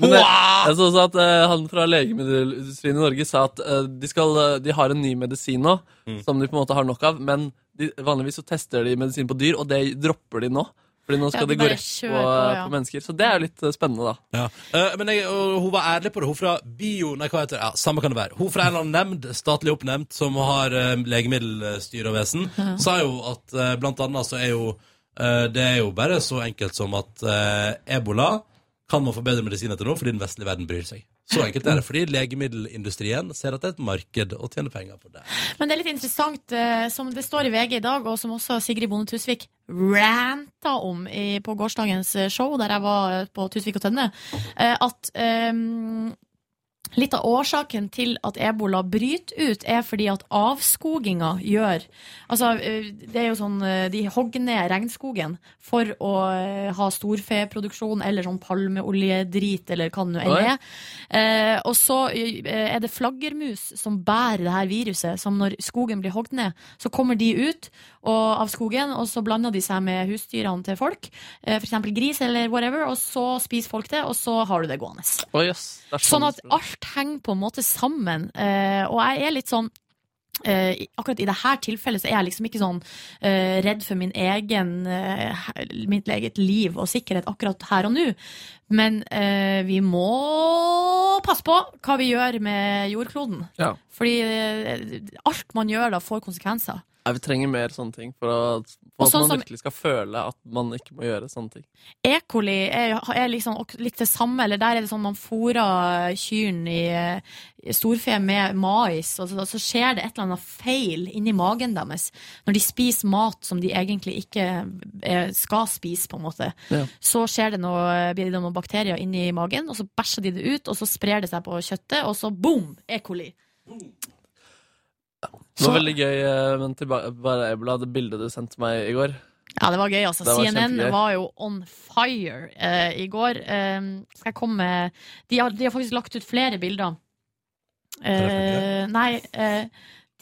H: Men jeg, jeg så også at eh, han fra legemiddelindustrien i Norge sa at eh, de, skal, eh, de har en ny medisin nå, som de på en måte har nok av, men de, vanligvis så tester de medisin på dyr, og det dropper de nå. Fordi nå
B: Ja,
H: skal
B: de
H: det gå
B: bare
H: rett på, eh,
B: kjører på, ja.
H: på mennesker. Så det er jo litt eh, spennende, da.
B: Ja. Eh, men jeg, og hun var ærlig på det. Hun fra bio... Nei, hva heter det? Ja, samme kan det være. Hun fra en eller annen nemnd, statlig oppnevnt, som har eh, legemiddelstyre og vesen,
M: Ja.
B: sa jo at eh, blant annet så er jo eh, Det er jo bare så enkelt som at eh, ebola kan man få bedre medisin etter nå fordi den vestlige verden bryr seg. Så enkelt er det. Fordi legemiddelindustrien ser at det er et marked og tjener penger på det.
C: Men det er litt interessant, eh, som det står i VG i dag, og som også Sigrid Bonde Tusvik ranta om i, på gårsdagens show, der jeg var på Tusvik og Tønne, eh, at eh, Litt av årsaken til at ebola bryter ut, er fordi at avskoginga gjør Altså, eh, det er jo sånn eh, De hogger ned regnskogen for å eh, ha storfeproduksjon eller sånn palmeoljedrit eller hva det nå enn
M: Oi.
C: er. Eh, Og så eh, er det flaggermus som bærer det her viruset, som når skogen blir hogd ned, så kommer de ut og, av skogen, og så blander de seg med husdyrene til folk, eh, f.eks. gris eller whatever, og så spiser folk det, og så har du det gående.
H: Å, jøss. Det er
C: Sånn at alt henger på en måte sammen. eh, og jeg er litt sånn eh, i- akkurat i det her tilfellet så er jeg liksom ikke sånn eh, redd for min egen, eh, he- mitt eget liv og sikkerhet akkurat her og nå. Men eh, vi må passe på hva vi gjør med jordkloden.
H: Ja.
C: Fordi eh, alt man gjør da, får konsekvenser.
H: Nei, vi trenger mer sånne ting for, å,
C: Og
H: for at
C: sånn
H: man
C: som-
H: virkelig skal føle at man ikke må gjøre sånne ting.
C: E. coli er, er liksom ok- litt det samme, eller der er det sånn man fôrer kyrne i, eh, i storfe med mais, og så, så skjer det et eller annet feil inni magen deres når de spiser mat som de egentlig ikke eh, skal spise, på en måte.
M: Ja.
C: Så skjer det noe, blir det noen bakterier inni magen, og så bæsjer de det ut, og så sprer det seg på kjøttet, og så boom! E. coli.
H: Det var veldig gøy, eh, men tilbake bare Ebola, det bildet du sendte meg i går.
C: Ja, det var gøy, altså.
H: Det var
C: CNN
H: kjempegøy.
C: var jo on fire eh, i går. Eh, skal jeg komme med de har, de har faktisk lagt ut flere bilder. Eh, nei, eh,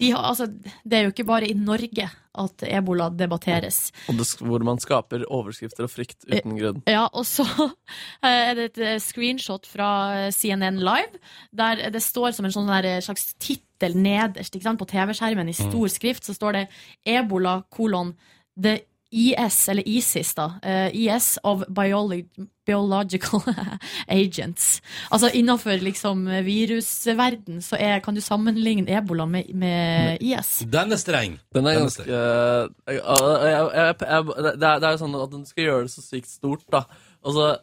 C: de har, altså, det er jo ikke bare i Norge at ebola debatteres.
H: Og det, sk- hvor man skaper overskrifter og frykt uten grunn.
C: Ja, og så eh, er det et eh, screenshot fra eh, CNN Live, der det står som en sånn der, eh, slags tittel nederst ikke sant? på TV-skjermen i stor
H: Mm.
C: skrift, så står det ebola kolon the IS, eller ISIS da, eh, IS of biolo- biological agents. Altså innenfor liksom virusverden så er, kan du sammenligne ebola med, med IS.
B: Den er streng.
H: Den
B: Den
H: er
B: er
H: ganske eh, jeg, jeg, jeg, jeg, det, er, det er jo sånn at den skal gjøre det så sykt stort, da. Og så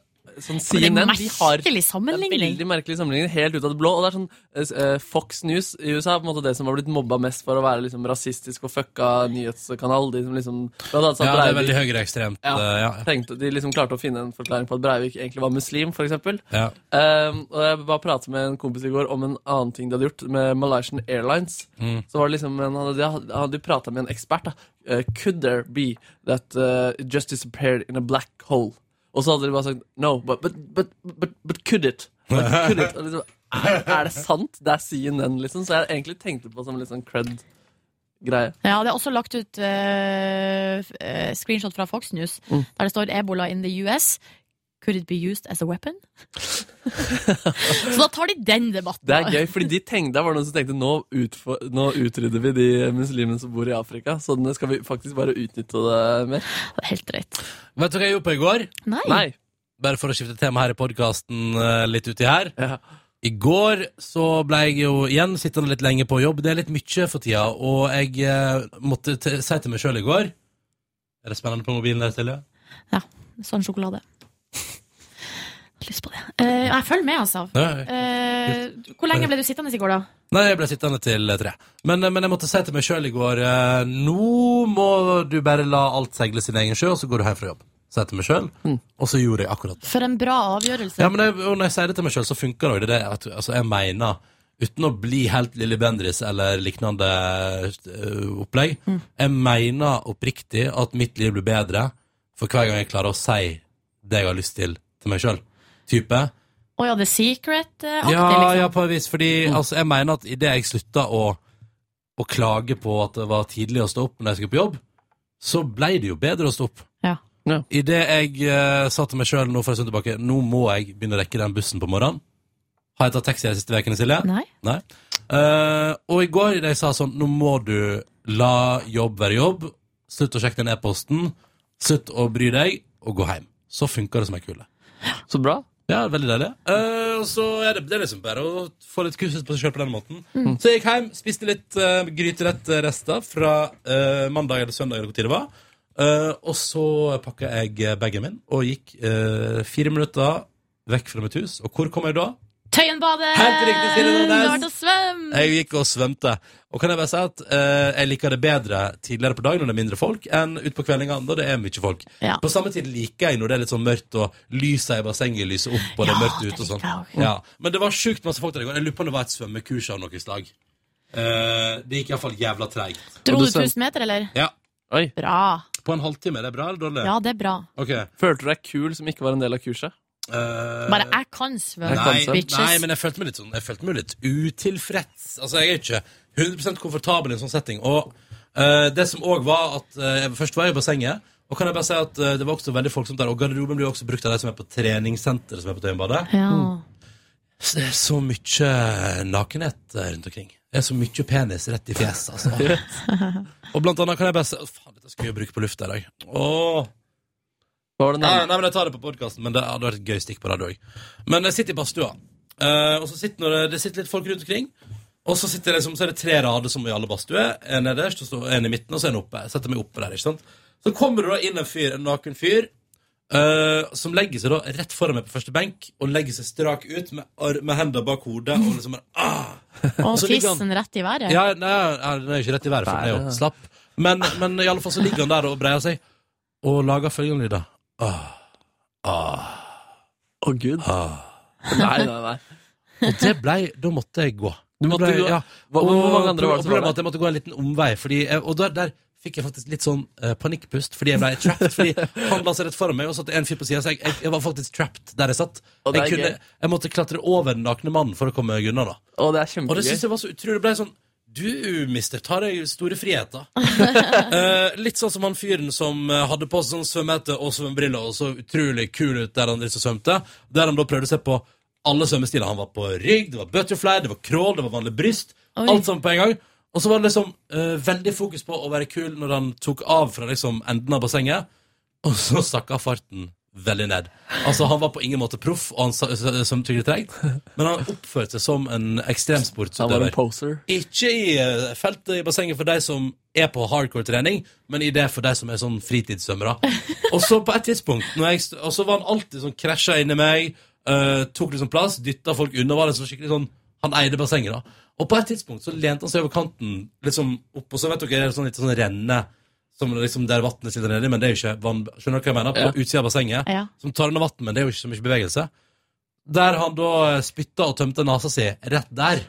H: Sånn
C: Men det er
H: CNN, de har
C: merkelig
H: Det
C: sammenligning.
H: er veldig merkelig sammenligning, helt ut av det blå. Og det er sånn eh, eh, Fox News i USA, på en måte det som har blitt mobba mest for å være liksom rasistisk og fucka nyhetskanal. De som liksom blant annet sa
B: Ja, det er
H: Breivik-
B: veldig høyreekstremt, eh,
H: Ja,
B: ja.
H: tenkte, de liksom klarte å finne en forklaring på at Breivik egentlig var muslim, for eksempel.
B: Ja.
H: Um, og jeg bare pratet med en kompis i går om en annen ting de hadde gjort med Malaysian Airlines.
B: Mm.
H: Så var det liksom en, han hadde, han hadde prata med en ekspert. da Eh, Could there be that uh, it just disappeared in a black hole? Og så hadde de bare sagt no, but, but, but, but, but could it? But could it? Og liksom, er, er det sant? Det er CNN, liksom. Så jeg egentlig tenkte på det som en litt sånn cred-greie.
C: Ja, det er også lagt ut eh, f- eh, screenshot fra Fox News,
H: Mm.
C: der det står 'Ebola in the US'. Could it be used as a weapon? Så da tar de den debatten.
H: Det er gøy, fordi de tenkte, det var noen som tenkte nå, utfor, nå utrydder vi de muslimene som bor i Afrika, så nå skal vi faktisk bare utnytte det mer.
C: Helt rett.
B: Vet du hva jeg gjorde på i går?
C: Nei.
B: Bare for å skifte tema her i podkasten litt uti her. I går så ble jeg jo igjen sittende litt lenge på jobb. Det er litt mye for tida, og jeg eh, måtte t si til meg sjøl i går Er det spennende på mobilen der, Silje?
C: Sånn sjokolade. Jeg har lyst på det. Eh, jeg følger med, altså.
B: Ja, ja.
C: Eh, hvor lenge ble du sittende i går, da?
B: Nei, jeg ble sittende til eh, tre. Men, eh, men jeg måtte si til meg sjøl i går eh, Nå må du bare la alt seile sin egen sjø, og så går du hjem fra jobb. Sa jeg til meg sjøl, og så gjorde jeg akkurat det.
C: For en bra avgjørelse.
B: Ja, men det, og når jeg sier det til meg selv, så funker det jo. Det er det at, altså, jeg mener, uten å bli helt Lilly Bendriss eller lignende øh, opplegg, jeg mener oppriktig at mitt liv blir bedre for hver gang jeg klarer å si det jeg har lyst til til meg selv. Type.
C: Å ja, The Secret-aktig,
B: Ja,
C: liksom.
B: ja, på en vis, fordi altså, jeg mener at i det jeg slutta å, å klage på at det var tidlig å stå opp når jeg skulle på jobb, så ble det jo bedre å stå opp.
C: Ja.
B: Idet jeg eh, sa til meg sjøl nå for en stund tilbake Nå må jeg begynne å rekke den bussen på morgenen. Har jeg tatt taxi de siste ukene, Silje?
C: liksom. Nei.
B: Eh, og i går da jeg sa sånn Nå må du la jobb være jobb. Slutt å sjekke den e-posten. Slutt å bry deg, og gå hjem. Så funker det som ei kule.
H: Så bra.
B: Ja, veldig deilig. Eh, og så er det, det er liksom bare å få litt kursus på seg sjøl på den måten.
H: Mm.
B: Så jeg gikk hjem, spiste litt uh, gryterettrester fra eh, mandag eller søndag, eller hvor tid det var. Eh, og så pakka jeg bagen min og gikk eh, fire minutter vekk fra mitt hus. Og hvor kom jeg da?
C: Tøyenbadet!
B: Helt riktig, Silje Nordnes. Eh,
C: Du har vært og svømt!
B: Jeg gikk og svømte. Og kan jeg bare si at eh, jeg liker det bedre tidligere på dagen når det er mindre folk, enn utpå kveldingene når det er mye folk.
C: Ja.
B: På samme tid liker jeg når det er litt sånn mørkt, og lysa i bassenget lyser opp, og det er mørkt ute og sånn. Ja. Men det var sjukt masse folk der i går. Jeg lurer på om det var et svømmekurs av noe slag. Eh, det gikk iallfall jævla treigt.
C: Dro du 1000 meter, eller?
B: Ja.
C: Bra.
B: På en halvtime. Er det bra eller dårlig? eh,
C: Ja, det er bra.
H: Følte du deg kul som ikke var en del av kurset?
C: Bare jeg kan svømme,
B: Nei,
C: bitches.
B: nei, men jeg følte meg litt sånn Jeg følte meg litt utilfreds. Altså, jeg er ikke 100 komfortabel i en sånn setting. Og eh, det som òg var at eh, jeg Først var jeg i bassenget, og kan jeg bare si at eh, det var også veldig folksomt der. Og garderoben blir jo også brukt av de som er på treningssenteret som er på Tøyenbadet.
C: Ja.
B: Mm. Så det er så mye nakenhet eh, rundt omkring. Det er så mye penis rett i fjeset, altså. og blant annet kan jeg bare si Å, Faen, dette skal jeg jo bruke på lufta i dag. Åh. nei, nei, men jeg tar det på podkasten, men det hadde vært et gøy stikk på radio òg. Men jeg sitter i badstua, eh, og så sitter når det, det sitter litt folk rundt omkring. Og så, sitter det, liksom- så er det tre rader som i alle badstuer. En nederst, og så en i midten, og så en oppe. Jeg setter meg oppe der, ikke sant? Så kommer det da inn en fyr, en naken fyr, eh, som legger seg da rett foran meg på første benk, og legger seg strak ut med, ar- med hendene bak hodet, og liksom bare ah!
C: Og
B: Så ligger han-
C: tissen rett i været.
B: ja, nei, ja, den er jo ikke rett i været, for den er
H: Nei,
B: jo
H: ja.
B: slapp. Men, men i alle fall så ligger han der og breier seg, og lager følgende lyder. Åh, åh,
H: Å, gud.
B: åh.
H: Nei, nei, nei.
B: Og det blei, da måtte jeg gå.
H: Du måtte
B: Det ble-
H: gå?
B: Ja.
H: Hva-
B: Og,
H: hvor mange andre var
B: og
H: det som var
B: problemet
H: der?
B: at jeg måtte gå en liten omvei, fordi jeg, og der, der fikk jeg faktisk litt sånn eh, panikkpust, fordi jeg ble trapped, fordi han la seg rett foran meg, og så satt det en fyr på siden, så jeg, jeg, jeg var faktisk trapped der jeg satt.
H: Og det
B: Jeg,
H: er
B: kunne,
H: gøy.
B: jeg måtte klatre over den nakne mannen for å komme meg unna da.
H: Å, det er kjempegøy.
B: Og det synes jeg var så utrolig. Det ble sånn Du, mister, tar deg store friheter. Eh, litt sånn som han fyren som eh, hadde på seg sånn svømmehette og svømmebriller og så utrolig kul ut der han drev og svømte. Der han da prøvde å se på alle svømmestiler. Han var på rygg, det var butterfly, det var crawl, det var vanlig bryst.
M: Oi.
B: Alt sammen på en gang. Og så var det liksom eh, veldig fokus på å være kul når han tok av fra liksom enden av bassenget. Og så sakka farten veldig ned. Altså Han var på ingen måte proff, og han sa- s- som tydelig trengt, men han oppførte seg som en
H: Han var
B: ekstremsportsutøver.
H: en poser.
B: Ikke i eh, feltet i bassenget for de som er på hardcore trening, men i det for de som er sånn fritidssvømmere. Og så på et tidspunkt når jeg, st- Og så var han alltid sånn krasja inni meg, eh, tok liksom plass, dytta folk unna. Var liksom skikkelig sånn Han eide bassenget, da. Og på et tidspunkt så lente han seg over kanten, liksom opp, og så vet dere, det er sånn litt sånn renne som liksom der vannet sitter nedi, men det er jo ikke vann Skjønner dere hva jeg mener? På
H: Ja.
B: utsida av bassenget.
H: Ja.
B: Som tar unna vann, men det er jo ikke så mye bevegelse. Der han da eh, spytta og tømte nesa si rett der.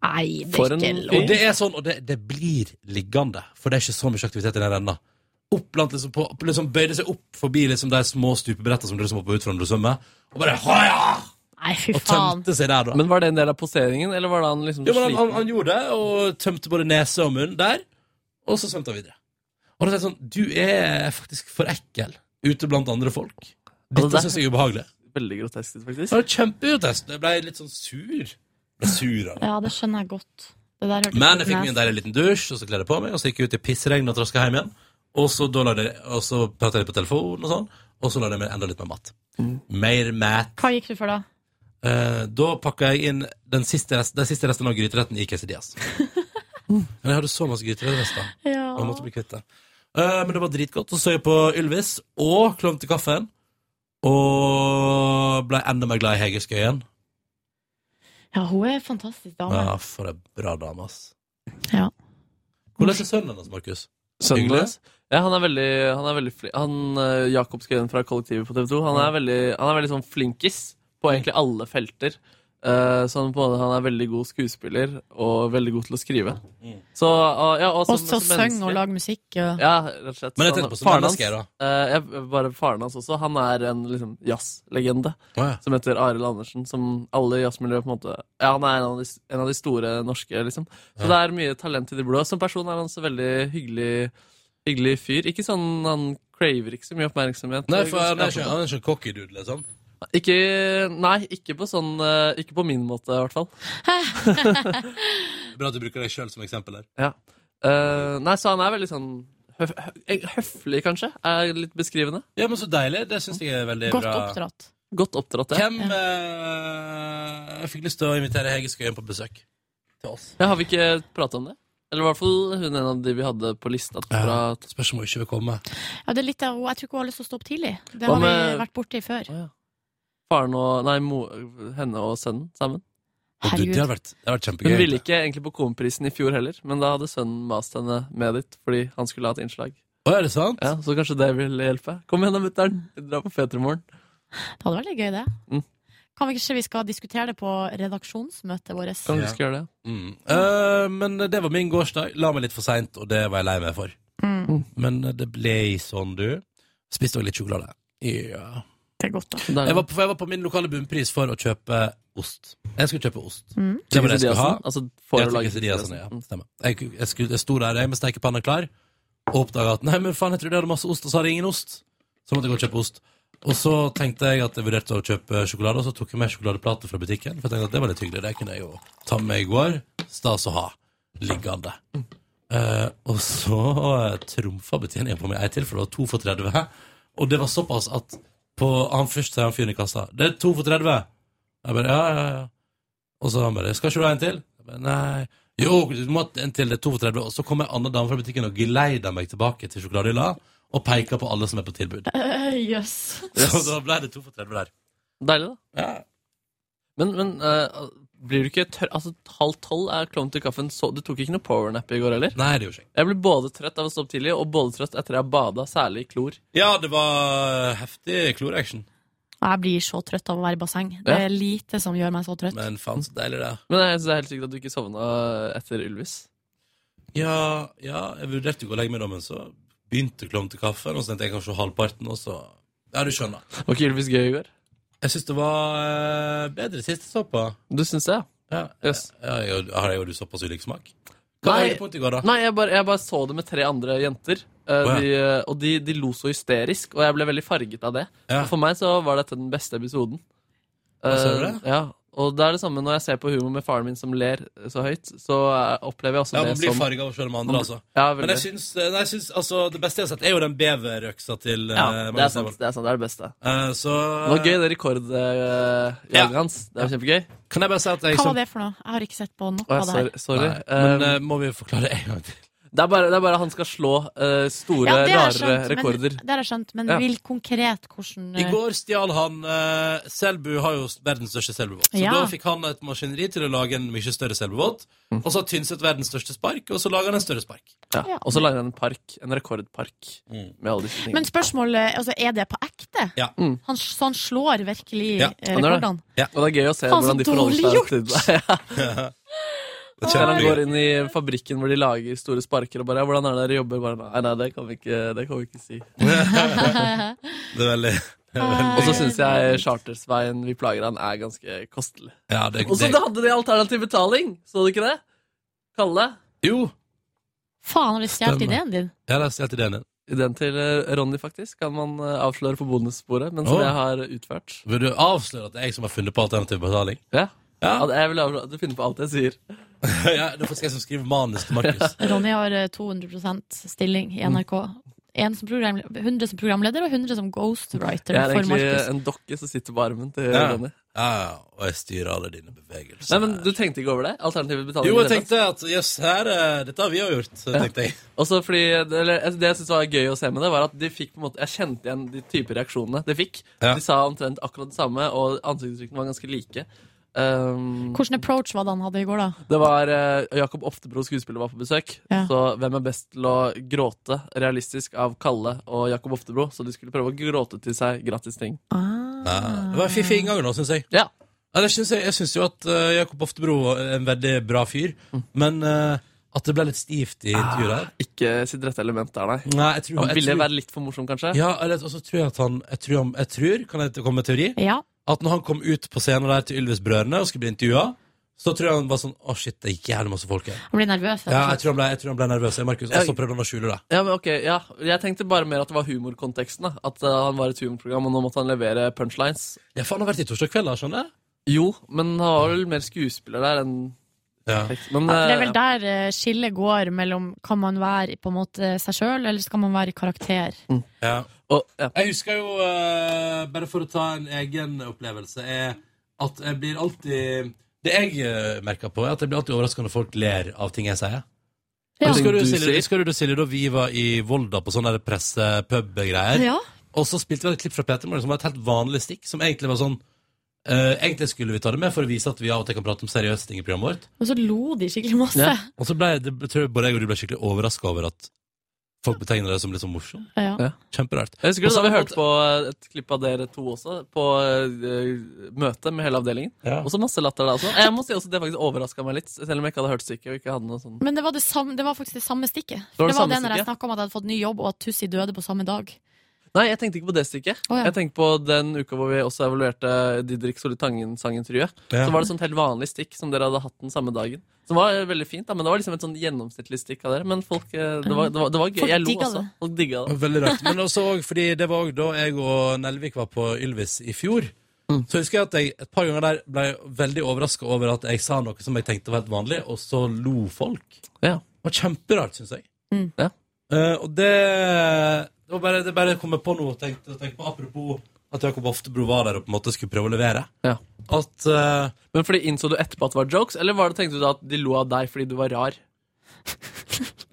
C: Nei, det
B: For
C: er
B: en
C: ikke
B: Og
C: lov.
B: det er sånn, og det, det blir liggende, for det er ikke så mye aktivitet i den renna. Opp blant liksom, på, på liksom bøyde seg opp forbi liksom de små stupebrettene som du liksom må på ut fra når du svømmer, og bare «Haja!»
C: Nei, fy
B: Og
C: faen.
B: tømte seg der, da.
H: Men var det en del av poseringen, eller var det han liksom
B: Jo, men han,
H: sliten?
B: han, han gjorde det, og tømte både nese og munn der, og så svømte han videre. Og da tenkte jeg sånn, du er faktisk for ekkel ute blant andre folk.
H: det der-
B: Dette synes jeg er ubehagelig.
H: Veldig grotesk,
B: Det
H: faktisk.
B: var kjempeutest. Jeg ble litt sånn sur. Ble sur av det.
C: Ja, det skjønner jeg godt. Det der hørtes
B: Men jeg fikk
C: ut
B: meg en
C: nes.
B: deilig liten dusj, og så kledde jeg på meg, og så gikk jeg ut i pissregn og traska hjem igjen. Og så, da lagde jeg, og så pratet jeg litt på telefonen og sånn, og så lagde jeg meg enda litt mer mat. Mer mat.
C: Hva gikk du for, da?
B: Eh, da pakka jeg inn den siste, rest, den siste resten av gryteretten i quesadillas. Men jeg hadde så masse gryterester,
C: Ja.
B: og jeg måtte bli kvitt det. Eh, men det var dritgodt. Så så jeg på Ylvis og klovn til kaffen, og ble enda mer glad i Hegerskøyen.
C: Ja, hun er en fantastisk dame.
B: Ja, Ah, for ei bra dame, ass.
C: Ja.
B: Hvordan er sønnen hennes, Markus?
H: Sønnen
B: Hyggelig?
H: vår? Ja, han er veldig, han er veldig flink. Han, eh, Jakob Skøyen fra Kollektivet på TV 2, han er veldig, han er veldig sånn flinkis på egentlig alle felter. Eh, så han, på en måte, han er veldig god skuespiller, og veldig god til å skrive.
B: Mm.
H: Så, og- ja, og
C: Og
H: som-
C: så
H: som
C: syng
H: menneske-
C: og lag musikk. Og...
H: Ja, rett og slett.
B: Men jeg
H: Så
B: tenkte
H: han-
B: på sånn, som
H: faren
B: menneske,
H: hans, eh, jeg- bare faren hans også. Han er en liksom, jazzlegende som heter Arild Andersen. Som alle i jazzmiljøet på en måte Ja, han er en av de, en av de store norske, liksom. Så det er mye talent i det blå. Som person er han så veldig hyggelig, hyggelig fyr. Ikke sånn han craver ikke så mye oppmerksomhet.
B: Nei, for han er ikke, han er ikke en cocky dude, liksom.
H: Ikke, nei, ikke på sånn eh, Ikke på min måte, i hvert fall.
B: Bra at du bruker deg sjøl som eksempel her.
H: Ja. Eh, nei, så han er veldig sånn høf hø- høflig, kanskje. Er litt beskrivende.
B: Ja, men så deilig. Det syns jeg er veldig
H: Godt
B: bra.
H: oppdratt. Godt oppdratt, ja.
B: Hvem eh, Jeg fikk lyst til å invitere Hege Skøyen på besøk til oss.
H: ja. Har vi ikke prata om det? Eller i hvert fall hun en av de vi hadde på lista. Fra...
B: Spørs om hun ikke vil komme.
C: Ja, det er litt av, jeg tror ikke hun har lyst til å stå opp tidlig. Det
H: Hva
C: har vi
H: med-
C: vært borti før.
H: faren og Nei, mo, henne og sønnen sammen.
B: Og du, det hadde vært, det hadde vært kjempegøy.
H: Hun ville ikke egentlig på Komiprisen i fjor heller, men da hadde sønnen mast henne med dit fordi han skulle ha et innslag.
B: Å, er det sant?
H: Ja, Så kanskje det vil hjelpe. Kom igjen da, mutter'n. Vi drar på Fetermorgen.
C: Det hadde vært litt gøy, det.
H: Mm.
C: Kan vi ikke vi skal diskutere det på redaksjonsmøtet vårt?
B: Kan vi ikke gjøre det? Mm. Eh, men det var min gårsdag. La meg litt for seint, og det var jeg lei meg for.
C: Mm.
B: Men det ble sånn, du. Spiste også litt sjokolade. Ja.
C: Det er godt,
H: da.
B: Jeg var, på, jeg var på min lokale bunnpris for å kjøpe ost. Jeg skulle kjøpe ost.
C: Mm.
B: Det var det jeg skulle ha.
H: Sidiasen? Altså, får
B: Ja,
H: du lage
B: Trikke Sidiasen, ja. Stemmer. Jeg, jeg, skulle, jeg sto der jeg med stekepanna klar og oppdaga at nei, men faen, jeg trodde jeg hadde masse ost, og så hadde jeg ingen ost. Så måtte jeg gå og kjøpe ost. Og så tenkte jeg at jeg vurderte å kjøpe sjokolade, og så tok jeg med sjokoladeplate fra butikken. For jeg tenkte at det var litt hyggelig. Det kunne jeg jo ta med meg i går. Stas å ha liggende. Eh, og så eh, trumfa betjeningen på meg ei til, for det var to for 30. Og det var såpass at på, han først sier han fyren i kassa Det er to for 30. Jeg bare ja, ja, ja. Og så han bare 'Skal ikke du ha en til?' Jeg bare, Nei. Jo, du må ha en til. Det er 32. Og så kom ei anna dame fra butikken og geleida meg tilbake til sjokoladehylla og peika på alle som er på tilbud.
C: Eh, Jøss.
B: Så da ble det to for 30 der.
H: Deilig, da. Men, men eh, blir du ikke tørr Altså, halv tolv er klovn til kaffen. Så, du tok ikke noe powernap i går heller?
B: Nei, det gjorde jeg ikke.
H: Jeg ble både trøtt av å stå opp tidlig, og både trøtt etter jeg bada, særlig i klor.
B: Ja, det var eh, heftig kloreaction.
C: Jeg blir så trøtt av å være i basseng. Det
H: Ja.
C: er lite som gjør meg så trøtt.
B: Men faen, så deilig det er.
H: Men jeg er helt sikker at du ikke sovna etter Ylvis.
B: Ja, ja, jeg vurderte jo å legge meg da, men så begynte klovn til kaffen, og så tenkte jeg kanskje halvparten, og så Ja, du skjønner.
H: Var ikke Ylvis gøy i går?
B: Jeg syns det var eh, bedre sist jeg så på.
H: Du syns det,
B: ja? Ja, jeg, har jeg og du såpass ulik smak? Hva var
H: Nei,
B: høydepunktet i går, da?
H: nei jeg, bare, jeg bare så det med tre andre jenter.
B: Å,
H: Eh,
B: ja.
H: de, eh, og de, de lo så hysterisk, og jeg ble veldig farget av det.
B: Ja.
H: Og for meg så var dette den beste episoden.
B: Hva sa du
H: Eh,
B: det?
H: Ja, og det er det samme når jeg ser på humor med faren min som ler så høyt. Så eh, opplever jeg også
B: Ja,
H: det
B: man blir
H: som
B: farget av å se de andre, altså.
H: Ja, veldig.
B: Men jeg syns, nei, jeg syns altså, det beste jeg har sett, er jo den beverøksa til eh,
H: ja, det, er
B: Magnus
H: sant,
B: Devold.
H: det er sant. Det er det beste.
B: Eh, så
H: Det var gøy, det rekordjaget
B: Ja.
H: hans. Det var kjempegøy.
B: Kan jeg bare si at jeg
C: Hva var det for noe? Jeg har ikke sett på noe
H: Å, ja,
C: av det her.
H: sorry. sorry.
B: Nei, men,
H: Eh,
B: eh, må vi forklare en gang til?
H: Det er bare, det er bare han skal slå eh, store,
C: Ja, det har
H: rare
C: jeg skjønt, men-
H: rekorder.
C: Det har jeg skjønt, men
H: Ja.
C: vil konkret hvordan
B: I går stjal han eh, Selbu har jo verdens største selbubåt. Så
C: Ja.
B: da fikk han et maskineri til å lage en mye større selbubåt.
H: Mm.
B: Og så har Tynset verdens største spark, og så lager han en større spark.
H: Ja. Og så lager han en park, en rekordpark,
B: Mm.
H: med alle disse
C: eh, Men
H: tingene.
C: spørsmålet altså, er det på ekte?
B: Ja.
H: Mm.
C: Han, så han slår virkelig
H: Ja,
C: eh,
H: han gjør det.
C: rekordene?
B: Ja.
H: Og det er gøy å se
C: Faen, så
H: hvordan de forholder
C: dårlig
H: seg til det. Ja.
B: Det er
H: Når han
B: kjempegøy.
H: går inn i fabrikken hvor de lager store sparker og bare ja, 'Hvordan er det dere jobber?' Bare, nei, nei, det kan vi ikke, det kan vi ikke si.
B: Det er veldig, det er veldig
H: Og så syns jeg Chartersveien vi plager han, er ganske kostelig.
B: ja, det,
H: Og så
B: det,
H: da hadde de alternativ betaling, så du ikke det? Kalle.
B: Jo,
C: Faen, har de stjålet
H: Stemmer.
C: ideen din?
B: jeg har stjålet ideen din.
H: Ideen til eh, Ronny, faktisk, kan man eh, avsløre på bonussporet, men som
B: Åh.
H: jeg har utført.
B: Vil du avsløre at det er jeg som har funnet på alternativ betaling?
H: Ja. At Jeg vil avsløre at du finner på alt jeg sier.
B: ja, det er faktisk jeg som skriver manus til Markus.
C: Ronny har eh, 200 stilling
H: Mm.
C: i NRK. En som program, 100 som programleder og 100 som ghostwriter
H: Jeg er
C: for
H: egentlig
C: Markus.
H: en dokke som sitter på armen til
B: Ja.
H: Ronny.
B: Ja, ja, og jeg styrer alle dine bevegelser.
H: Nei, men Du tenkte ikke over det? Alternative betaling?
B: Jo, jeg
H: i det hele tatt?
B: tenkte at jøss, her, eh, dette har vi jo gjort, tenkte jeg.
H: Også fordi, eller, altså, Det jeg syntes var gøy å se med det, var at de fikk på en måte, jeg kjente igjen de typer reaksjonene de fikk.
B: Ja.
H: De sa omtrent akkurat det samme, og ansiktsuttrykkene var ganske like. Um,
C: Hvilken approach var det han hadde i går, da?
H: Det var eh, Jakob Oftebro, skuespiller, var på besøk.
C: Ja.
H: Så hvem er best til å gråte realistisk av Kalle og Jakob Oftebro? Så de skulle prøve å gråte til seg gratis ting. Ah.
B: Ja, Det var en fiffig inngang nå, syns jeg.
H: Ja.
B: det synes jeg. Jeg syns jo at eh, Jakob Oftebro er en veldig bra fyr, men eh, at det ble litt stivt i intervjuet der.
H: Ikke sitt rette element der, nei.
B: Nei, jeg tror,
H: Han
B: jeg
H: ville
B: tror,
H: være litt for morsom, kanskje?
B: ja, eller, og så tror jeg at han Jeg tror, han- jeg tror kan jeg komme med teori?
C: Ja.
B: At når han kom ut på scenen der til Ylvis-brødrene og skulle bli intervjua, så tror jeg han var sånn Å, shit, det er jævlig masse folk her.
C: Han blir nervøs. rett og
B: Ja, jeg
C: slett.
B: tror han ble, jeg tror han ble nervøs, jeg, Markus. Og så prøvde han å skjule det.
H: Ja, men ok, ja. Jeg tenkte bare mer at det var humorkonteksten. da. At eh, han var et humorprogram, og nå måtte han levere punchlines.
B: Ja, for han har vært i torsdag kveld, da, skjønner jeg.
H: Jo, men han var vel mer skuespiller der enn tekst. Men,
C: Ja, for det er
H: eh,
C: vel der eh, skillet går mellom kan man være på en måte seg sjøl, eller skal man være i karakter?
H: Og, ja.
B: Jeg husker jo, eh, bare for å ta en egen opplevelse, er at jeg blir alltid Det jeg eh, merker på, er at jeg blir alltid overraska når folk ler av ting jeg sier.
C: Ja.
B: Husker, du,
H: Ting du
B: Silje,
H: sier.
B: husker du da Silje, da vi var i Volda på sånne der presse-pub-greier?
C: Ja.
B: Og så spilte vi et klipp fra Peter Morgen som var et helt vanlig stikk, som egentlig var sånn Eh, egentlig skulle vi ta det med for å vise at vi av og til kan prate om seriøse ting i programmet vårt.
C: Og så lo de skikkelig masse.
B: Ja. Og så ble det, tror jeg både jeg og du ble skikkelig overraska over at folk betegner det som litt sånn morsom.
C: Ja.
B: Kjemperart.
H: Jeg
B: Og
H: husker det da
B: så-
H: vi hørte på eh, et klipp av dere to også, på eh, møte med hele avdelingen. Også masse latter da også. Eh, Jeg må si også det faktisk overraska meg litt, selv om jeg ikke hadde hørt stykket. og ikke hadde noe sånn...
C: Men det var, det, samme, det var faktisk det samme stikket.
H: var
C: Det var
H: det samme
C: det når jeg
H: stikket.
C: snakka om at jeg hadde fått ny jobb, og at Tussi døde på samme dag.
H: Nei, jeg tenkte ikke på det stykket.
C: Å, ja.
H: Jeg tenkte på den uka hvor vi også evaluerte Didrik Solli Tangen-sangintervjuet.
B: Ja.
H: Så var det sånt helt vanlig stikk som dere hadde hatt den samme dagen. Som var veldig fint, da, men det var liksom et sånn gjennomsnittlig stikk av dere. Men folk, eh, det var, det var, det var gøy.
B: Folk
H: Jeg lo
B: digga
H: også.
B: det.
H: Folk digga det.
B: Veldig rart. Men også og fordi det var òg da jeg og Nelvik var på Ylvis i fjor. Så husker jeg at jeg et par ganger der ble veldig overraska over at jeg sa noe som jeg tenkte var helt vanlig, og så lo folk. Det var kjemperart, syns jeg.
C: Mm.
H: Ja.
B: Eh, og det Det var bare, det bare kom jeg på noe tenkte, tenkte på Apropos at Jakob Oftebro var der og på en måte skulle prøve å levere. At, eh,
H: men fordi innså du etterpå at det var jokes, eller var det tenkte du da at de lo av deg fordi du var rar?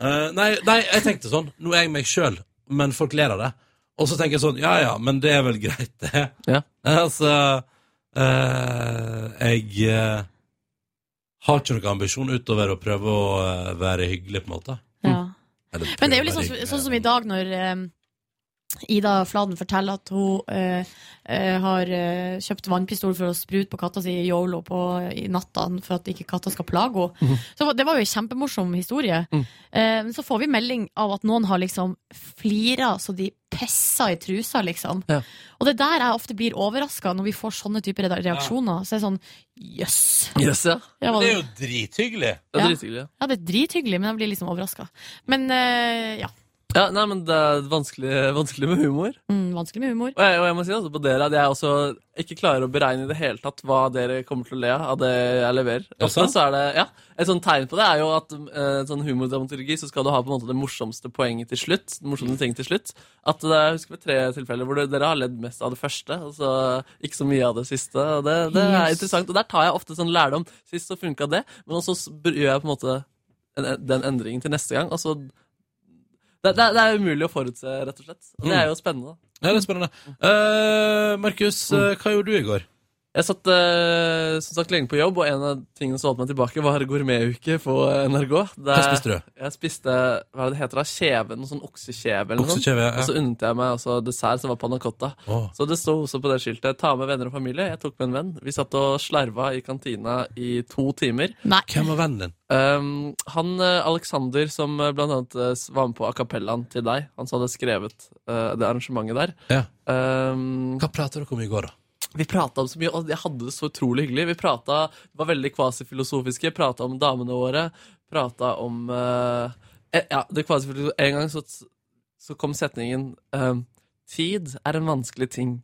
B: Eh, nei, nei, jeg tenkte sånn Nå er jeg meg sjøl, men folk ler av det. Og så tenker jeg sånn Ja ja, men det er vel greit, det. Eh, altså eh, Jeg eh, har ikke noen ambisjon utover å prøve å eh, være hyggelig, på en måte.
C: Ja.
B: Eller
C: Men det
B: prøve å
C: er jo liksom
B: være
C: så-
B: hyggelig.
C: sånn som i dag når eh, Ida Fladen forteller at hun eh, eh, har eh, kjøpt vannpistol for å sprute på katta si i Yolo på, i natta for at ikke katta skal plage henne.
B: Mhm.
C: Så Det var jo en kjempemorsom historie.
B: Mm.
C: Eh, Men så får vi melding av at noen har liksom flira så de pisser i trusa, liksom. Og det er der jeg ofte blir overraska, når vi får sånne typer reda- reaksjoner. Så er det sånn jøss. Ja,
B: Men
C: hva-
B: det er jo drithyggelig.
H: Det er drithyggelig. ja.
C: Ja, det er drithyggelig, men jeg blir liksom overraska. Men eh, ja.
H: Ja, nei, men det er vanskelig, vanskelig med humor.
C: Mm, vanskelig med humor.
H: Og jeg, og jeg må si altså på dere at jeg også ikke klarer å beregne i det hele tatt hva dere kommer til å le av av det jeg leverer. Ofte så er det, ja, Et sånt tegn på det er jo at eh, sånn humordramaturgi så skal du ha på en måte det morsomste poenget til slutt. Den morsomste ting til slutt. At det er, jeg husker på tre tilfeller hvor det, dere har ledd mest av det første, og så ikke så mye av det siste. Og det, det er
B: Yes.
H: interessant. Og der tar jeg ofte sånn lærdom. Sist så funka det, men også s- gjør jeg på en måte en, den endringen til neste gang. Altså, det, det, det er umulig å forutse, rett og slett. Og det er jo spennende. da.
B: Ja, det er spennende. Eh, Markus, eh, hva gjorde du i går?
H: Jeg satt eh, som sagt lenge på jobb, og en av tingene som holdt meg tilbake, var gourmetuke på NRK. Det-
B: Hva spiste du?
H: Jeg spiste hva er det det heter da, kjeve, noe sånn oksekjeve. eller noe sånt.
B: Oksekjeve, ja.
H: Og så unnet jeg meg også dessert, som var panna cotta.
B: Åh.
H: Så det sto også på det skiltet 'Ta med venner og familie'. Jeg tok med en venn. Vi satt og slarva i kantina i to timer.
B: Hvem var vennen din?
H: Um, han eh, Alexander som eh, blant annet eh, s- var med på a cappellaen til deg, han som hadde skrevet eh, det arrangementet der. Ehm,
B: Hva prata dere om i går, da?
H: Vi prata om så mye, og jeg hadde det så utrolig hyggelig. Vi prata, var veldig kvasifilosofiske, prata om damene våre, prata om eh, eh, Ja, det kvasifilosofiske En gang så, så kom setningen eh, Tid er en vanskelig ting.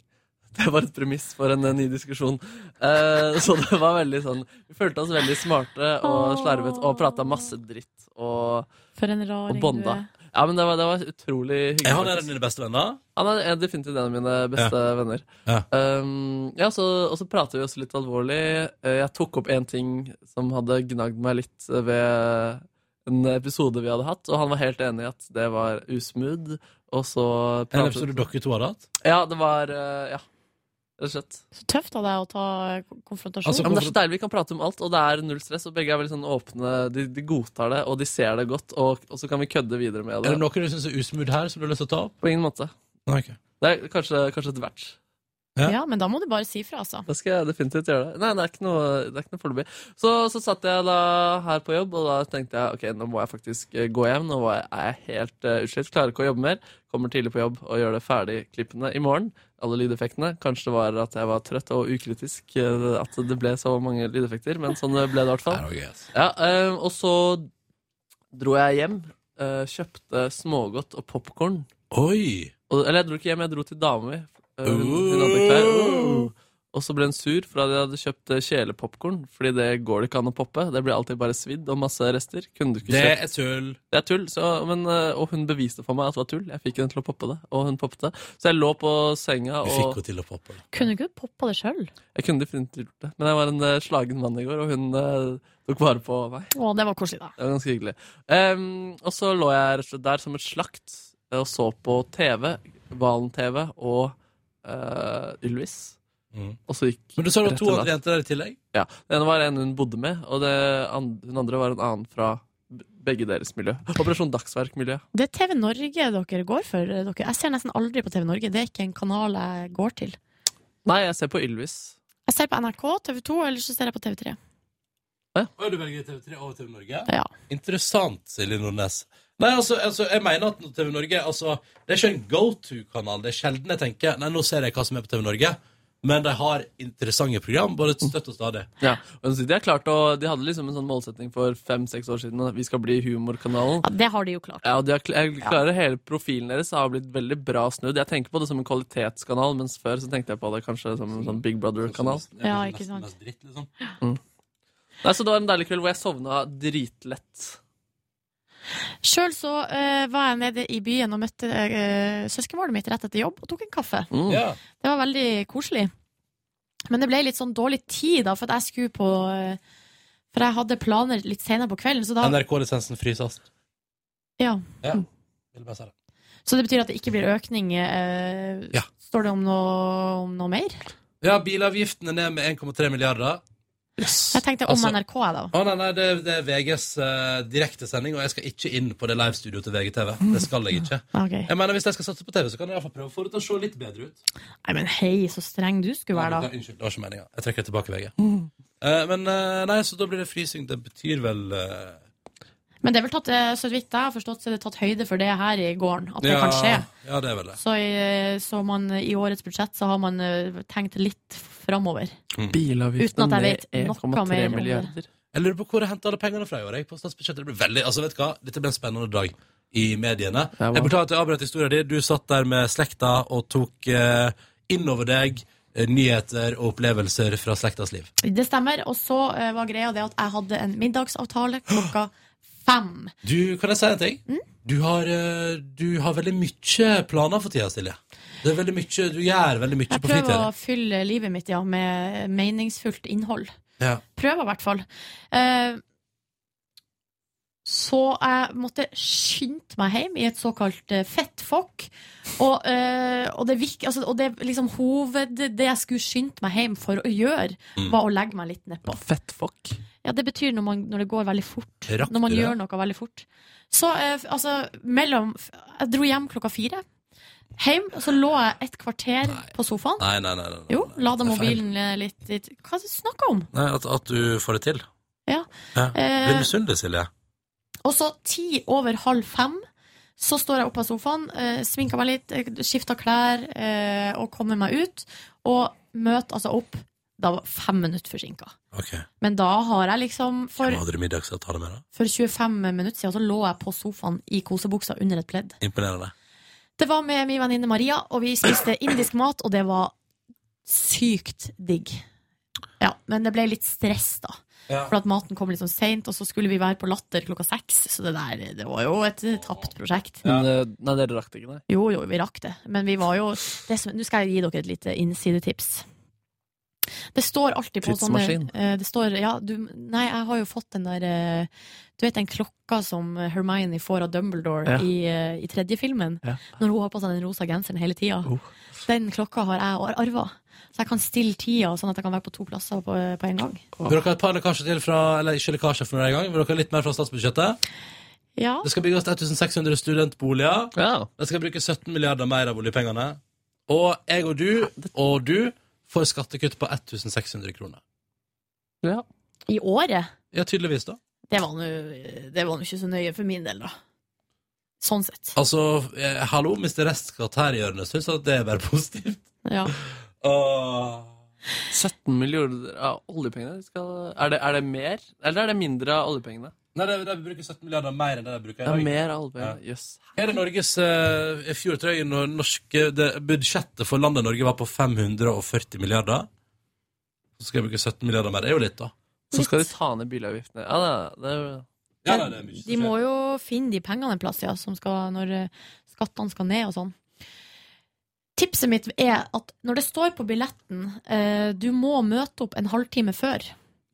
H: Det var et premiss for en eh, ny diskusjon. Eh, så det var veldig sånn Vi følte oss veldig smarte og slarvet og prata masse dritt og,
C: For en
H: og
C: raring du
H: bonda.
C: er.
H: Ja, men det var, det var utrolig hyggelig.
B: Er han en av
H: faktisk.
B: dine beste venner?
H: Han er er definitivt en av mine beste venner.
B: Ja.
H: Um, ja, så, og så prater vi også litt alvorlig. Eh, Jeg tok opp en ting som hadde gnagd meg litt ved en episode vi hadde hatt, og han var helt enig i at det var usmooth. Og så
B: En episode dere to hadde hatt?
H: Ja, det var eh, Ja, rett og slett.
C: Så tøft av deg å ta konfrontasjon.
H: ja, men det er så deilig, Vi kan prate om alt, og det er null stress. Og begge er veldig sånn åpne. De, de godtar det, og de ser det godt, og, og så kan vi kødde videre med
B: Er
H: det.
B: det noe du syns er usmooth her, som du har lyst til å ta opp?
H: På ingen måte.
B: Nei, ok.
H: Det er kanskje, kanskje et verts.
C: ja. men da må du bare si fra, altså.
H: Da skal jeg definitivt gjøre det. Nei, det er ikke noe, det er ikke noe foreløpig. Så, så satt jeg da her på jobb, og da tenkte jeg ok, nå må jeg faktisk eh, gå hjem. Nå var jeg- er jeg helt eh, utslitt, klarer ikke å jobbe mer. Kommer tidlig på jobb og gjør det ferdig klippene i morgen. Alle lydeffektene. Kanskje det var at jeg var trøtt og ukritisk eh, at det ble så mange lydeffekter, men sånn ble det i hvert fall. Ja, eh, og så dro jeg hjem, eh, kjøpte smågodt og popkorn.
B: Oi!
H: Og, eller jeg dro ikke hjem, jeg dro til dama mi. Eh, Hun, hun hadde klær. Åh. Og så ble hun sur for at jeg hadde kjøpt eh, kjelepopkorn. Fordi det går det ikke an å poppe. Det blir alltid bare svidd og masse rester. Kunne du ikke
B: Det
H: kjøpt-
B: er tull.
H: Det er tull, så, men, eh, og hun beviste for meg at det var tull. Jeg fikk henne til å poppe det, og hun poppet det. Så jeg lå på senga
B: Du
H: og
B: fikk henne til å poppe det.
C: Kunne ikke du poppa det sjøl?
H: Jeg kunne definitivt gjort det. Men jeg var en eh, slagen mann i går, og hun eh, tok vare på meg.
C: Å, det var koselig, da.
H: Det var ganske hyggelig. Ehm, og så lå jeg rett og slett der som et slakt og så på TV, Valen-TV og eh, Ylvis. Og så gikk
B: Men du sa det var
H: rett
B: to
H: til
B: andre
H: da.
B: jenter der i tillegg?
H: Ja. Den ene var en hun bodde med, og det, an- hun andre var en annen fra b- begge deres miljø. Operasjon Dagsverk-miljø.
C: Det er TV Norge dere går for. eh, Dere. Jeg ser nesten aldri på TV Norge. Det er ikke en kanal jeg går til.
H: Nei, jeg ser på Ylvis.
C: Jeg ser på NRK, TV2, eller så ser jeg på TV3.
B: Å, Du velger TV3 over TV Norge?
C: Ja.
B: Interessant, Silje Nordnes. Nei, altså, altså, jeg mener at TV Norge altså, Det er ikke en go-to-kanal. Det er sjelden jeg tenker Nei, nå ser jeg hva som er på TV Norge. Men de har interessante program, både støtt og stadig.
H: Ja, og så de, har klart å, de hadde liksom en sånn målsetning for fem-seks år siden at vi skal bli humorkanalen.
C: Det har de jo klart.
H: Ja, og de har, kl- jeg klarer Hele profilen deres har blitt veldig bra snudd. Jeg tenker på det som en kvalitetskanal, mens før så tenkte jeg på det kanskje som en sånn Big Brother-kanal.
C: Ja, ikke sant.
B: liksom.
H: Mm. Nei, Så det var en deilig kveld hvor jeg sovna dritlett.
C: Sjøl så eh, var jeg nede i byen og møtte uh, søskenbarnet mitt rett etter jobb og tok en kaffe.
H: Mm. Ja.
C: Det var veldig koselig. Men det ble litt sånn dårlig tid, da, for at jeg skulle på eh, For jeg hadde planer litt senere på kvelden, så da
B: NRK-lisensen fryses.
C: ja.
B: Ja. Vil bare si det.
C: Så det betyr at det ikke blir økning. eh,
B: Ja.
C: Står det om noe, om noe mer?
B: ja, bilavgiften er ned med 1,3 milliarder.
C: Jeg tenkte om
B: Altså-
C: NRK, jeg, da.
B: Å nei, nei, det, det er VGs eh, direktesending, og jeg skal ikke inn på det livestudioet til VGTV. Det skal jeg ikke.
C: Ah, Ok.
B: Jeg mener, Hvis jeg skal satse på TV, så kan jeg i hvert fall prøve å få det til å se litt bedre ut.
C: Nei, men hei, så streng du skulle
B: Nei,
C: være,
B: det-
C: da.
B: Unnskyld, det var ikke meninga. Jeg trekker tilbake VG. Eh, men eh, nei, så da blir det frysing. Det betyr vel eh,
C: Men det er vel tatt, eh, så vidt jeg har forstått, så er det tatt høyde for det her i gården. At det
B: ja,
C: kan skje.
B: Ja, det er vel det.
C: Så, i, så man, i årets budsjett så har man eh, tenkt litt framover. Uten
H: Bilavgiftene
C: at jeg
H: ned
C: vet noe mer om
H: 1,3
C: det.
H: milliarder.
B: Jeg lurer på hvor jeg henta alle pengene fra i år. Jeg, på statsbudsjettet. Det blir veldig, altså vet du hva, Dette blir en spennende dag i mediene. Jeg beklager at jeg avbrøt historien din. Du satt der med slekta og tok eh, innover deg eh, nyheter og opplevelser fra slektas liv.
C: Det stemmer. Og så eh, var greia det at jeg hadde en middagsavtale klokka fem.
B: Du, Kan jeg si en ting?
C: Mm?
B: Du, har, eh, du har veldig mye planer for tida, Silje. Det er veldig mye, du gjør veldig mye
C: Jeg
B: på
C: prøver å
B: fritida.
C: fylle livet mitt ja, med meningsfullt innhold.
B: Ja.
C: Prøver i hvert fall. Eh, så jeg måtte skynde meg hjem i et såkalt eh, fettfokk. Og, eh, og det, virk, altså, og det liksom hoved Det jeg skulle skynde meg hjem for å gjøre,
B: Mm.
C: var å legge meg litt nedpå.
H: Fettfokk?
C: Ja, det betyr når, man, når det går veldig fort.
B: Trakk
C: når man
B: du det?
C: gjør noe veldig fort. Så eh, f- altså, mellom Jeg dro hjem klokka fire. Hjem, og så lå jeg et kvarter på sofaen.
B: Nei, nei, nei. nei.
C: Jo, lada
B: Det er feil.
C: mobilen eh, litt, litt. Hva er det du snakker om?
B: nei at, at du får det til.
C: Ja.
B: Ja.
C: Eh,
B: Blir misunnelig, Silje.
C: Og så ti over halv fem så står jeg oppe av sofaen, eh, sminker meg litt, eh, skifter klær eh, og kommer meg ut. Og møter altså opp Da var fem minutter forsinka.
B: Ok.
C: Men da har jeg liksom For,
B: Hvem hadde du middagsavtale med, da?
C: for 25 minutter siden så lå jeg på sofaen i kosebuksa under et pledd.
B: Imponerende.
C: Det var med min venninne Maria, og vi spiste indisk mat, og det var sykt digg. Ja, men det ble litt stress, da.
B: Ja.
C: For at maten kom litt sånn seint, og så skulle vi være på Latter klokka seks. Så det der, det var jo et tapt prosjekt.
H: Men, eh, Nei, dere rakk det ikke, nei.
C: Jo, jo, vi rakk det. Men vi var jo det som, Nå skal jeg gi dere et lite innsidetips. Det står alltid på sånne
H: Tidsmaskin.
C: eh, Det står Ja, du Nei, jeg har jo fått den der eh, Du vet den klokka som Hermione får av Dumbledore
H: Ja.
C: i, eh, i tredje filmen?
H: Ja. Oh.
C: Når hun har på seg den rosa genseren hele tida. Den klokka har jeg arva. Så jeg kan stille tida, sånn at jeg kan være på to plasser på, eh, på en gang.
B: Vil dere ha et par lekkasjer til fra Eller ikke lekkasjer fra denne gang, vil dere ha litt mer fra statsbudsjettet?
C: Ja.
B: Det skal bygges 1600 studentboliger. De skal bruke 17 milliarder mer av oljepengene. Og jeg og du og du får skattekutt på 1600 kroner.
C: I året?
B: Ja, tydeligvis, da.
C: Det var nå eh, det var nå ikke så nøye for min del, da. Sånn sett.
B: Altså, eh, hallo, Mr. Restskatt her i hjørnet syns at det er bare positivt.
C: Ja.
B: Åh.
H: 17 millioner av oljepengene? Skal, er, det, er det mer, eller er det mindre av oljepengene?
B: Nei, de, de bruker 17 milliarder mer enn det de bruker i
H: Det
B: dag.
H: er mer av oljepengene, jøss.
B: Her er Norges uh, fjordtrøye når norske, det, Budsjettet for landet Norge var på 540 milliarder. Så skal jeg bruke 17 milliarder mer. Det er jo litt, da.
H: Så skal de ta ned bilavgiftene. Ja, nei, det er jo...
B: Ja, nei, det er mye.
C: De må jo finne de pengene en plass, ja, som skal, når eh, skattene skal ned og sånn. Tipset mitt er at når det står på billetten eh, du må møte opp en halvtime før,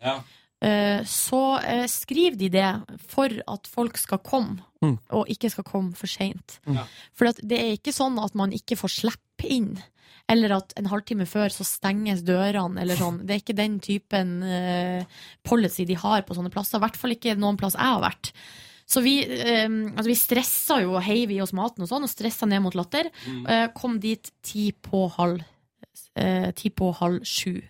B: Ja.
C: eh, så eh, skriver de det for at folk skal komme,
H: Mm.
C: og ikke skal komme for seint.
B: Mm.
H: Ja.
C: For at det er ikke sånn at man ikke får slippe slippe inn. Eller at en halvtime før så stenges dørene, eller sånn. Det er ikke den typen eh, policy de har på sånne plasser. I hvert fall ikke noen plass jeg har vært. Så vi, eh, altså vi stressa jo og heiv i oss maten og sånn, og stressa ned mot latter.
M: Mm.
C: Eh, kom dit ti på halv, eh, ti på halv sju.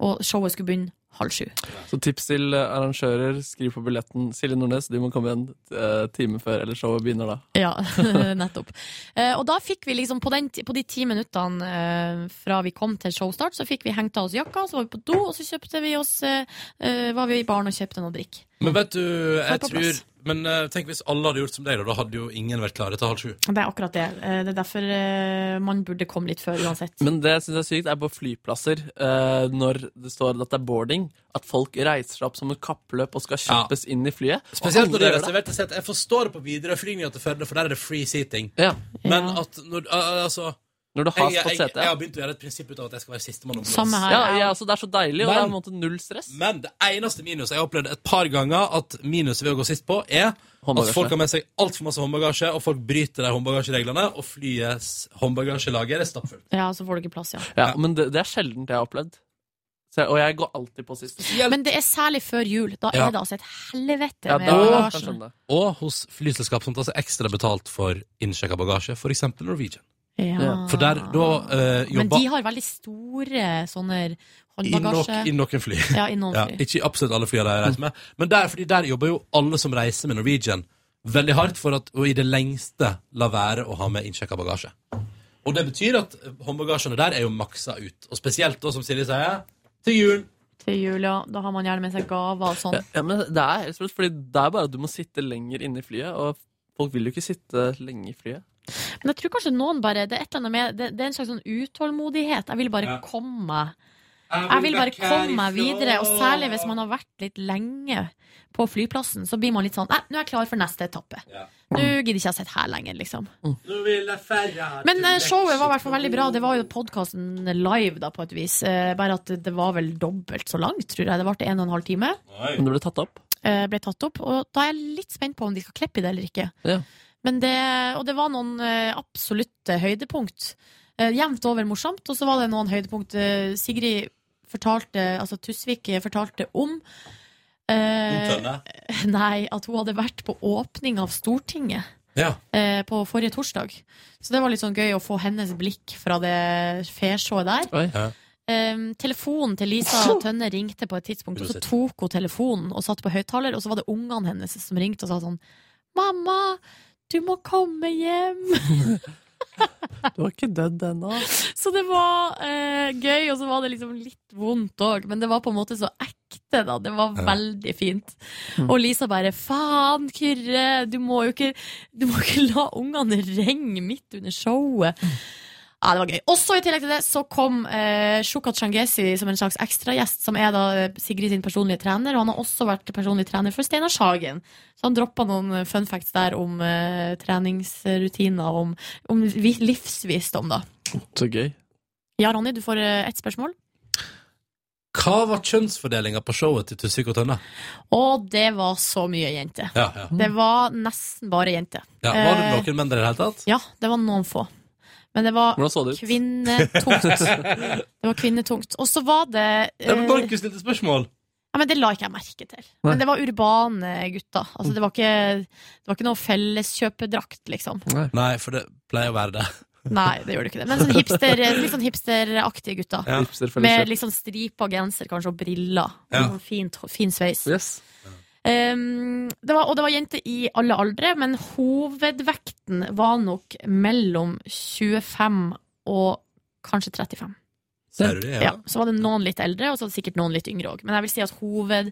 C: Og showet skulle begynne halv sju.
H: Så tips til eh, arrangører, skriv på billetten. Silje Nordnes, du må komme en eh, time før, eller showet begynner da.
C: Ja, nettopp. Eh, og da fikk vi liksom, på, den, ti- på de ti minuttene eh, fra vi kom til showstart, så fikk vi hengt av oss jakka, så var vi på do, og så kjøpte vi oss, eh, eh, var vi i baren og kjøpte noe drikk.
B: Men vet du, jeg
C: på
B: tror
C: plass.
B: Men eh, tenk hvis alle hadde gjort som deg, da. Da hadde jo ingen vært klare til halv sju.
C: Det er akkurat det. Eh, det er derfor eh, man burde komme litt før uansett.
H: Men det jeg syns er sykt, er på flyplasser, eh, når det står at det er boarding, at folk reiser seg opp som et kappløp og skal kjøpes inn i flyet. Og
B: Spesielt
H: alle
B: når det er
H: gjør
B: reservert til sete. Jeg forstår det på Widerøe-flygninga til Førde, for der er det free seating.
H: Ja.
B: Men at når al- Altså
H: Når du har
B: jeg,
H: fått
B: jeg,
H: sete, ja.
B: jeg har begynt å gjøre et prinsipp ut av at jeg skal være sistemann om plass.
H: Ja, ja, altså, det er så deilig, og det er på en måte null stress.
B: Men det eneste minuset jeg har opplevd et par ganger at minuset ved å gå sist på, er at
H: Håndbagasje.
B: folk har med seg altfor masse håndbagasje, og folk bryter de håndbagasjereglene, og flyets håndbagasjelager er stappfullt.
C: Ja, så får du ikke plass, ja.
H: Ja, men det, det er sjeldent jeg har opplevd. Så, jeg- og jeg går alltid på sist.
C: Men det er særlig før jul. Da
B: Ja.
C: er det altså et helvete
B: Ja,
C: med
B: da-
C: bagasjen.
B: Og hos flyselskap som tar seg ekstra betalt for innsjekka bagasje, f.eks. Norwegian.
C: Ja.
B: For der, da eh,
C: Men de
B: jobber
C: har veldig store sånne
B: i, nok,
C: håndbagasje.
B: I noen fly.
C: Ja, i noen fly.
B: ikke i absolutt alle flyene de reiser med. Men der, fordi der jobber jo alle som reiser med Norwegian, veldig hardt for at, og i det lengste la være å ha med innsjekka bagasje. Og det betyr at eh, håndbagasjene der er jo maksa ut. Og spesielt da, som Silje sier, til jul.
C: Til jul, ja. Da har man gjerne med seg gaver og sånn.
H: Ja, ja, men det er helt sprøtt, fordi det er bare at du må sitte lenger inne i flyet, og folk vil jo ikke sitte lenge i flyet.
C: Men jeg tror kanskje noen bare Det er, et eller annet med, det, det er en slags sånn utålmodighet. Jeg vil bare komme meg Jeg vil bare
M: vekk
C: komme meg
M: herifra.
C: videre. Og særlig hvis man har vært litt lenge på flyplassen, så blir man litt sånn Nei, nå er jeg klar for neste etappe. Nå gidder ikke jeg å sitte her lenger, liksom. Men eh, showet var i hvert fall veldig bra. Det var jo podkasten live, da, på et vis. Eh, bare at det var vel dobbelt så langt, tror jeg. Det varte en og en halv time.
H: Men det ble tatt opp.
C: eh, ble tatt opp. Og da er jeg litt spent på om de skal klippe i det eller ikke.
H: Ja.
C: Men det, og det var noen eh, absolutte høydepunkt. Eh, Jevnt over morsomt, og så var det noen høydepunkt eh, Sigrid fortalte, altså Tusvik eh, fortalte om eh,
B: Tønne.
C: Nei, at hun hadde vært på åpning av Stortinget.
B: Ja.
C: eh, På forrige torsdag. Så det var litt sånn gøy å få hennes blikk fra det fesjået der.
B: Ja.
C: Ehm, telefonen til Lisa Tønne ringte på et tidspunkt, og så tok hun telefonen og satt på høyttaler, og så var det ungene hennes som ringte og sa sånn Mamma, du må komme hjem!
H: Du har ikke dødd ennå.
C: Så det var eh, gøy, og så var det liksom litt vondt òg, men det var på en måte så ekte, da. Det var
M: Ja.
C: veldig fint. Og Lisa bare 'faen, Kyrre, du må jo ikke, du må ikke la ungene renge midt under showet'. Ja, det var gøy. Også i tillegg til det så kom eh, Shukat Changesi som en slags ekstragjest, som er da eh, Sigrid sin personlige trener, og han har også vært personlig trener for Steinar Sagen. Så han droppa noen eh, fun facts der om eh, treningsrutiner, om, om vi- livsvisdom, da.
H: Så gøy.
C: Ja, Ronny, du får eh, ett spørsmål.
B: Hva var kjønnsfordelinga på showet til Tusvik og Tønne?
C: Og det var så mye jenter.
B: Ja, ja.
C: Det var nesten bare jenter.
B: Ja, var det
C: Eh,
B: noen menn der i det hele tatt?
C: Ja, det var noen få. Men det var
B: Hvordan så det ut?
C: kvinnetungt. Det var kvinnetungt. Og så var det
B: Ja, men
C: eh,
B: Markus stilte spørsmål.
C: Ja, men Det la ikke jeg merke til.
B: Nei.
C: Men det var urbane gutter. Altså, det, var ikke, det var ikke noe felleskjøpedrakt, liksom.
B: Nei. for det pleier å være det.
C: Nei, det gjør det ikke. det Men sånn hipster, litt sånn hipsteraktige gutter.
B: Ja. Hipsterfelleskjøp.
C: Med litt sånn stripa genser kanskje, og briller.
B: Ja.
C: Sånn Fint, fin sveis. Um, det var, og det var jenter i alle aldre, men hovedvekten var nok mellom 25 og kanskje 35.
B: Ser du det?
C: Ja. så var det noen litt eldre, og så var det sikkert noen litt yngre òg. Men jeg vil si at hoved,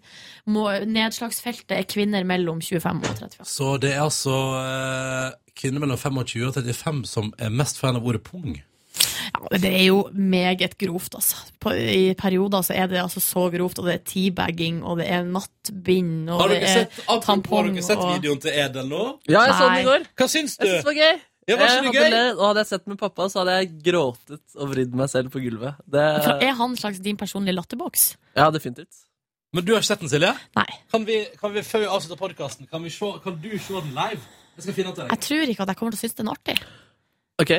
C: må, nedslagsfeltet er kvinner mellom 25 og 35.
B: Så det er altså eh, kvinner mellom 25 og 35 som er mest fan av ordet pung.
C: Ja, det er jo meget grovt, altså. På, I perioder så er det altså så grovt, og det er teabagging, og det er nattbind, og
B: Har
C: det
B: dere
C: er
B: sett, apropos, har
C: tampong
B: dere sett
C: og
B: videoen til Edel nå?
H: Ja, jeg så den i går.
B: Hva syns du?
H: Jeg synes det var gøy.
B: Ja, var ikke
H: Jeg
B: det gøy?
H: hadde le- og hadde jeg sett den med pappa, så hadde jeg gråtet og vridd meg selv på gulvet. Det,
B: eh,
C: Er han slags din personlige latterboks?
H: ja, definitivt.
B: Men du har ikke sett den, Silje?
C: Nei.
B: Kan vi, kan vi før vi avslutter podkasten, kan, vi se- kan du se den live? Jeg skal finne den til deg.
C: Jeg tror ikke at jeg kommer til å synes den er artig.
H: Ok,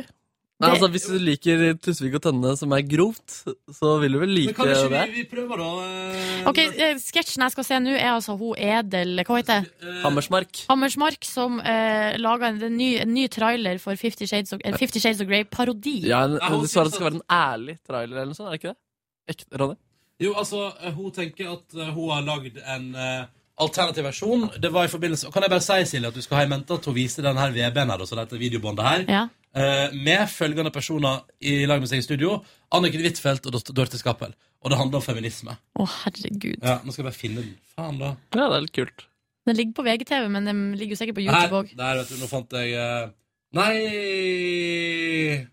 H: Nei, altså Hvis du liker Tusvik og Tønne, som er grovt, så vil du vel like
B: Men kan ikke
H: det?
B: vi, vi prøve, da?
C: Ok, eh, Sketsjen jeg skal se nå, er altså hun Edel Hva heter det?
B: Eh,
H: Hammersmark.
C: Hammersmark som eh, laga en, en, ny, en ny trailer for Fifty Shades of, eh, Fifty Shades of Grey-parodi.
H: Ja, en- Du sa at det skal være en ærlig trailer, eller noe sånt, er det ikke det? Ekte, Ronny?
B: Jo, altså, eh, hun tenker at eh, hun har lagd en eh, alternativ versjon. Det var i forbindelse Kan jeg bare si, Silje, at du skal ha i mente at hun viste den her VB-en her, og så dette videobåndet her, eh, med følgende personer i lag med seg i studio. Anniken Huitfeldt og Dor- Dorte Skappel. Og det handler om feminisme.
C: Å, herregud.
B: Ja, nå skal jeg bare finne den. Faen, da.
H: Ja, det er litt kult.
C: Den ligger på VGTV, men den ligger jo sikkert på
B: Her,
C: YouTube òg.
B: der, vet du, nå fant jeg eh, Nei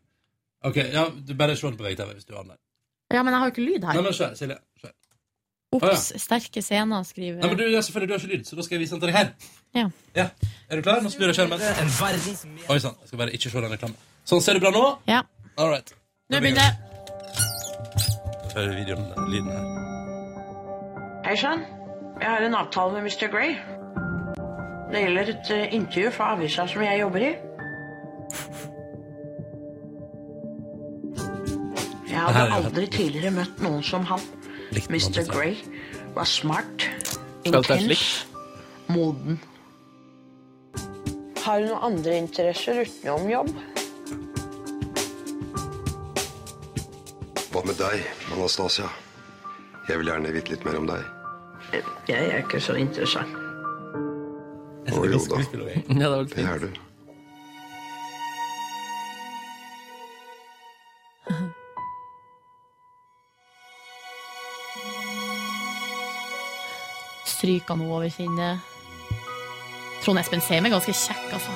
B: OK, ja, du bare se den på VGTV hvis du har den der.
C: Ja, men jeg har jo ikke lyd
B: Nei, men
C: her.
B: se, Silje. Se. Å, ja.
C: Ops, sterke scener, skriver
B: Nei, men du, ja, selvfølgelig, du har ikke lyd, så da skal jeg vise den til deg her.
C: Ja.
B: Er du klar? Nå snur jeg skjermen. Oi sann, jeg skal bare ikke se den reklamen. Sånn, ser du bra nå?
C: Ja.
B: All right.
C: Nå begynner jeg.
B: Hører videoen, lyden her.
M: Hei sann. Jeg har en avtale med Mr. Grey. Det gjelder et eh, intervju fra avisa som jeg jobber i. Jeg
B: Det her er
M: hadde
B: jo helt
M: aldri tidligere møtt noen som han. Mr. Grey var smart, intens, moden. Har du noen andre interesser utenom jobb?
N: Hva med deg, Anastasia? Jeg vil gjerne vite litt mer om deg.
M: Jeg er ikke så interessant.
N: Å jo da,
H: Ja, det,
N: det er du.
C: Stryker noe over kinnet. Trond Espen Seim er ganske kjekk, altså.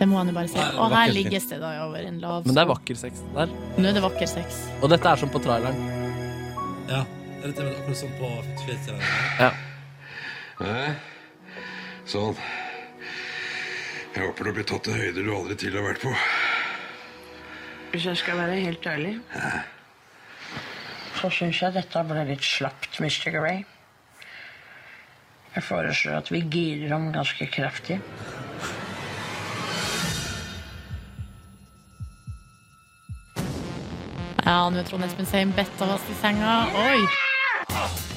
C: Det må han jo bare si.
H: Nei, det er
C: Og her
H: vakkert.
C: ligges det da over en lav
H: Men det er vakker sex det der.
C: Nå er det vakker sex.
H: Og dette er som på traileren.
B: Ja. Er dette akkurat som på Twitter?
H: Ja.
N: Nei, sånn. Jeg håper du blir tatt til høyder du aldri tidligere har vært på.
M: Hvis jeg skal være helt ærlig, så syns jeg dette ble litt slapt, Mr. Grey. Jeg foreslår at vi girer om ganske kraftig.
C: Ja, nå er Trond Espen Seim bedt av oss i senga. Oi!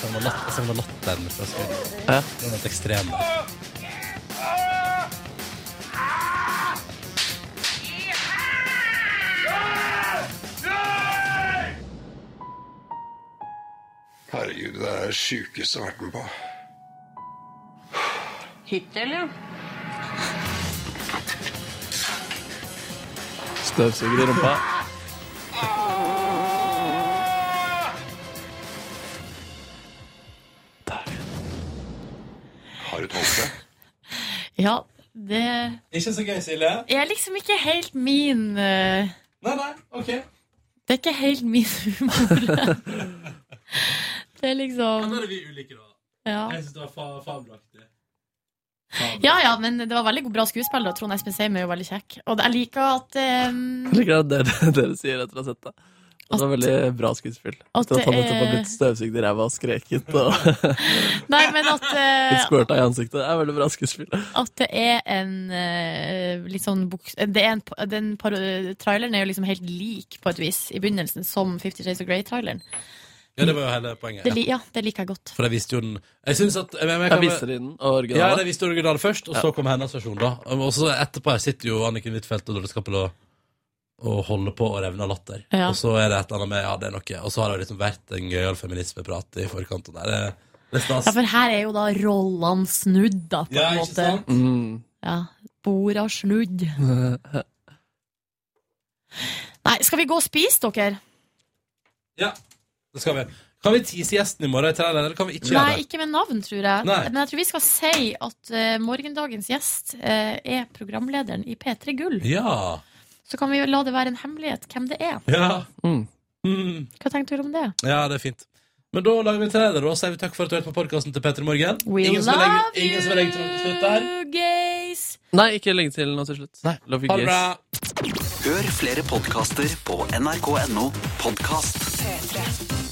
B: Som var latt, som var latteren fra skolen.
H: Ja.
B: Den var helt ekstrem. da.
N: Herregud, det er det sjukeste jeg har vært med på.
M: Hittil, ja.
H: Støvsuger i rumpa.
N: Har du tålt det?
C: Ja, det
B: Ikke så gøy, Silje?
C: er liksom ikke helt min eh,
B: Nei, nei, OK.
C: Det er ikke helt min humor. det er liksom
B: Men da er det vi ulike, da.
C: Ja.
B: Jeg syns det var fa fabelaktig.
C: ja ja, men det var veldig bra skuespill, og Trond Espen Seim er jo veldig kjekk. Og jeg liker at eh,
H: Jeg liker at dere, dere sier etter å ha sett det. Og Det var veldig bra skuespill.
C: at
H: Etter at han
C: det
H: nettopp har
C: er-
H: blitt støvsugd i ræva og skreket og
C: Nei, men at eh,
H: litt squirta i ansiktet. Det er veldig bra skuespill.
C: At det er en eh, litt sånn buks... Det er en, pa- den paro traileren er jo liksom helt lik på et vis i begynnelsen som Fifty Shades of Grey-traileren.
B: Ja, det var jo hele poenget.
C: Det, li- ja, det liker jeg godt.
B: For jeg visste jo den Jeg synes at Jeg,
H: Jeg visste den originale.
B: Ja, jeg visste originalen først, og
H: Ja.
B: så kom hennes versjon, da. Og så etterpå her sitter jo Anniken Huitfeldt og Dorte Skappel og, og holder på å revne av latter.
H: Ja.
B: Og så er det et eller annet med Ja, det er noe. Og så har det liksom vært en gøyal feminismeprat i forkant. Og det, er- det er
C: Ja,
B: stas.
C: for her er jo da rollene snudd, da, på
B: Ja,
C: en
B: ikke
C: måte. Mm.
B: sant?
H: Mm.
C: Ja, Borda snudd. Nei, skal vi gå og spise, dere?
B: Ja, det skal vi. Kan vi tease gjesten i morgen i traileren, eller kan vi ikke
C: Nei,
B: gjøre det?
C: ikke med navn, tror jeg.
B: Nei.
C: Men jeg tror vi skal si at eh, morgendagens gjest eh, er programlederen i P3 Gull.
B: Ja.
C: Så kan vi jo la det være en hemmelighet hvem det er.
B: ja.
C: Mm.
B: Mm.
C: Hva tenkte du om det?
B: Ja, det er fint. Men da lager vi en trailer, og så sier vi takk for at du hørte på podkasten til Petter i morgen.
C: We
B: ingen som vil legge,
C: love
B: ingen som vil legge til noe til slutt der.
C: Gays!
H: Nei, ikke lenge til nå til slutt. Love you
A: Ha det
H: guys.
A: Hør flere podkaster på nrk.no podkast.
D: 3.